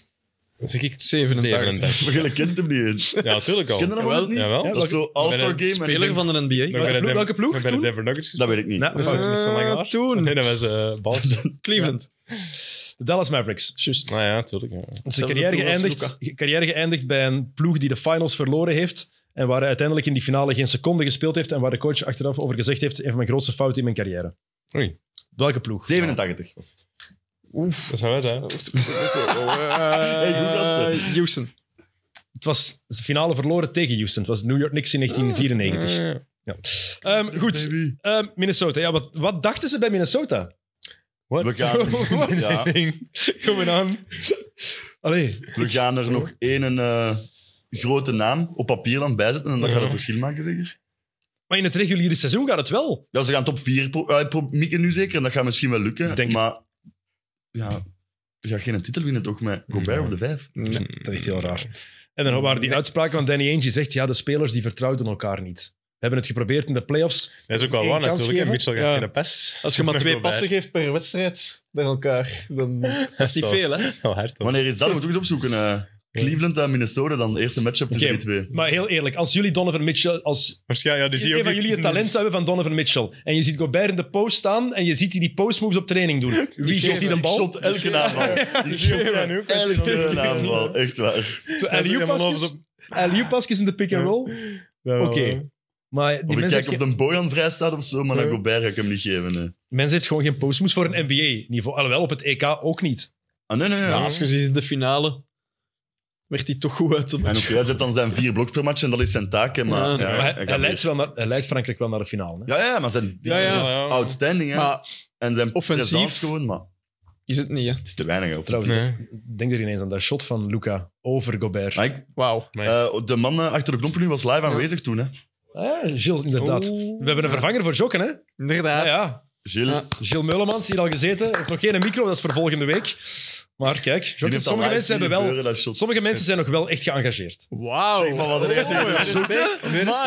Dan zeg ik 87. 87. Maar jullie kent hem niet eens. Ja, natuurlijk al. Ken je dat wel Jawel, niet? Jawel. Ja, Dat is zo All-star Speler- game. en ik Speler denk- van de Nog NBA. bij de ploeg- Denver- welke ploeg nog bij de toen? Denver Nuggets Dat weet ik niet. Nou, Dat is dat niet zo lang Eh, laat. toen. Nee, dat was eh Boston. Cleveland. De Dallas Mavericks. Juist. Nou ja, natuurlijk. Ja. Zijn Hetzelfde carrière ploeg als geëindigd, carrière geëindigd bij een ploeg die de finals verloren heeft. En waar hij uiteindelijk in die finale geen seconde gespeeld heeft. En waar de coach achteraf over gezegd heeft: een van mijn grootste fouten in mijn carrière. Oei. Welke ploeg? 87 was het. Dat zou wij zijn. Hey, goed, gasten. Eh, Houston. Het was de finale verloren tegen Houston. Het was New York Knicks in Ah, 1994. Ehm, goed, Baby. Ehm, Minnesota. Ja, wat, wat dachten ze bij Minnesota? What? We gaan, ja, Going on. Allee, we gaan er nog één eh, grote naam op papier aan bijzetten en dat gaat het verschil maken, zeker? maar in het reguliere seizoen gaat het wel. Ja, ze gaan top 4 pro- eh, pro- mikken nu zeker en dat gaat misschien wel lukken. Ik denk het. maar ja, je gaat geen titel winnen toch met Gobert op de 5. Dat is echt heel raar. En dan waren die uitspraken van Danny Ainge die zegt: ja, de spelers die vertrouwden elkaar niet. We hebben het geprobeerd in de playoffs. Dat is ook wel Eén waar kans natuurlijk. hè. geven? Mitchell Ja. gaat geen pas. Als je maar Nog twee wel passen bij. geeft per wedstrijd naar elkaar, dan dat is niet Dat is veel, hè? Wel hard, hoor. Wanneer is dat? Moet ik eens opzoeken. eh. Cleveland en Minnesota, dan de eerste matchup tussen Oké, die twee. Maar heel eerlijk, als jullie Donovan Mitchell, als Waarschijnlijk, ja, die zie je een ook van niet- jullie het talent zou hebben van Donovan Mitchell. En je ziet Gobert in de post staan en je ziet die die postmoves op training doen. Wie geeft die een Ik bal? shot elke aanval. Ik shot geven aan ook. elke aanval, echt waar. Zo, Hij is ook helemaal alley-oop-pasjes- over Alley-oop-pasjes in de pick-and-roll. Ja, Oké. wel, eh. Maar die Of ik mens kijk heeft, of ge- de Bojan vrij staat of zo, maar dan Gobert ga ik hem niet geven. hè. mens heeft gewoon geen postmoves voor een NBA-niveau. Alhoewel, op het EK E ook niet. Ah, nee, nee, nee. Ja, als je ziet in de finale, werd hij toch goed uit de En match. ook hij zet dan zijn vier bloks per match en dat is zijn taak. hè, Maar, Ja. ja, Maar hij, hij hij gaat leidt mee. wel naar, hij leidt Frankrijk wel naar de finale. Hè? ja, ja, maar zijn Ja, ja. is outstanding. Hè. Maar en zijn offensief- presence gewoon, maar is het niet, hè? het is te weinig. hè, Trouwens, Nee. denk er ineens aan dat shot van Luca over Gobert. Maar ik- Wauw. eh, de man eh, achter de knoppeling was live aanwezig toen. Hè. Ah, Gilles, inderdaad. Oh. Oeh. We hebben een vervanger voor Jokken, hè? Inderdaad. Ah, ja. Gilles, Ja. Gilles Meulemans, hier al gezeten. Heeft nog geen micro, dat is voor volgende week. Maar kijk, die Jokken, heeft sommige, al live mensen, hebben zien wel, gebeuren, dat shot. sommige mensen zijn nog wel echt geëngageerd. Wauw. Oh, Zeg maar, wat een echt-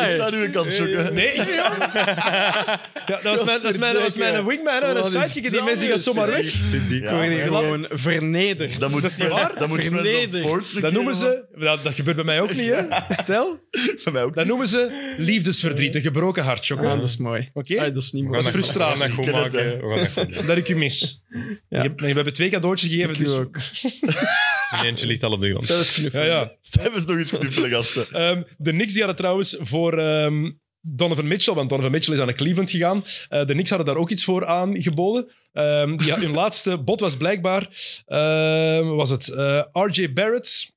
Ik sta nu een kans zoeken. Nee, ik- ja, dat was mijn, dat is mijn, dat is mijn wingman en een Wat is sidekick. Die dat mensen gaan nu? zomaar weg. Ik word hier Ja. gewoon vernederd. Dat moet, Dat is niet waar. Dat moet Friends of Vernederd. Sports een Dat keer noemen ze, dat, dat gebeurt bij mij ook niet, hè? Tel? doen. Van mij ook. Dat noemen ze liefdesverdriet, een gebroken hart, Jokken. Ah, dat is mooi. Oké? Ah, dat is niet We mooi. gaan Dat is frustratie. We gaan dat goed maken. We gaan dat goed maken. Dat ik u mis. Ja. Je, we hebben twee cadeautjes gegeven, Ik u dus... ook. Eentje ligt al op de grond. Zelfs knuffelen. Ja, ja. Stijn is nog eens knuffelen, gasten. Ehm, de Knicks die hadden trouwens voor ehm, Donovan Mitchell, want Donovan Mitchell is aan de Cleveland gegaan. Eh, de Knicks hadden daar ook iets voor aangeboden. Ehm die, hun laatste bot was blijkbaar, ehm, was het eh, RJ Barrett,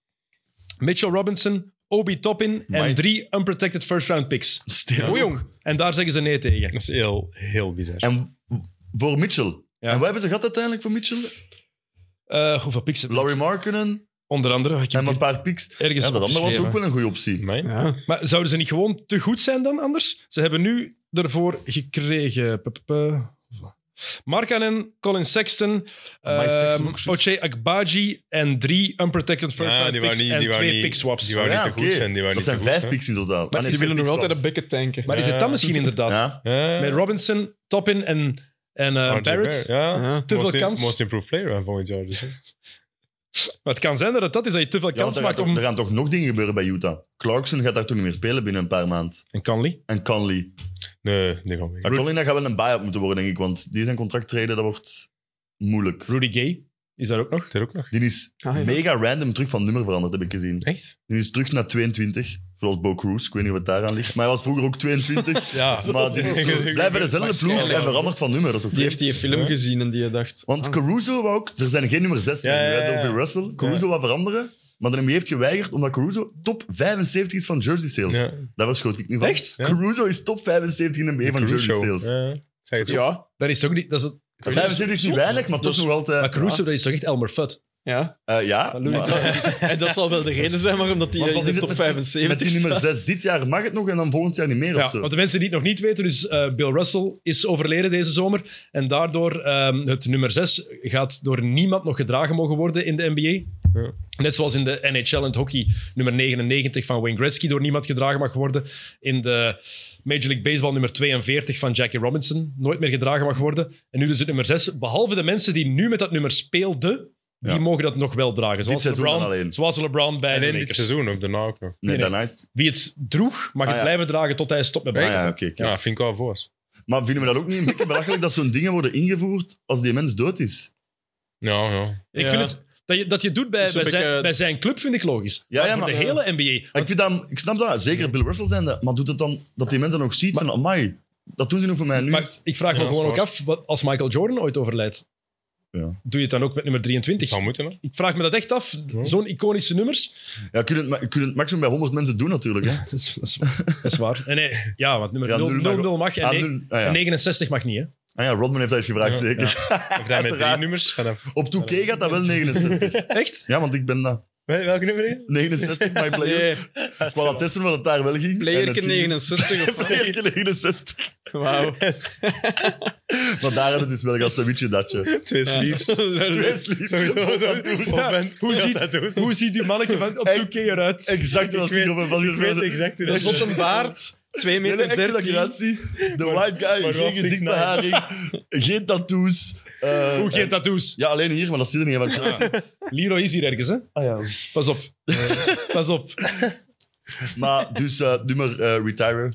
Mitchell Robinson, Obi Toppin en Amai. drie unprotected first round picks. Stijn. O, jong. En daar zeggen ze nee tegen. Dat is heel, heel bizar. En voor Mitchell. Ja. En wat hebben ze gehad uiteindelijk voor Mitchell? Eh, hoeveel picks hebben we? Larry Markkinen Onder andere. Ik heb en hier een paar picks. ergens Ja, dat andere was opgeschreven. ook wel een goede optie. Amai. Ja. Maar zouden ze niet gewoon te goed zijn dan anders? Ze hebben nu ervoor gekregen. P -p -p. Markkanen, Colin Sexton, Amai, Sexton ehm, ook juist. Oche Akbaji en drie unprotected first Ja, round die wou picks niet- en die wou twee niet- pick swaps. die wou niet Ja, te oké. goed zijn, die wou Dat niet zijn te goed vijf zijn. picks in totaal. Ah, nee, Die zes willen nog picks altijd een trouwens. bekken tanken. maar is het Ja. dan misschien inderdaad? Ja. Ja. Met Robinson, Toppin en, en eh, RJ Barrett. Ja. Ja. Te veel most kans. Most improved player van volgend jaar. Dus, hè. Maar het kan zijn dat het dat is, dat je te veel Ja, want kans er, maakt gaat, om... er gaan toch nog dingen gebeuren bij Utah. Clarkson gaat daar toen niet meer spelen binnen een paar maanden. En Conley. En Conley. Nee, die gaan weg. Maar Conley dat gaat wel een buy-out moeten worden, denk ik. Want die zijn contract treden, dat wordt moeilijk. Rudy Gay is daar ook nog. Is er ook nog? Die is Ah, ja. mega random terug van nummer veranderd, heb ik gezien. Echt? Die is terug naar 22. Zoals Bo Cruz, ik weet niet wat daaraan ligt. Maar hij was vroeger ook 22. Ja. Ah, maar die is zo- blijft bij dezelfde ploeg en verandert van nummer. Dat is ook Die heeft die film Ja. gezien en die dacht... Want ah, Caruso wou ook... Er zijn geen nummer 6 Ja, meer nu, hè, ja, ja. door Bill Russell. Caruso wou veranderen, maar de NBA heeft geweigerd omdat Caruso top 75 is van jersey sales. Ja. Daar was schoot ik nu van. Echt? Ja. Caruso is top 75 in de NBA van jersey sales. Ja. Ik zeg het ook. ja, Dat is ook niet... Dat is, En 75 is niet weinig, maar toch Dus- nog maar altijd... Caruso, dat is toch echt Elmer Fudd? ja. eh, ja, Maar Louis maar- En dat zal wel de reden zijn waarom dat die Want in wat de is top het met- met 75 die nummer staat. 6 dit jaar mag het nog en dan volgend jaar niet meer of Ja, zo. want de mensen die het nog niet weten, dus eh, Bill Russell is overleden deze zomer. En daardoor ehm, het nummer 6 gaat door niemand nog gedragen mogen worden in de NBA. Ja. Net zoals in de NHL en het hockey nummer 99 van Wayne Gretzky door niemand gedragen mag worden. In de Major League Baseball nummer 42 van Jackie Robinson nooit meer gedragen mag worden. En nu dus het nummer 6. Behalve de mensen die nu met dat nummer speelden, die Ja. mogen dat nog wel dragen. Zoals seizoen LeBron, dan alleen. Zoals LeBron bij de Alleen dit Lakers. seizoen of daarna ook nog. Nee, nee. daarna is het- Wie het droeg, mag Ah, het ja. blijven dragen tot hij stopt met Ah, basketbal. ja, oké, oké. Ja, vind ik wel voor. Maar vinden we dat ook niet een beetje belachelijk dat zo'n dingen worden ingevoerd als die mens dood is? Ja, ja. Ik Ja. vind het, dat je dat je het doet bij, Dat is bij, een zijn, beetje- bij zijn club vind ik logisch. Ja, Maar ja, voor maar- de hele NBA. Ik, vind dat, ik snap dat, zeker Bill Russell zijn dat, maar doet het dan dat die mensen nog ziet van, amai, dat doen ze nu voor mij nu. Maar ik vraag Ja, me dat is gewoon ook waar. af, wat, als Michael Jordan ooit overlijdt, Ja. doe je het dan ook met nummer Het 23? zou moeten, hè. Ik vraag me dat echt af. Zo'n iconische nummers. ja, kun je, het, ma- kun je het maximum bij 100 mensen doen natuurlijk. Hè. Dat is, dat is, dat is waar. En nee, ja, want nummer Ja, 0, nul 0, mag- 0 mag en, Ah, ne- doen- ah, ja. en 69 mag niet. Hè? Ah ja, Rodman heeft dat eens gevraagd, Ja, zeker. Of dat met drie Uiteraard. nummers vanaf... Op 2K gaat dat wel 69. Echt? Ja, want ik ben dat. Wel- Welke nummer? hè? 69, my player. Nee, Ik wou dat testen wat het daar wel ging. En playerke het ging- 69 of Playerke 69. Wauw. Maar daar hebben we het dus wel gasten, datje. Twee sleeves. Twee sleeves. Sowieso. zo. Of bent- Hoe Ja, ziet- dat doen ze. Hoe ziet die mannetje van op Echt? 2K eruit? Exact wat ik over van Ik weet exact hoe Een dat is. zotte baard, Nee, 2 nee, meter echt hoe dat ik 13. eruit zie. De white guy, maar wel geen gezichtsbeharing, geen tattoos. eh, Hoe geen en- tattoos? Ja, alleen hier, maar dat zie je niet. hè, Want, Leroy is hier ergens, hè? Ah, ja. Eh. Pas op. Pas op. Maar dus, eh, nummer eh retire.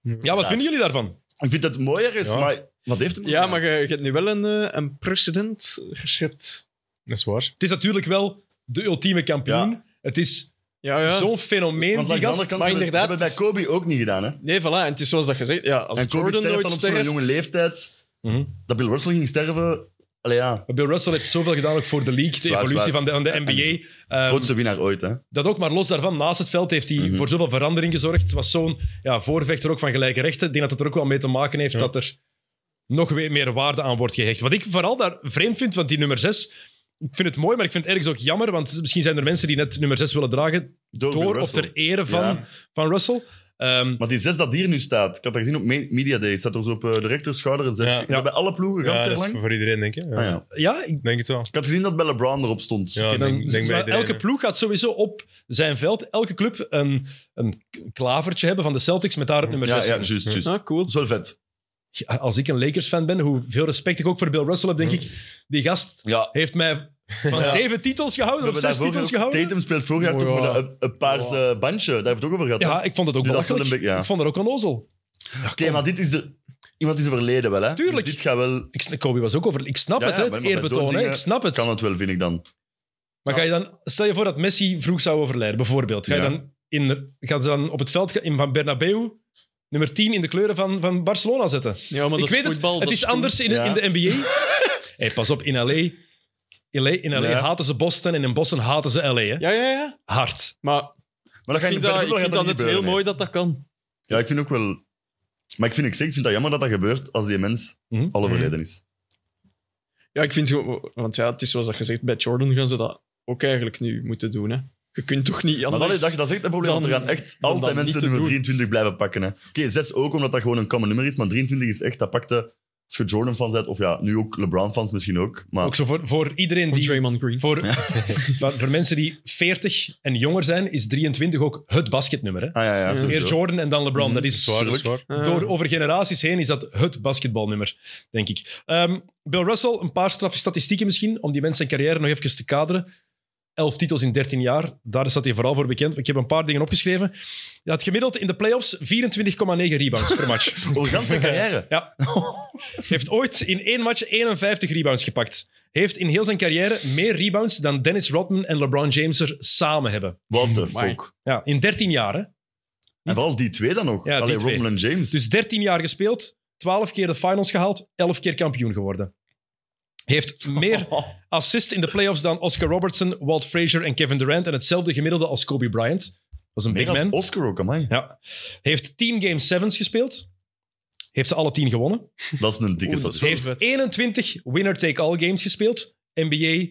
Ja, wat Ja. vinden jullie daarvan? Ik vind dat het mooier is, Ja. maar wat heeft hem? Ja, maar je, je hebt nu wel een, eh, een precedent geschept. Dat is waar. Het is natuurlijk wel de ultieme kampioen. Het is Ja, ja. Zo'n fenomeen, Want die langs de andere gast. kant maar hebben we inderdaad- hebben het bij Kobe ook niet gedaan. Hè? Nee, voilà. En het is zoals dat gezegd. Ja, als En Kobe Jordan sterft nooit dan op zo'n sterft... jonge leeftijd. Mhm. Ehm, Dat Bill Russell ging sterven, Allee, ja. Maar Bill Russell heeft zoveel gedaan ook voor de league, de Zwaar, evolutie zwaar. Van, de, van de NBA. Ehm, Grootste winnaar ooit, hè. dat ook, maar los daarvan, naast het veld heeft hij Mhm. voor zoveel verandering gezorgd. Het was zo'n ja, voorvechter ook van gelijke rechten. Ik denk dat het er ook wel mee te maken heeft Ja. dat er nog weer meer waarde aan wordt gehecht. Wat ik vooral daar vreemd vind, want die nummer 6, ik vind het mooi, maar ik vind het ergens ook jammer, want misschien zijn er mensen die net nummer 6 willen dragen Door, Bill door of Russell. ter ere van, Ja. van Russell. Ehm, Maar die zes dat hier nu staat, ik had dat gezien op Me- Media Day, staat er zo op eh, de rechterschouder een zes. Ja. Is dat bij alle ploegen, Ja, gans dat is lang? voor iedereen, denk ik. Ja. Ah, ja. ja, ik Denk het wel. Ik had gezien dat bij LeBron erop stond. Ja, Oké, dan- denk, denk bij maar iedereen, elke hè. ploeg gaat sowieso op zijn veld, elke club, een, een k- klavertje hebben van de Celtics met daar het nummer ja, 6. ja, juist, juist. Ah, cool. Dat is wel vet. Als ik een Lakers-fan ben, hoeveel respect ik ook voor Bill Russell heb, denk ik, die gast Mhm. Ja. heeft mij van Ja. zeven titels gehouden of zes titels gehouden. Oh. Tatum speelt vorig jaar Oh, toch ja. met een, een paars Ja. eh, bandje. Daar hebben we het ook over gehad. hè? Ja, ik vond het ook Dus dat is wel belachelijk. een beetje- ja. Ik vond het ook onnozel. Oké, maar dit is de... Iemand is overleden wel, hè? Tuurlijk. Dus dit gaat wel... Ik, sn- Kobe was ook over... Ik snap Ja, het, ja, hè, maar het bij zo'n eerbetoon. hè, dingen Ik snap het. Kan het wel, vind ik dan. Maar ga je dan... Stel je voor dat Messi vroeg zou overlijden, bijvoorbeeld. Ga je Ja. dan, in, gaan ze dan op het veld in Van Bernabeu nummer 10 in de kleuren van, van Barcelona zetten? Ja, maar dat ik is weet voetbal. het, dat het is goed. anders in, de- Ja. in de NBA. hey, pas op, in LA, LA in LA Ja. haten ze Boston en in Boston haten ze LA. Hè? Ja, ja, ja. Hard. Maar Maar dat ik ga je vind in de dat, ik voetbal vind gaat dat niet het heel gebeuren, mooi dat dat kan. hè. Ja, ik vind ook wel... Maar ik vind, ik, zeg, ik vind dat jammer dat dat gebeurt als die mens Mhm. al overleden is. Ja, ik vind gewoon... Want ja, het is zoals dat gezegd, bij Jordan gaan ze dat ook eigenlijk nu moeten doen, hè. Je kunt toch niet Maar anders... dat is, dat, dat is echt een probleem, want er dan- gaan echt dan altijd dat niet mensen te nummer doen. 23 blijven pakken. hè. Oké, 6 ook, omdat dat gewoon een common nummer is, maar 23 is echt, dat pakte... Als je Jordan-fans bent, of ja, nu ook LeBron-fans misschien ook, maar... Ook zo voor, voor iedereen Van die... Draymond Green. Voor, voor, voor mensen die 40 en jonger zijn, is 23 ook het basketnummer. Hè? Ah ja, ja, Ja. sowieso. Meer Jordan en dan LeBron. Mhm. Dat is Zwaar, zwaar. Eh, Door, over generaties heen is dat het basketbalnummer, denk ik. Ehm, Bill Russell, een paar straffe statistieken misschien, om die mensen zijn carrière nog even te kaderen. Elf titels in 13 jaar, daar staat hij vooral voor bekend. Ik heb een paar dingen opgeschreven. Hij had gemiddeld in de playoffs 24,9 rebounds per match. Over gans zijn carrière. Heeft ooit in één match 51 rebounds gepakt. Heeft in heel zijn carrière meer rebounds dan Dennis Rodman en LeBron James er samen hebben. What the Amai. fuck. Ja, in 13 jaar, hè? En vooral die twee dan nog. Ja, die Allee, twee. Rodman en James. Dus 13 jaar gespeeld, 12 keer de finals gehaald, 11 keer kampioen geworden. Heeft meer Oh, assist in de playoffs dan Oscar Robertson, Walt Frazier en Kevin Durant. En hetzelfde gemiddelde als Kobe Bryant. Dat is een Meer big als man. Oscar ook, amai. Ja. Heeft 10 Game 7's gespeeld. Heeft ze alle 10 gewonnen. Dat is een dikke Oeh, dat is statistiek. Heeft vet. 21 winner-take-all games gespeeld. NBA,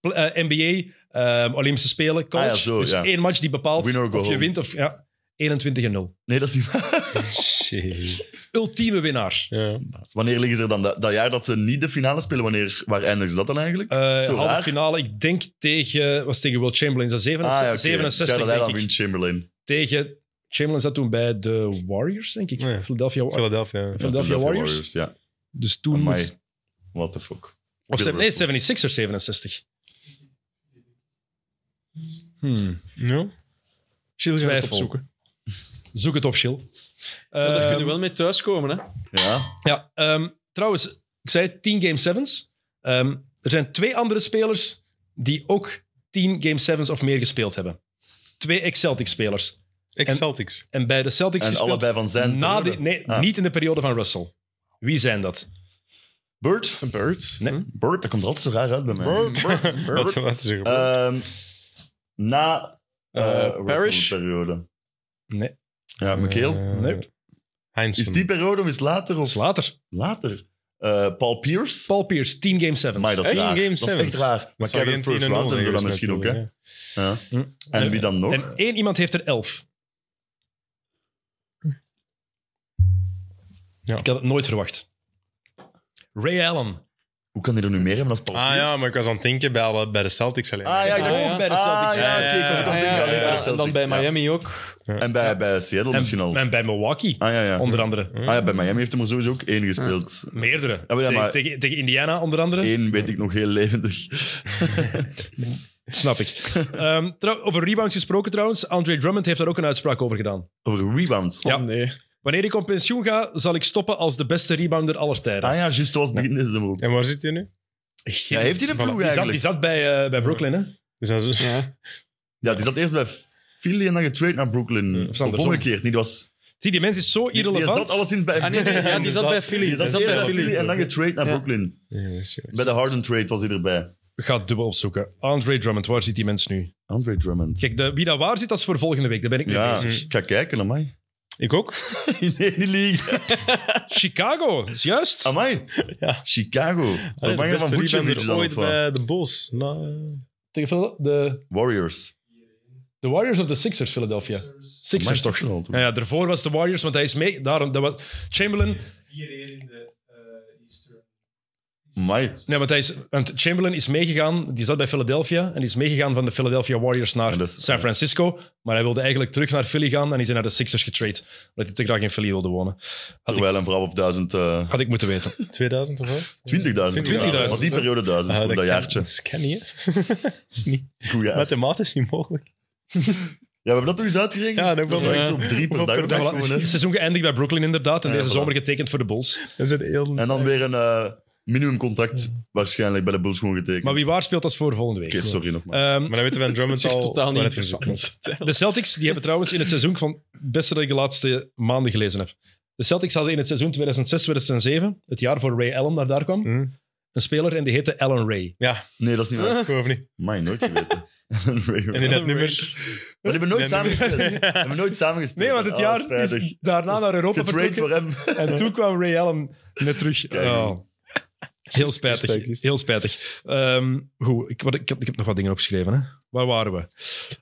pl- eh, NBA ehm, Olympische Spelen, college. Ah ja, zo, dus ja. één match die bepaalt Winner or of go je home. wint of... Ja, 21 en 0. Nee, dat is niet waar. Shit. Ultieme winnaar. Ja. Wanneer liggen ze er dan? Dat, dat jaar dat ze niet de finale spelen, wanneer, waar eindigen ze dat dan eigenlijk? Eh Zo halve raar. finale, ik denk tegen, was tegen Will Chamberlain, dat 67, Ah, ja, oké. Ja, 67 dat hij dan denk ik. wint Chamberlain. Tegen Chamberlain zat toen bij de Warriors, denk Oh ik. Ja. Philadelphia Warriors. Philadelphia. Ja, Philadelphia Warriors. Ja, Dus toen Amai. moet... what the fuck. Of ze- Bill nee, Russell. 76 of 67. Hmm. Ja. Chill gaan we het Twijfel. opzoeken. Zoek het op, Chill. Maar daar Ehm, kunnen we wel mee thuiskomen, hè. Ja, Ja, ehm, trouwens, ik zei het, 10 Game 7's. Ehm, er zijn twee andere spelers die ook 10 Game 7's of meer gespeeld hebben. Twee ex-Celtics-spelers. En- Ex-Celtics. En bij de Celtics en gespeeld... allebei van zijn. na de, periode. nee, Ah. niet in de periode van Russell. Wie zijn dat? Bird? Een bird. Nee. Hm? Bird, dat komt er altijd zo raar uit bij mij. Wat zou dat zeggen? Ehm, na eh Eh, Parrish? periode Nee, Ja, McHale. Eh, Nope. Heinzen. is die periode of is later? dat is Of? later. Later. Eh, Paul Pierce? Paul Pierce, 10 Game 7. Maar dat is Echt? raar. Game dat is echt sevens. raar. Maar Dat zou Kevin geen First 10-0 Round en zo dan geweest misschien ook, hè? natuurlijk, Ja. Hm. En wie dan nog? En één iemand heeft er 11. Ja. Ik had het nooit verwacht. Ray Allen. Hoe kan hij er nu meer hebben dan Paul Ah Pierce? ja, maar ik was aan het denken bij, alle, bij de Celtics alleen. Ah ja, ik Ah, dacht ja. ook bij de Ah, Celtics. ja, oké, ik was ook aan het Ah, denken ja, alleen bij de ja, en dan Celtics, bij ja. Miami ook. En bij, bij Seattle misschien al. En, en bij Milwaukee, Ah ja, ja. onder andere. Ah, ja, bij Miami heeft hij maar sowieso ook één gespeeld. Meerdere. maar ja, Tegen- maar- tegen, tegen Indiana, onder andere. Eén weet ik nog heel levendig. Snap ik. Ehm, trouw- over rebounds gesproken trouwens. Andre Drummond heeft daar ook een uitspraak over gedaan. Over rebounds. Ja. Oh, nee. Wanneer ik op pensioen ga, zal ik stoppen als de beste rebounder aller tijden. Ah ja, juist zoals begin deze nummer ook. En waar zit hij nu? Ja, heeft hij een ploeg die, zat, die eigenlijk? zat bij, eh, bij Brooklyn, hè? Dus dat is Ja. Ja, die zat eerst bij Philly en dan getraind naar Brooklyn. Mm, Of Of andersom. omgekeerd. Nee, die was Zie, die mens is zo Die, die irrelevant. zat alleszins bij Ah, nee, nee, ja, die zat bij Philly. Die zat Dat is bij eerder Philly Philly. en dan getrade naar Ja. Brooklyn. Bij de Harden trade was hij erbij. Ga dubbel opzoeken. Andre Drummond, waar zit die mens nu? Andre Drummond. Kijk, de, wie dat waar zit, dat is voor volgende week. Daar ben ik mee Ja, Mm. bezig. ik ga kijken, amai. Ik ook. Nee, die league. Chicago, is juist. Amai. Ja. Chicago. Allee, Wat de mag je beste van Vucevic rebounder dan? ooit of wat? bij de Bulls. Nou, eh, Tegen Phil- de, Warriors. de Warriors of de Sixers, Philadelphia? Amai, Sixers. is toch snel. toch? Ja, ja, daarvoor was de Warriors, want hij is mee. Daarom, dat was Chamberlain. 4-1 in de eh Eastern. Amai. Nee, want, hij is, want Chamberlain is meegegaan. Die zat bij Philadelphia. En die is meegegaan van de Philadelphia Warriors naar En dat is- San Francisco. Maar hij wilde eigenlijk terug naar Philly gaan. En is hij naar de Sixers getrade. Omdat hij te graag in Philly wilde wonen. Had ik, Terwijl een vrouw of duizend... eh, had ik moeten weten. 2000 of was 20.000. 20.000. Maar die periode duizend, op dat jaartje. Ah, Dat kan niet, hè. dat is niet. Goed jaar. Mathematisch niet mogelijk. Ja, we hebben dat toch eens uitgerekend? Ja, dat ook wel. is echt Ja. op drie per Op dag. per dag. Ja, voilà. Het seizoen geëindigd bij Brooklyn inderdaad. En Ja, deze voilà. zomer getekend voor de Bulls. Dat is een heel... En dan weer een eh, minimumcontract waarschijnlijk bij de Bulls gewoon getekend. Maar wie waar speelt, dat is voor volgende week. Oké, sorry nogmaals. Ehm, Maar dan weten we aan Het Drummond is echt al... totaal niet waar het gezocht interessant. de Celtics die hebben trouwens in het seizoen... Ik vond het beste dat ik de laatste maanden gelezen heb. De Celtics hadden in het seizoen 2006-2007, het jaar voor Ray Allen naar daar kwam, wordt. Hm? een speler en die heette Allen Ray. Ja, nee, dat is niet waar. ik hoef niet. Mij nooit geweten. En in dat nummer... Maar die hebben nooit samen gespeeld. Die hebben nooit samen gespeeld. Nee, want het Ah, jaar spijtig. is daarna naar Europa Getrade vertrokken. voor hem. En toen kwam Ray Allen net terug. Kijk. Oh. Heel Juist, spijtig. juist. Heel spijtig. Ehm, goed, ik, wat, ik, heb, ik heb nog wat dingen opgeschreven. Hè? Waar waren we?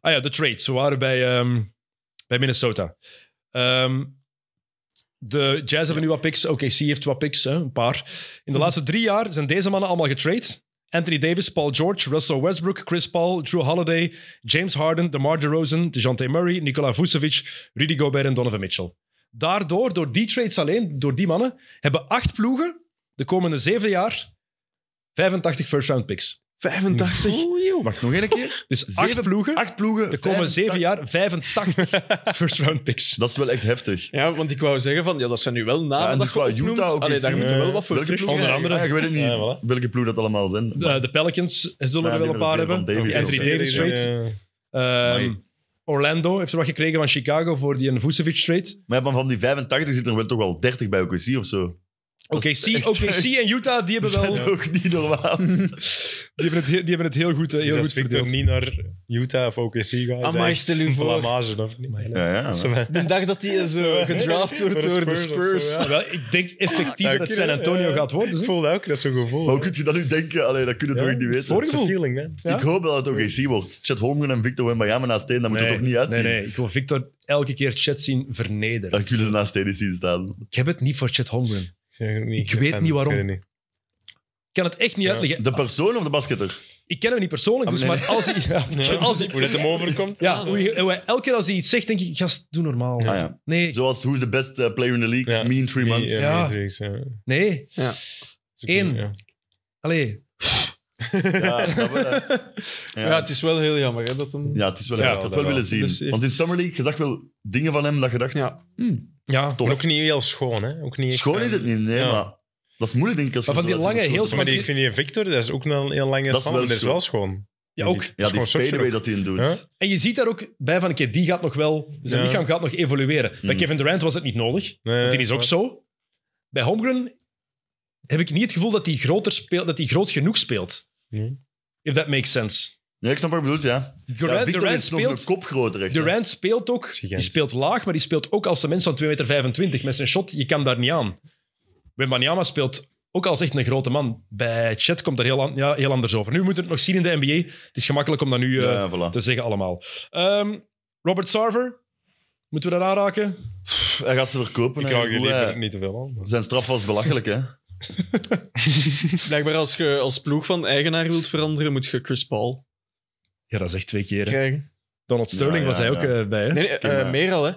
Ah ja, de trades. We waren bij, ehm, bij Minnesota. Ehm, de Jazz hebben nu wat picks. OKC heeft wat picks, hè, een paar. In de laatste drie jaar zijn deze mannen allemaal getrade. Anthony Davis, Paul George, Russell Westbrook, Chris Paul, Drew Holiday, James Harden, DeMar DeRozan, DeJounte Murray, Nikola Vucevic, Rudy Gobert en Donovan Mitchell. Daardoor, door die trades alleen, door die mannen, hebben acht ploegen de komende zeven jaar 85 first-round picks. 85. Mag ik nog één keer? Dus acht Zeven- ploegen, Acht ploegen. de komende zeven 85. jaar 85 first-round picks. Dat is wel echt heftig. Ja, want ik wou zeggen van, ja, dat zijn nu wel Ja, namen en dus dat je qua opnoemt. Utah ook Allee, eens daar zien. moeten we wel Eh, wat voor welke terug. ploegen? Onder andere. Ah, ja, ik weet het niet Ja, voilà. welke ploeg dat allemaal zijn. maar- Eh, De, de Pelicans zullen Ja, er wel die een paar hebben hebben. veel van Die Davis Anthony ook. Davis trade. Ehm, Orlando heeft er wat gekregen van Chicago voor die Vucevic trade. Maar ja, van die 85 zitten er wel toch wel 30 bij OKC of zo. Dat is OKC, echt- OKC en Utah, die hebben, wel, Dat die, is toch niet normaal. hebben het, heel- die hebben het heel goed, eh, Dus heel als goed Victor verdeeld. niet naar Utah of OKC gaat, is hij Amai, echt stel u een voor. blamage, of niet? Ja, ja. Zo met- De dag dat hij zo gedraft wordt door de Spurs. of zo, ja. Wel, ik denk effectief Ja, dat het kunnen, San Antonio ja. gaat worden. Ik hè. voel dat ook, dat is zo'n gevoel. Maar hoe kun je dat nu denken? Allee, dat kunnen we Ja, toch echt niet het weten? is een Voorgevoel. feeling, man. Ja. Ik hoop dat het OKC wordt. Chet Holmgren en Victor Wembanyama naast één, dat moet er toch niet uitzien? Nee, nee, ik wil Victor elke keer Chet zien vernederen. Dat kunnen ze naast één zien staan. Ik heb het niet voor Chet Holmgren. Ik Ik weet niet waarom. kan het echt niet Ja. uitleggen. De persoon of de basketter? Ik ken hem niet persoonlijk, dus, Ah, nee. maar als hij... Ja, Als hoe dat hem overkomt. ja, hoe hij- hoe hij- elke keer als hij iets zegt, denk ik, gast, doe normaal. Ah, ja. Nee, Zoals Who's the best eh, player in the league? Ja. Me in three Die, months. eh, Ja. Matrix, ja. nee. Dat is ook Eén. niet, ja. Allee. Ja, snap je? Ja. ja. het is wel heel jammer hè, dat hem... Ja, het is wel... Ja, ik had het wel dat willen wel. Dus zien. echt- Want in Summer League, je zag wel dingen van hem dat je dacht... Ja. Ja. Tof. Maar ook niet heel schoon, hè? Ook niet echt, eh, Schoon is het niet, nee, Ja. maar... Dat is moeilijk, denk ik. Als je Maar van zo die laat zien lange, geschoten heel Maar wordt. die, ik vind die Victor, dat is ook een heel lange Dat is span, wel maar dat is schoon. wel schoon. ja, ook. Ja, gewoon die shotje fadeaway ook. dat hij in doet. Huh? En je ziet daar ook bij van, oké, die gaat nog wel... Zijn Ja. lichaam gaat nog evolueren. Bij Mm. Kevin Durant was het niet nodig. Nee, Want die is ook zo. Bij Holmgren heb ik niet het gevoel dat hij groter speelt, dat hij groot genoeg speelt. Nee. Hmm. If that makes sense. Ja, ik snap wat je bedoelt, ja. Durant, ja Victor Durant is nog speelt... een kop groter, echt. hè. Durant speelt ook, die Gigant. speelt laag, maar die speelt ook als een mens van 2,25 meter met zijn shot. Je kan daar niet aan. Wembanyama speelt ook als echt een grote man. Bij Chet komt daar heel, an- ja, heel anders over. Nu moeten we het nog zien in de NBA. Het is gemakkelijk om dat nu eh, Ja, ja, voilà. te zeggen allemaal. Ehm, Robert Sarver, moeten we dat aanraken? Hij gaat ze verkopen. Ik hè. hou je Hoe, liever eh, niet te veel aan. maar- Zijn straf was belachelijk, hè. Blijkbaar als je als ploeg van eigenaar wilt veranderen, moet je Chris Paul Ja, dat is echt twee keer. hè. krijgen. Donald Sterling Ja, ja, was hij ook ja. eh, bij. Hè? Nee, nee, eh, maar- meer al hè.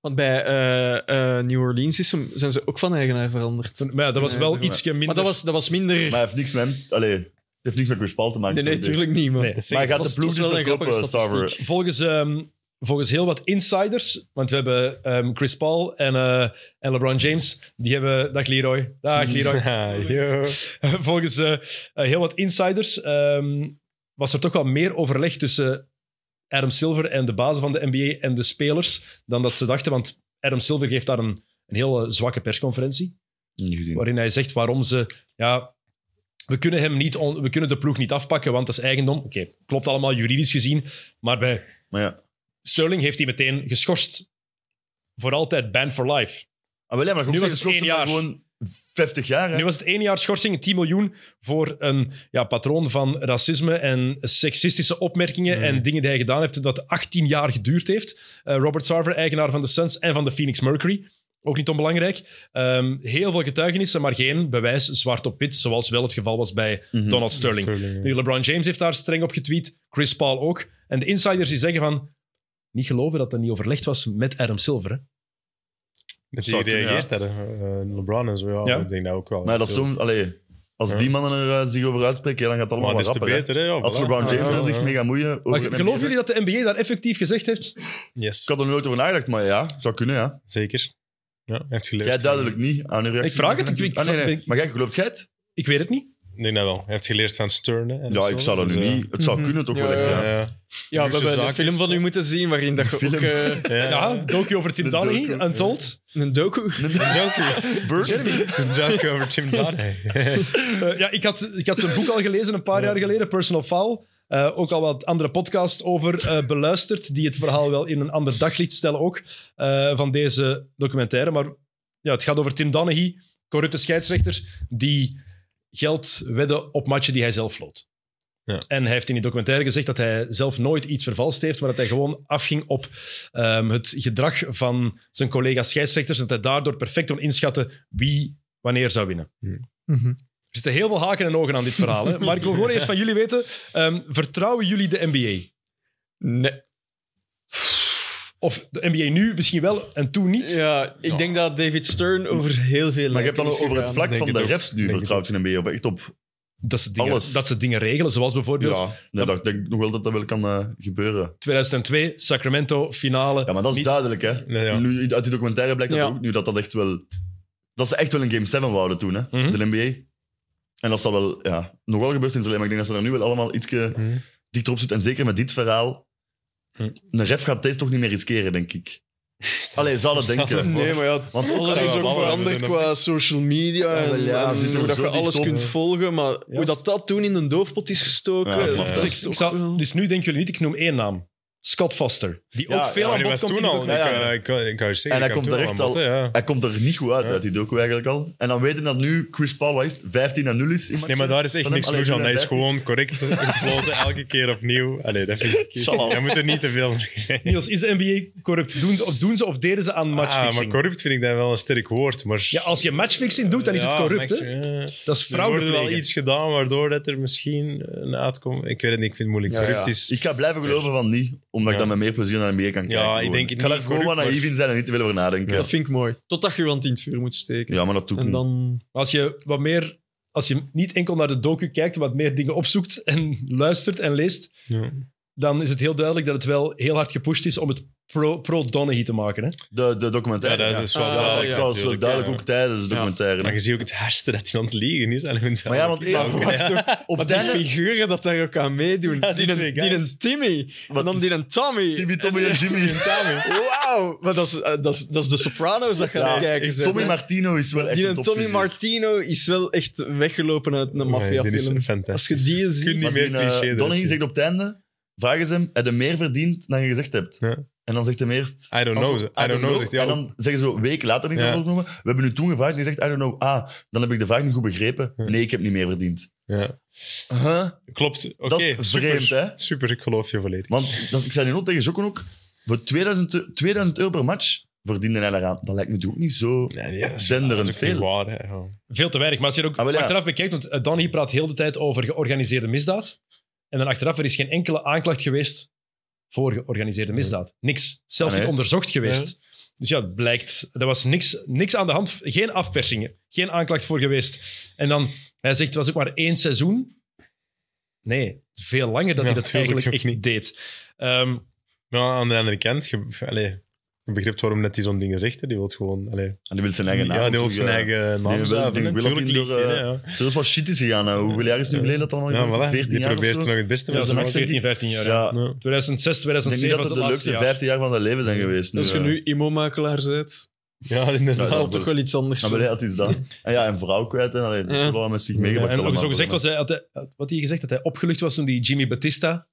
Want bij eh, eh, New Orleans is hem, zijn ze ook van eigenaar veranderd. Toen- Maar ja, dat was wel Nee, ietsje minder. Maar dat was, dat was minder... Maar hij heeft niks met hem... Allee, het heeft niks met Chris Paul te maken. dus- nee, nee, tuurlijk niet, man. Nee. Dat is Maar hij echt- gaat de Dat ploeg is- dus dat is wel een verkopen, grappige Sarver. statistiek. Volgens, ehm, volgens heel wat insiders, want we hebben ehm, Chris Paul en, eh, en LeBron James, die hebben... Dag Leroy. Dag Leroy. Ah, yo. volgens eh, eh, heel wat insiders ehm, was er toch wel meer overleg tussen Adam Silver en de bazen van de NBA en de spelers dan dat ze dachten, want Adam Silver geeft daar een, een hele zwakke persconferentie. Niet gezien. waarin hij zegt waarom ze. Ja, we kunnen, hem niet on- we kunnen de ploeg niet afpakken, want dat is eigendom. Oké, klopt allemaal juridisch gezien. Maar bij Maar ja. Sterling heeft hij meteen geschorst. Voor altijd banned for life. Ah, wel, ja, maar je Nu moet was het zeggen, één schorsen maar jaar. gewoon 50 jaar. Hè? Nu was het één jaar schorsing, 10 miljoen. voor een ja, patroon van racisme en seksistische opmerkingen. Mhm. en dingen die hij gedaan heeft, dat 18 jaar geduurd heeft. Eh, Robert Sarver, eigenaar van de Suns en van de Phoenix Mercury. Ook niet onbelangrijk. Ehm, heel veel getuigenissen, maar geen bewijs zwart op wit. zoals wel het geval was bij Mhm. Donald Sterling. ja. Nu, LeBron James heeft daar streng op getweet. Chris Paul ook. En de insiders die zeggen van... Niet geloven dat dat niet overlegd was met Adam Silver. Hè? Dat die Zou kunnen, gereageerd hebben. eh, LeBron en zo, ja, Ja. ik denk dat ook wel. Maar dat is zo, allee, als Ja. die mannen er eh, zich over uitspreken, ja, dan gaat het Maar allemaal het is wat te rapper. hè. beter, hè? Ja, Als voilà. LeBron James Ja, er ja, zich ja. mee gaat moeien... Maar over een geloven NBA jullie dat de NBA daar effectief gezegd heeft? Yes, Ik had er nooit over nagedacht, maar ja, zou kunnen, ja. zeker. Ja, hij heeft geleerd. Jij duidelijk niet aan uw reactie. Ik vraag het, ik- ik- ah, nee, nee. ik- Maar jij gelooft jij het? Ik weet het niet. Nee, nou wel. Hij heeft geleerd van Stern. En Ja, zo, ik zou dat nu dus, eh, niet... Het zou Mhm. kunnen toch Ja, wel echt, Ja, ja. ja. Ja, we Luxe hebben een zaak film is- van u moeten zien waarin dat je Film. ook eh, Ja, docu over Tim De Donaghy, docu, Untold. een docu. Een joke. Bird? Een joke over Tim Donahue. Eh, ja, ik, had, ik had zijn boek al gelezen een paar jaar geleden, Personal Foul. Eh, ook al wat andere podcasts over eh, beluisterd, die het verhaal wel in een ander daglicht stellen ook, eh, van deze documentaire. Maar ja, het gaat over Tim Donaghy, corrupte scheidsrechter, die geld wedde op matchen die hij zelf floot. Ja. En hij heeft in die documentaire gezegd dat hij zelf nooit iets vervalst heeft, maar dat hij gewoon afging op ehm, het gedrag van zijn collega scheidsrechters en dat hij daardoor perfect kon inschatten wie wanneer zou winnen. Er zitten heel veel haken en ogen aan dit verhaal. Hè? Maar ik wil gewoon eerst van jullie weten: ehm, vertrouwen jullie de NBA? Nee. Of de NBA nu misschien wel en toen niet? Ja, ik denk dat David Stern over heel veel. Maar je hebt dan lijken over is het vlak denk van het de ook. refs nu Denk vertrouwd in NBA, of echt op... Dat, ze dingen, Alles. dat ze dingen regelen, zoals bijvoorbeeld Ja, nee, dat, ik denk nog wel dat dat wel kan eh, gebeuren. 2002, Sacramento, finale. Ja, maar dat is niet- duidelijk, hè. Nee, ja. Nu, uit die documentaire blijkt dat Ja. ook nu dat dat echt wel... Dat ze echt wel een Game 7 wouden toen, hè, Mhm. de NBA. En dat zal wel, ja, nog wel gebeurd zijn, maar ik denk dat ze daar nu wel allemaal ietsje Mhm. dichter op zitten. En zeker met dit verhaal, Mhm. een ref gaat deze toch niet meer riskeren, denk ik. Allee, zou dat Stel denken. ervoor. Nee, maar ja, Want ook alles zou is wel ook vallen. veranderd We zijn qua social media Ja, en, wel, ja, en zitten we hoe dat zo je dicht alles op, kunt hè. volgen. Maar hoe dat dat toen in een doofpot is gestoken. Ja, Dus, maar eh, dat is ik- ik toch zou- wel- dus nu denken jullie niet, ik noem één naam. Scott Foster, die Ja, ook ja, veel Maar aan die bod was komt. in toen die al. Ik, documentaire. Ja, ja. eh, ik, wou- ik wou je zeggen, En hij ik komt had er toen echt aan bod, al- hè, ja. Hij komt er niet goed uit, Ja. uit die docu eigenlijk al. En dan weten dat nu Chris Paul, wat is het, 15 naar 0 is in Nee, maar daar is Van echt hem niks alleen moeilijk aan. Hij is 13. gewoon correct gefloten, elke keer opnieuw. Allee, dat vind ik... Zal al. Jij moet er niet te veel mee zijn. Niels, is de NBA corrupt? Doen, of doen ze of deden ze aan Ah, maar matchfixing? corrupt vind ik dat wel een sterk woord, maar... ja, als je matchfixing doet, dan is het corrupt. hè? Dat is Er fraude. wordt wel plegen. iets gedaan waardoor dat er misschien een uitkomt... Ik weet het niet, ik vind het moeilijk. Ja, corrupt ja. is... Ik ga blijven geloven van niet, omdat ik Ja. dan met meer plezier naar NBA kan kijken. gewoon. ik denk ik ga niet daar gewoon wat corrupt, naïef maar- in zijn en niet te veel over nadenken. Ja, Dat vind ik mooi. Totdat je iemand in het vuur moet steken. maar dat doe ik en niet. dan... Maar als je wat meer, als je niet enkel naar de docu kijkt, wat meer dingen opzoekt en luistert en leest, Ja. dan is het heel duidelijk dat het wel heel hard gepusht is om het pro- pro-Donaghy te maken. Hè? De, de documentaire. Ja, dat is wel Ja, duidelijk, dat was wel natuurlijk, duidelijk ja. ook tijdens de documentaire. Maar je ziet ook het hardste dat hij aan het liegen is. Allee, Maar ja, want eerst Maar wacht, hoor. op Maar het die einde... figuren dat daar ook aan meedoen. Ja, die die twee een, die guys. een Timmy. Wat en dan is- die een Tommy. Timmy, Tommy en Jimmy. Wauw! Maar dat is, eh, dat, is, dat is de Sopranos dat je aan het Ja, kijken bent, Tommy hè. Martino is wel echt Die een een Tommy topfiguur. Martino is wel echt weggelopen uit Oh een Dit is maffiafilm. Als fantastisch. je die ziet... niet Maar meer die, eh, cliché eruit Donaghy zien. zegt op het einde, vragen ze hem, heb je meer verdiend dan je gezegd hebt? Ja. En dan zegt hem eerst... I don't know. I don't know, zegt hij En ook. dan zeggen ze zo, een week later niet Ja. ja. opgenomen. We hebben nu toen gevraagd en je zegt, I don't know. Ah, dan heb ik de vraag niet goed begrepen. Ja. Nee, ik heb niet meer verdiend. Ja. Huh? Klopt. Oké, Dat is vreemd, super. hè? Super, ik geloof je volledig. Want dat, ik zei nu ook tegen Jokken ook, voor 2000, eu- 2000 euro per match verdiende hij daaraan. Dat lijkt me natuurlijk ook niet zo... Nee, nee, dat is- Denderend dat is ook niet veel. waar, hè. Ja. Veel te weinig. Maar als je het ook Ah, wel ja. achteraf bekijkt, want eh, Donaghy praat heel de tijd over georganiseerde misdaad. En dan achteraf, er is geen enkele aanklacht geweest voor georganiseerde misdaad. Niks. Zelfs Ah, nee. niet onderzocht geweest. Dus ja, het blijkt. Er was niks, niks aan de hand. Geen afpersingen. Geen aanklacht voor geweest. En dan, hij zegt, het was ook maar één seizoen. Nee, veel langer dat Ja, hij dat tuurlijk eigenlijk ook echt niet. niet deed. Ehm, Maar aan de andere kant, je, allee, begrijpt waarom net die zo'n dingen zegt. hè. Die wil gewoon... Allee, En die wil zijn eigen naam. ja, die wil zijn terug, eh, eigen naam wil- die zuiveren. wil Natuurlijk niet ligt door, hij, eh, hè, ja. Zoals wat shit is gegaan. hè. Hoeveel jaar is het nu geleden dat allemaal Ja, gebeurd is? voilà. 14 Die jaar of probeert er zo? nog het beste Ja, van ze te maakt maken. 14, 15 jaar. Ja. Ja. Ja. 2006, Ik denk niet 2007 dat was het de de laatste leukste jaar. 15 jaar van zijn leven zijn geweest. Als je eh. nu imo-makelaar bent, Ja, Ja, dat inderdaad. dat zal is toch wel iets anders Ja, maar zijn. ja, het is dat. En ja, een vrouw kwijt en alleen. Ja. Dat allemaal met zich Ja, meegebracht. en ook allemaal. zo gezegd was hij, had hij- had- wat hij gezegd, dat hij opgelucht was toen die Jimmy Batista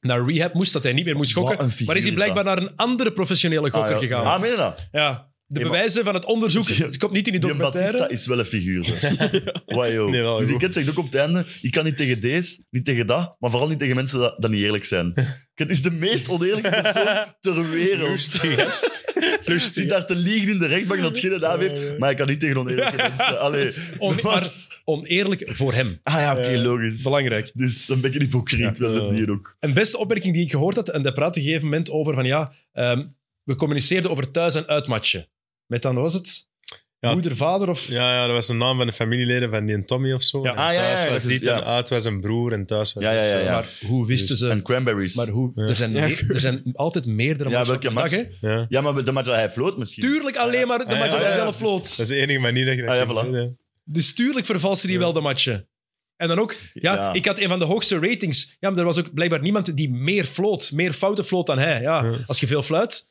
naar rehab moest, dat hij niet meer moest gokken. Wat een figuur Maar is hij is blijkbaar naar een andere professionele Ah, gokker ja. gegaan. Ah, meen je dat? Ja, de Ja, maar- bewijzen van het onderzoek, het komt niet in die Die Batista documentaire. is wel een figuur. zeg. Wauw, joh. Nee, wel dus goed. ik zegt ook op het einde, ik kan niet tegen deze, niet tegen dat, maar vooral niet tegen mensen dat, dat niet eerlijk zijn. Het is de meest oneerlijke persoon ter wereld. Lustige gast. Zit Lustige daar te liegen in de rechtbank dat het geen naam heeft, maar ik kan niet tegen oneerlijke mensen. Allee. On- Maar- maar oneerlijk voor hem. Ah ja, oké, logisch. Belangrijk. Dus een beetje hypocriet wel dat hier ook. Een beste opmerking die ik gehoord had, en daar praatte op een gegeven moment over van ja, ehm, we communiceerden over thuis- en uitmatchen. Met dan, wat was het? Ja. Moeder, vader of... Ja, ja, dat was de naam van de familieleden van die en Tommy of zo. Ja. En Ah, ja, ja, thuis ja, was dat dit is- ja. en uit was een broer en thuis was Ja, ja, ja, dit, zo. ja. Maar hoe wisten ze... En cranberries. Maar hoe, Ja. er, zijn Ja. meer- er zijn altijd meerdere Ja, matchen welke op een dag, match? hè? Ja. Ja, maar de match dat hij floot misschien. Tuurlijk alleen maar de Ah, ja, match dat ja, hij ja. zelf Dat floot. is de enige manier dat je dat Ah, ja, kunt voilà. doen, hè. Dus tuurlijk vervalsen die Ja. wel de matchen. En dan ook, ja, Ja. ik had een van de hoogste ratings. Ja, maar er was ook blijkbaar niemand die meer floot, meer fouten floot dan hij. Ja, Ja. als je veel fluit,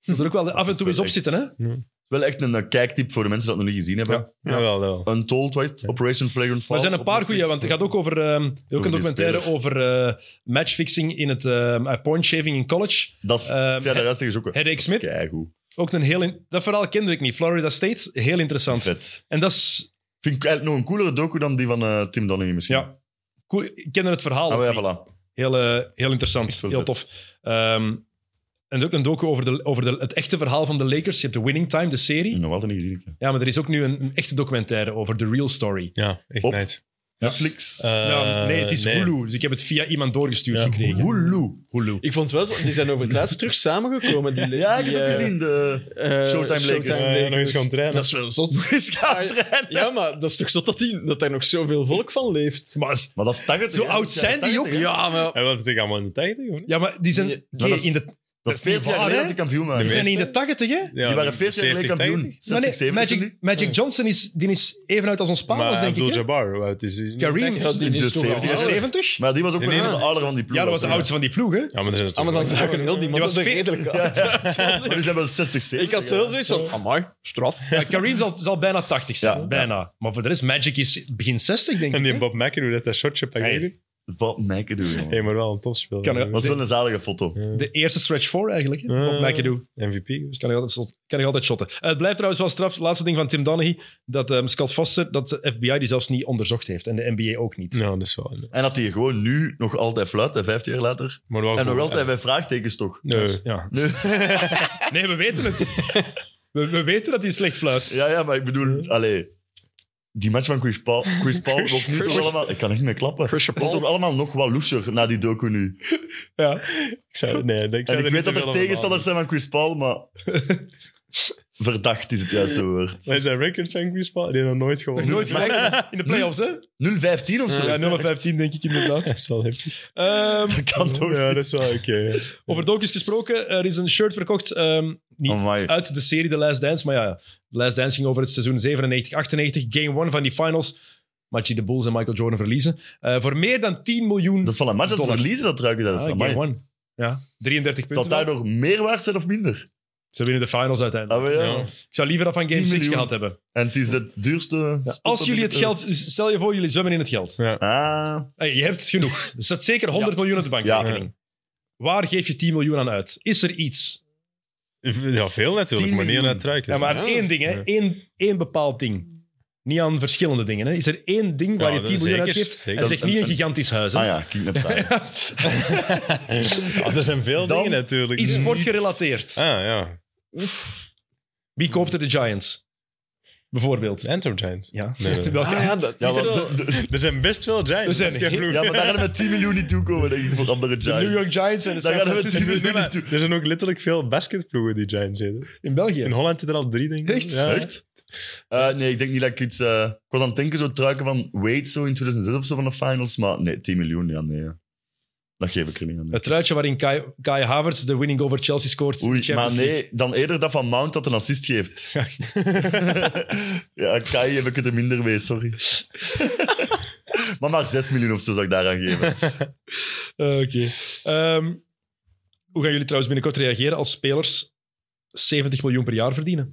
zal er ook wel af en toe eens wel op echt- zitten, hè? Wel echt een eh, kijktip voor de mensen die dat nog niet gezien hebben. Ja. Jawel, wel. Untold, wat is het? Operation Flagrant Fall. Maar er zijn een op paar Netflix. goede, want het gaat ook over ehm, er is ook een die documentaire spelers. over eh, matchfixing in het eh, point shaving in college. Dat is, Ehm, zij de rest is ook wel- Headache Smith, keigoed. ook een heel... in- dat verhaal kende ik niet. Florida State, heel interessant. Vet. En dat is... Vind ik eigenlijk nog een coolere docu dan die van eh, Tim Donaghy misschien. Ja, cool. ik kende het verhaal. Ah, ook ja, niet. voilà. Heel, eh, heel interessant, Echt wel heel vet. tof. Ehm, en ook een docu over, de, over de, het echte verhaal van de Lakers. Je hebt de Winning Time, de serie. Nog altijd niet gezien. ik. Ja, maar er is ook nu een, een echte documentaire over de real story. Ja, echt Op. nice. Netflix. Eh, Ja, nee, het is nee. Hulu. Dus ik heb het via iemand doorgestuurd Ja. gekregen. Hulu. Hulu. Ik vond wel, zo- die zijn over het laatst terug samengekomen. Die, Ja, ik heb die, het ook eh, gezien. De... eh, Showtime Lakers. Ja, ja, nog eens dus- gaan trainen. Dat is wel zot. Ja, maar dat is toch zot dat, die, dat daar nog zoveel volk van leeft? Maar als- Maar dat is 80. zo hè? oud zijn die ook? 80, hè? Ah, Ja, maar, Hij wilde zich allemaal in de tachtig, of niet? ja, maar die zijn, Ja, die dat is- in de, Dat is is niet 40 jaar waar, geleden hè? dat die kampioen die waren. zijn meeste- in de tachtig, hè? Ja, Die waren 40 jaar geleden 70, kampioen. 80. Maar nee, 60, 70 Magic, nu. Magic Johnson is, die is even uit als ons Maar paal, denk ik. hè? Abdul-Jabbar, hoe oud is hij? Kareem Ja, die Dus is toch 70 wel jaar. oud. 70? Maar die was ook Nee, wel een nee. van de ouder van die ploeg. Ja, dat was de toen, oudste van die ploeg, hè? Ja, maar er zijn Ah, maar dan zag ik wel, die Die man was was een ve- redelijk oud. Maar die zijn wel 60, 70. Ik had wel zoiets van, amai, straf. Ja, Kareem zal, zal bijna 80 zijn. Ja. bijna. Maar voor de rest, Magic is begin 60, denk En ik. die hè? Bob McEnroe, dat dat shotje Ah, pakt. Hey. Nee, Wat mekken doen, jongen. maar wel een topspeler. Kan er- Dat is wel een zalige foto. De eerste stretch 4 eigenlijk. Hè? Bob Eh. McAdoo. MVP. geweest. Kan ik altijd, shot- kan ik altijd shotten. Eh, het blijft trouwens wel straf. Het laatste ding van Tim Donaghy. Dat ehm, Scott Foster, dat de FBI die zelfs niet onderzocht heeft. En de NBA ook niet. Ja, dat is wel. En dat hij gewoon nu nog altijd fluit, hè, 15 jaar later. Maar wel En nog goed. altijd bij vraagtekens, toch? Nee. Dus, Ja. Nee. Nee, we weten het. We, we weten dat hij slecht fluit. Ja, ja, maar ik bedoel, allee, die match van Chris Paul, Chris Paul wordt nu toch allemaal... Ik kan niet meer klappen. wordt toch allemaal nog wat loesjer na die docu nu. Ja. Ik zou, nee, ik En zou ik niet weet dat te veel er over tegenstanders zijn van Chris Paul, maar... Verdacht is het juiste woord. 0-15 nadenken. Hij is een record van Chris Paul. Die heeft nog nooit Nog gewonnen. nooit gelijk in de playoffs, hè? of zo. Ja, 0-15 denk ik inderdaad. Dat is wel heftig. Ehm, Dat kan toch? Ja, dat is wel oké. ja. over docus gesproken. Er is een shirt verkocht. ehm, niet Amai. uit de serie The Last Dance. Maar ja, The Last Dance ging over het seizoen 97-98. Game 1 van die finals. Matchje de Bulls en Michael Jordan verliezen. Eh, voor meer dan 10 miljoen. Dat is van een match als ze Dollar. verliezen, dat ruiken dat. Ah, is. game Amai. 1. Ja, 33 Zal het punten. daardoor meer waard zijn of minder? Ze winnen de finals Ah, uiteindelijk. maar ja. Ja. Ik zou liever dat van Game 10 6 miljoen. gehad hebben. En het is het duurste... Als jullie het geld... Stel je voor, jullie zwemmen in het geld. Ah, Hey, je hebt genoeg. Er staat zeker 100 miljoen op de bankrekening. Waar geef je 10 miljoen aan uit? Is er iets? Ja, veel natuurlijk, 10 maar niet aan miljoen. het ruiken. Ja, maar aan Ja. één ding, hè. Ja. Eén, één bepaald ding. Niet aan verschillende dingen. Hè. Is er één ding waar Ja, je dat 10 miljoen zeker, uitgeeft? zeker. En zeg niet een gigantisch huis. Hè. ah ja, kijk net daar. Ja, er zijn veel Dan dingen natuurlijk. Iets sportgerelateerd. Ah, ja. Wie koopt er de Giants? Bijvoorbeeld. De Antwerp Giants. Ja. Nee, nee. Welke- Ah, ja, dat Ja, is want wel... de- de- Er zijn best veel Giants. Er zijn Dat is geen heel- ploeg. ja, maar daar gaan we met 10 miljoen niet toe komen, denk ik, voor andere de Giants. New York Giants en de Daar San gaan we Francisco. tien miljoen Nee, maar niet toe. er zijn ook letterlijk veel basketploegen die Giants zitten. In België. In Holland zitten er al drie, denk ik. Echt? Ja. Echt? Eh, nee, ik denk niet dat ik iets... eh, ik was aan het denken, zo het ruiken van Wade zo in 2006 of zo van de finals, maar nee, 10 miljoen, ja, nee. ja. Dat geef ik er niet aan. Het truitje waarin Kai, Kai Havertz de winning over Chelsea scoort. in de Oei, maar Champions League. nee, dan eerder dat van Mount dat een assist geeft. ja, Kai heb ik het er minder mee, sorry. maar maar 6 miljoen of zo zou ik daaraan geven. Eh, Oké. Ehm, hoe gaan jullie trouwens binnenkort reageren als spelers 70 miljoen per jaar verdienen?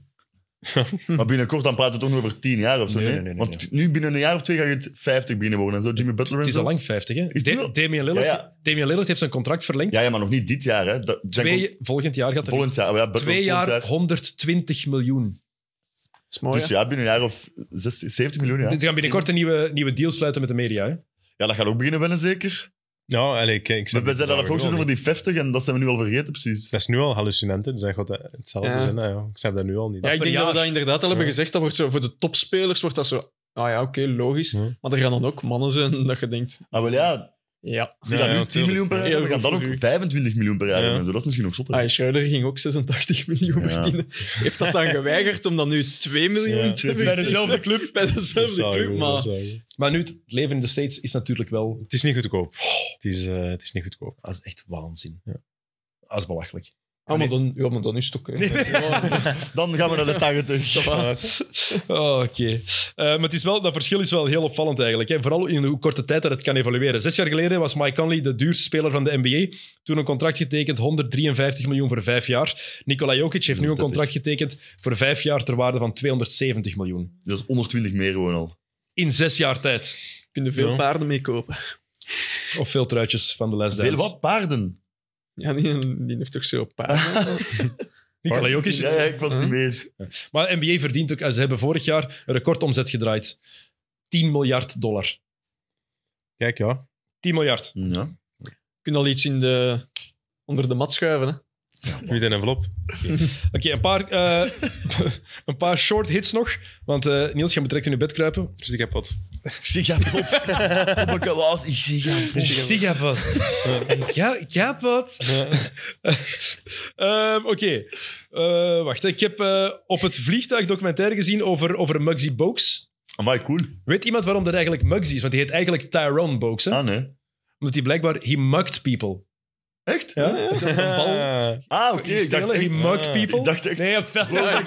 Maar binnenkort dan praten we toch nog over 10 jaar of zo. Nee, Nee, nee, nee, nee, Want nu binnen een jaar of twee ga je het 50 binnen worden en zo. Jimmy Butler en Het is zo. al lang 50, hè? het Da- wel? Damian, Lillard, Ja, ja. Damian Lillard heeft zijn contract verlengd. Ja, ja, maar nog niet dit jaar. Hè. Dat, zijn twee, volgend jaar gaat gewoon er volgend jaar. Maar Ja, Butler twee volgend jaar, Oh, 120 miljoen. is mooi. Dus hè? ja, binnen een jaar of 6, 70 miljoen, ja. Ze gaan binnenkort een nieuwe, nieuwe deal sluiten met de media. Hè? Ja, dat gaat ook beginnen wennen, zeker. Ja, allee, ik, ik Maar zeg- we zijn daar voorstel over die 50 en dat zijn we nu al vergeten, precies. Dat is nu al hallucinant, hè. dus dat gaat dat hetzelfde Ja. zijn. hè, Nou ja. Ik snap dat nu al niet. Ja, ik per denk dat jaar. we dat inderdaad al hebben Ja. gezegd. Dat wordt zo, voor de topspelers wordt dat zo... Ah ja, oké, logisch. Ja. Maar er gaan dan ook mannen zijn dat je denkt... Ah, wel ja, Ja. die Ja, gaan ja, nu 10 tuurlijk. miljoen per jaar Heel hebben, we gaan dan goed voor ook u. 25 miljoen per jaar Ja. hebben en zo. Dat is misschien nog zotter. Ah, Schreuder ging ook 86 miljoen Ja. verdienen. Heeft dat dan geweigerd om dan nu 2 miljoen Ja. te Bij dezelfde club. Bij Dat dezelfde zou club, goed, dat maar... zou goed. Maar nu, het leven in de States is natuurlijk wel... Het is niet goedkoop. Het is, eh, het is niet goedkoop. Dat is echt waanzin. Dat is belachelijk. Ah, maar dan, ja, maar dan is het oké. Dan gaan we naar de 80. Oh, Oké. Eh, maar het is wel, dat verschil is wel heel opvallend eigenlijk. Hè? Vooral in hoe korte tijd dat het kan evolueren. Zes jaar geleden was Mike Conley de duurste speler van de NBA. Toen een contract getekend, 153 miljoen voor vijf jaar. Nikola Jokic heeft nu een contract getekend voor vijf jaar ter waarde van 270 miljoen. Dat is 120 meer gewoon al. In zes jaar tijd. kunnen veel Ja. paarden mee kopen. Of veel truitjes van de Les Veel Dance. wat paarden. Ja, die, die heeft toch zo paarden. Nikola Jokic. Ja, ja, ik was niet mee. Maar NBA verdient ook... Ze hebben vorig jaar een recordomzet gedraaid. 10 miljard dollar. Kijk, ja. 10 miljard. Ja. Je kunt al iets in de, onder de mat schuiven. Hè? Wie een envelop? Oké, een paar, eh, een paar short hits nog. Want eh, Niels, je moet direct in je bed kruipen. Dus ik heb wat. Sigapot. Op een kalas. Ik sigapot. Sigapot. Gapot. Ehm, Oké, Eh, wacht. hè. Ik heb eh, op het vliegtuig documentaire gezien over, over Muggsy Bogues. Amai, cool. Weet iemand waarom dat eigenlijk Muggsy is? Want die heet eigenlijk Tyrone Bogues. Hè? Ah, nee. Omdat hij blijkbaar... He mugged people. Echt? Ja? Dat is een bal. Ah, oké. Ik dacht Stelen, echt... he mugged ah, people. ik dacht echt- Nee, op het veld. Volgende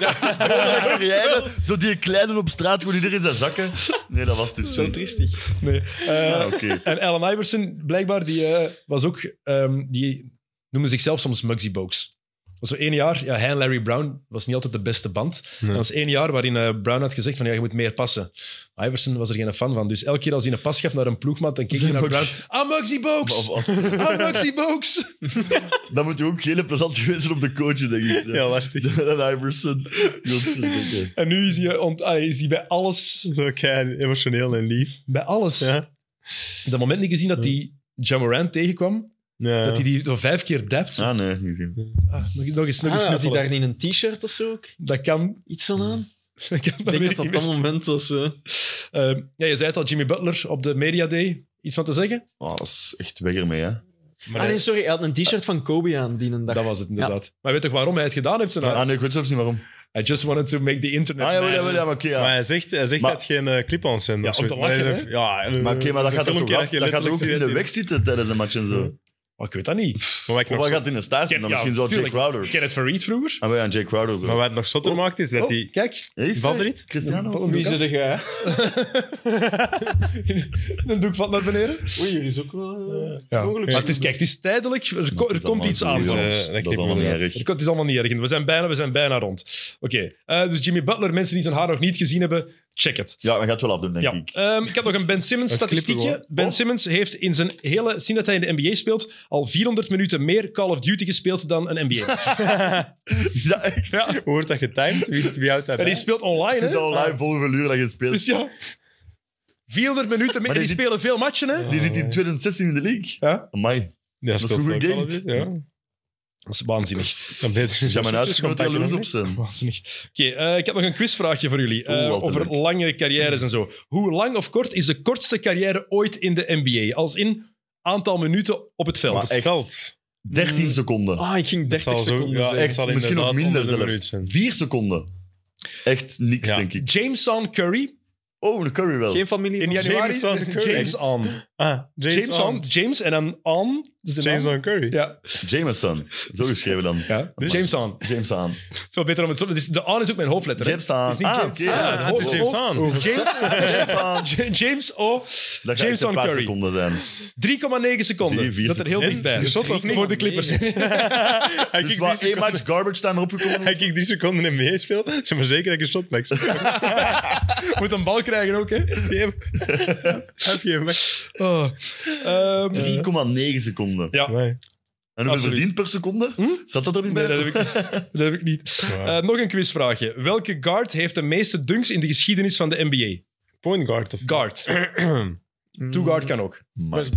carrière, zo die kleine op straat, gewoon iedereen zijn zakken. Nee, dat was dus Zo niet. triestig. Nee. Eh, Ah, oké. En Allen Iverson, blijkbaar, die eh, was ook... ehm, die noemde zichzelf soms Muggsy Bogues. was zo één jaar... Ja, hij en Larry Brown was niet altijd de beste band. Nee. Dat was één jaar waarin eh, Brown had gezegd van ja, je moet meer passen. Iverson was er geen fan van. Dus elke keer als hij een pas gaf naar een ploegmaat, dan keek hij Zei naar Brown. Muggsy- Ah, Muggsy Of- Bogues! of- Ah, Muggsy Bogues! Dan moet je ook heel plezant geweest zijn op de coach, denk ik. Ja, lastig. En Iverson. Heel schrik, oké. En nu is hij, eh, ont- ah, is hij bij alles... Ah, Zo kei emotioneel en lief. Bij alles. Ja. Dat moment niet gezien dat hij Jamoran tegenkwam, Ja. dat hij die zo vijf keer dapt. Ah, nee, niet zien. Ah, nog, nog eens, nog eens Ah, had hij knuffelen. daar niet een t-shirt of zo ook? Dat kan. Iets van aan? Dat kan Ik dat denk weet dat dat ik dat niet moment was. eh. meer. Ehm, ja, je zei het al, Jimmy Butler op de Media Day. Iets van te zeggen? Oh, dat is echt weg ermee, hè. Maar Ah nee, hij- sorry. Hij had een t-shirt van Kobe aan die een dag. Dat was het inderdaad. Maar weet toch waarom hij het gedaan heeft? Zijn Ah, nee, ik weet zelfs niet waarom. I just wanted to make the internet. Ah, ja, wel, mad. ja, wel, ja, maar oké, ja. maar hij zegt, hij zegt Maar- dat het geen eh, clip-ons zijn. Ja, of om zo. te lachen, hij zegt- ja, eh, Maar oké, maar dat zo'n gaat er toch filmpje af? je Dat gaat er ook letterlijk in de ziet. weg zitten tijdens een match en zo. Oh, ik weet dat niet. Maar wat ik Of nog hij gaat in de staart, Ken- dan ja, misschien zo Jake tuurlijk. Crowder. Kenneth Farid vroeger. Ah, maar ja, Jake Crowder Maar zo. wat het nog zotter maakt, is dat Oh, hij... kijk. Is Valt er iets? Cristiano? Van- nou, Wie zit er jij? Een doek valt naar beneden. Oei, hier is ook wel... eh, Ja. mogelijk. Maar het is, kijk, het is tijdelijk. Er, ko- er komt iets aan Dat voor eh, is ons. dat allemaal- dat is allemaal knippen we niet eruit. erg. Het is allemaal niet erg. We zijn bijna, we zijn bijna rond. Oké, eh, dus Jimmy Butler, mensen die zijn haar nog niet gezien hebben, check het. Ja, hij gaat wel afdoen, denk Ja. ik. Ehm, ik heb nog een Ben Simmons Het Oh. knippen statistiekje. Ben Simmons heeft in zijn hele... Zien dat hij in de NBA speelt, al 400 minuten meer Call of Duty gespeeld dan een NBA. Ja, echt. ja. Hoe wordt dat getimed? Wie, wie houdt dat En bij? die speelt online, Je hè? kunt al live volgen hoeveel uur dat je speelt. Dus ja... 400 minuten meer. Maar Die dit- spelen veel matchen, hè? Die zit in 2016 in de league. Ja. Amai. Ja, is speelt goed ook gegamed. al dit, ja. Dat is waanzinnig. Dan ben je- Ja, nou, mijn huisgenoot Compact heel nog loers op niet. zijn. Waanzinnig. Oké, eh, ik heb nog een quizvraagje voor jullie. eh, Oeh, altijd over leuk. lange carrières en zo. Hoe lang of kort is de kortste carrière ooit in de NBA? Als in aantal minuten op het veld. Op het echt. veld. Mm. 13 seconden. Ah, ik ging Dat 30 zal zo... seconden Ja, zeggen. dat zal Misschien nog inderdaad minder onder de minuut zelfs. zijn. 4 seconden. Echt niks, Ja. denk ik. Jameson Curry Oh, de Curry wel. Geen familie. in van- Ah, januari. Jameson Curry. James on. Ah, James, James on. James en dan on. Dat is de naam. Jameson Curry. Ja, Jameson. Zo geschreven dan. ja. Dus- Jameson. James aan. Veel beter om het zo het is- De aan is ook mijn hoofdletter. hè. James aan. Het is niet Ah, James oké. Aan. Ja, oh. De het is hoofd- James Aan. hoofd- James, James O. Dat gaat echt Jameson een paar Curry. seconden zijn. 3,9 Zie je, seconden. vier Dat er heel seconden. dichtbij. Geschopt of niet? Voor de Clippers. Hij Dus kijkt wat drie één match garbage time erop gekomen Hij kijkt drie seconden NBA speel. Zeg maar zeker dat je shot maakt. Moet een bal krijgen ook, hè? Even weg. Oh. Ehm, 3,9 seconden. ja. Nee. En hoeveel absoluut. verdient per seconde? Zat dat er niet Nee, bij? dat heb ik, dat heb ik niet. Zwaar. Eh, nog een quizvraagje. Welke guard heeft de meeste dunks in de geschiedenis van de NBA? Point guard of Guard. Two guard kan ook. Maar-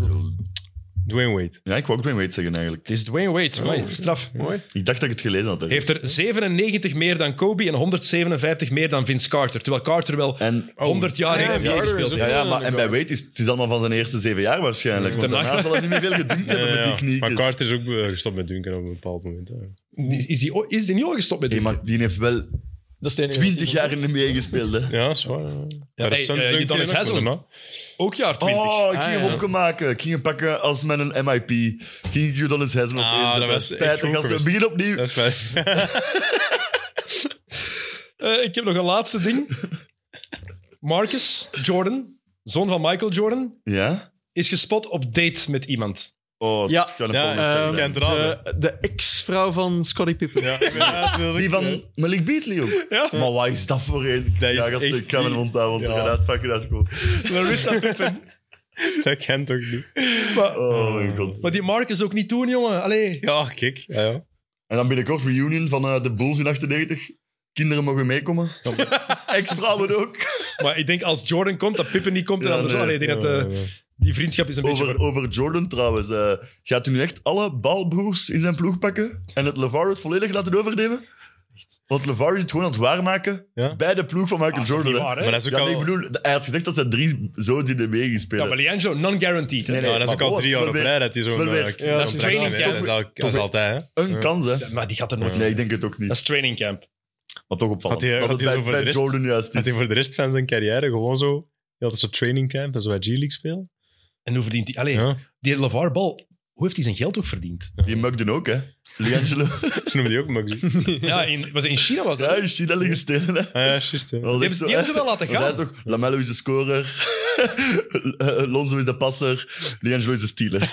Dwayne Wade. Ja, ik wou ook Dwayne Wade zeggen eigenlijk. Het is Dwayne Wade. Amai, straf. Mooi. Ik dacht dat ik het gelezen had. ergens. Heeft er 97 meer dan Kobe en 157 meer dan Vince Carter. Terwijl Carter wel En, Oh, 100 jaar in Ja, de NBA Carter is gespeeld ook- ja, heeft. ja, maar, en bij Wade is het is allemaal van zijn eerste zeven jaar waarschijnlijk. Want Daarna- daarna zal hij niet meer veel gedunkt hebben met die knieën. Maar Carter is ook eh, gestopt met dunken op een bepaald moment. hè. Is, is, die, o- is die niet al gestopt met Hey, dit? maar die heeft wel Dat is de enige 20 jaar in de NBA gespeeld. Hè. Ja, zwaar. Ja, hey, de Suns eh, dunken Udonis ook, maar Haslem. daarna- Ook jaar 20. Oh, ik Ah, ging ja. hem opmaken. Ik ging hem pakken als met een MIP. Ging ik Udonis Hazen op Ah, inzetten. dat was echt Spijtig, goed gasten. geweest. Begin opnieuw. Dat is fijn. Eh, ik heb nog een laatste ding. Marcus Jordan, zoon van Michael Jordan, Ja? is gespot op date met iemand. Oh, Ja. het kan een Ja, ja, eh, zijn. kent- de, de ex-vrouw van Scottie Pippen. Ja, inderdaad, wil ik, Die eh, van Malik Beasley ook. Ja. Maar wat is dat voor een? Dat is ja, gasten, echt ik kan niet- hem onthouden, want Ja. ja. eruit pakken dat gewoon. Larissa Pippen. Dat kent ook niet. Maar, Oh mijn god. maar die Marcus ook niet doen, jongen. Allee. Ja, kijk. Ja, ja. En dan binnenkort reunion van eh, de Bulls in 98. Kinderen mogen meekomen. Ex-vrouwen ook. Maar ik denk als Jordan komt, dat Pippen niet komt. en Ja, anders. nee. Allee, ik denk dat eh, die vriendschap is een beetje... Over, ver- over Jordan trouwens. eh, gaat u nu echt alle balbroers in zijn ploeg pakken en het LeVar het volledig laten overnemen? Want LeVar is het gewoon aan het waarmaken Ja. bij de ploeg van Michael Ah, is Jordan. niet hè. waar, hè? Maar dat is ook Ja, al... nee, ik bedoel, hij had gezegd dat ze drie zoons in de mee Ja, spelen. maar Liangelo, non-guaranteed. hè. Nee, nee. ja, dat is ook maar al oh, drie het is jaar op wel rij weer- dat hij het zo'n is wel weer- eh, contract Ja, dat is training heeft. Dat is al- Dat is weer- altijd, hè. Een kans, hè? Maar die gaat er nooit Nee, ik denk het ook Dat niet. is training camp. Maar toch opvallend. Had hij- dat had het hij bij, zo voor de bij rest- Jordan juist Dat is. hij voor de rest van zijn carrière gewoon zo... Hij had zo'n training camp en zo bij G-League speel. En hoe verdient hij... Allee, Ja. die LeVar Ball, hoe heeft hij zijn geld ook verdiend? Die mugden ook, hè? Liangelo. Ze noemde die ook Maxi. Ja, in, was het in China was dat? ja, is China liggen stelen, hè? Ah, ja, juist. ja. Dat Die is hebben, echt ze- zo, die hè. hebben ze wel laten Want Hij is gaan. toch, Lamello is de scorer, Lonzo is de passer, Liangelo is de stealer.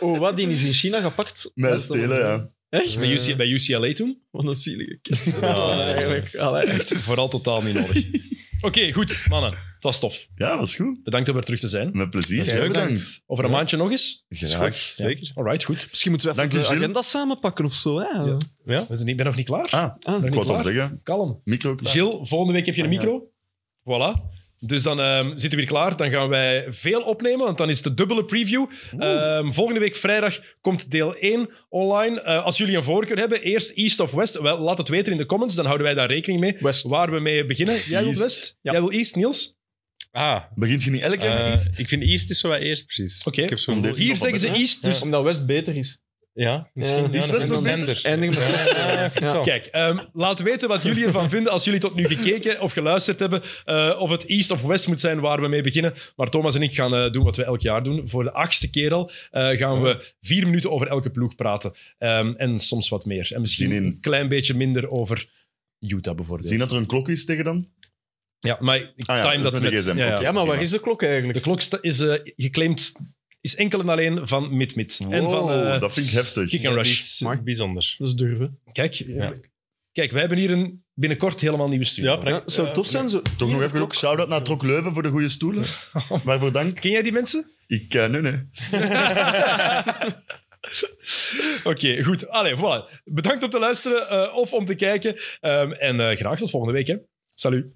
Oh, wat? Die is in China gepakt? Met stelen, ja. Echt? Bij, UC, bij UCLA toen? Wat een zielige kind. Ja. eigenlijk. Allee, echt. Vooral totaal niet nodig. Oké, goed, mannen. Het was tof. Ja, was goed. Bedankt om er terug te zijn. Met plezier. leuk, bedankt. Over een maandje nog eens? Graag. Zeker. All right, goed. Misschien moeten we even Dank je, de Gilles. agenda samenpakken of zo. Hè? Ja. Ja? We zijn- Ik ben nog niet klaar. Ah, Ah, Ben nog ik wou niet het al klaar. zeggen. Kalm. Micro klaar. Gil, volgende week heb je een Ah, ja. micro. Voilà. Dus dan ehm, zitten we hier klaar. Dan gaan wij veel opnemen, want dan is het de dubbele preview. Ehm, volgende week vrijdag komt deel 1 online. Eh, als jullie een voorkeur hebben, eerst East of West, wel, laat het weten in de comments. Dan houden wij daar rekening mee. West. Waar we mee beginnen. Jij wil East. West? Ja. Jij wil East, Niels? Ah, Begint je niet elke keer eh, met iets? ik vind East is zo wat eerst, precies. Oké. Ik heb zo'n... Om dit- Hier zeggen ze Ja. East, dus Omdat West beter is. Ja, misschien. Ja, Ja, die is dat best een wel zender. Eindigen met... Ja. Oh. Kijk, ehm, laat weten wat jullie ervan vinden als jullie tot nu gekeken of geluisterd hebben. eh, of het East of West moet zijn waar we mee beginnen. Maar Thomas en ik gaan eh, doen wat we elk jaar doen. Voor de achtste keer al eh, gaan we vier minuten over elke ploeg praten. Ehm, en soms wat meer. En misschien Zin in. een klein beetje minder over Utah bijvoorbeeld. Zien dat er een klok is tegen dan? Ja, maar ik Ah ja, time dat, dat is met de net. GSM, Ja, ja. oké. ja, maar waar is de klok eigenlijk? De klok sta- is eh, geclaimd is enkel en alleen van Mid-Mid. en van Wow, eh dat vind ik heftig. Kick and Dat Rush. is Maar- bijzonder. Dat is durven. Kijk, eh, kijk, wij hebben hier een binnenkort helemaal nieuwe studio. Ja, Ja, prachtig. het zou tof zijn. Zo, Toch nog even ook shout-out naar Trok Leuven voor de goede stoelen. Waarvoor dank. Ken jij die mensen? Ik, eh, nee, nee. Oké, goed. Allee, voilà. Bedankt om te luisteren eh, of om te kijken. Ehm, en eh, graag tot volgende week. Hè. Salut.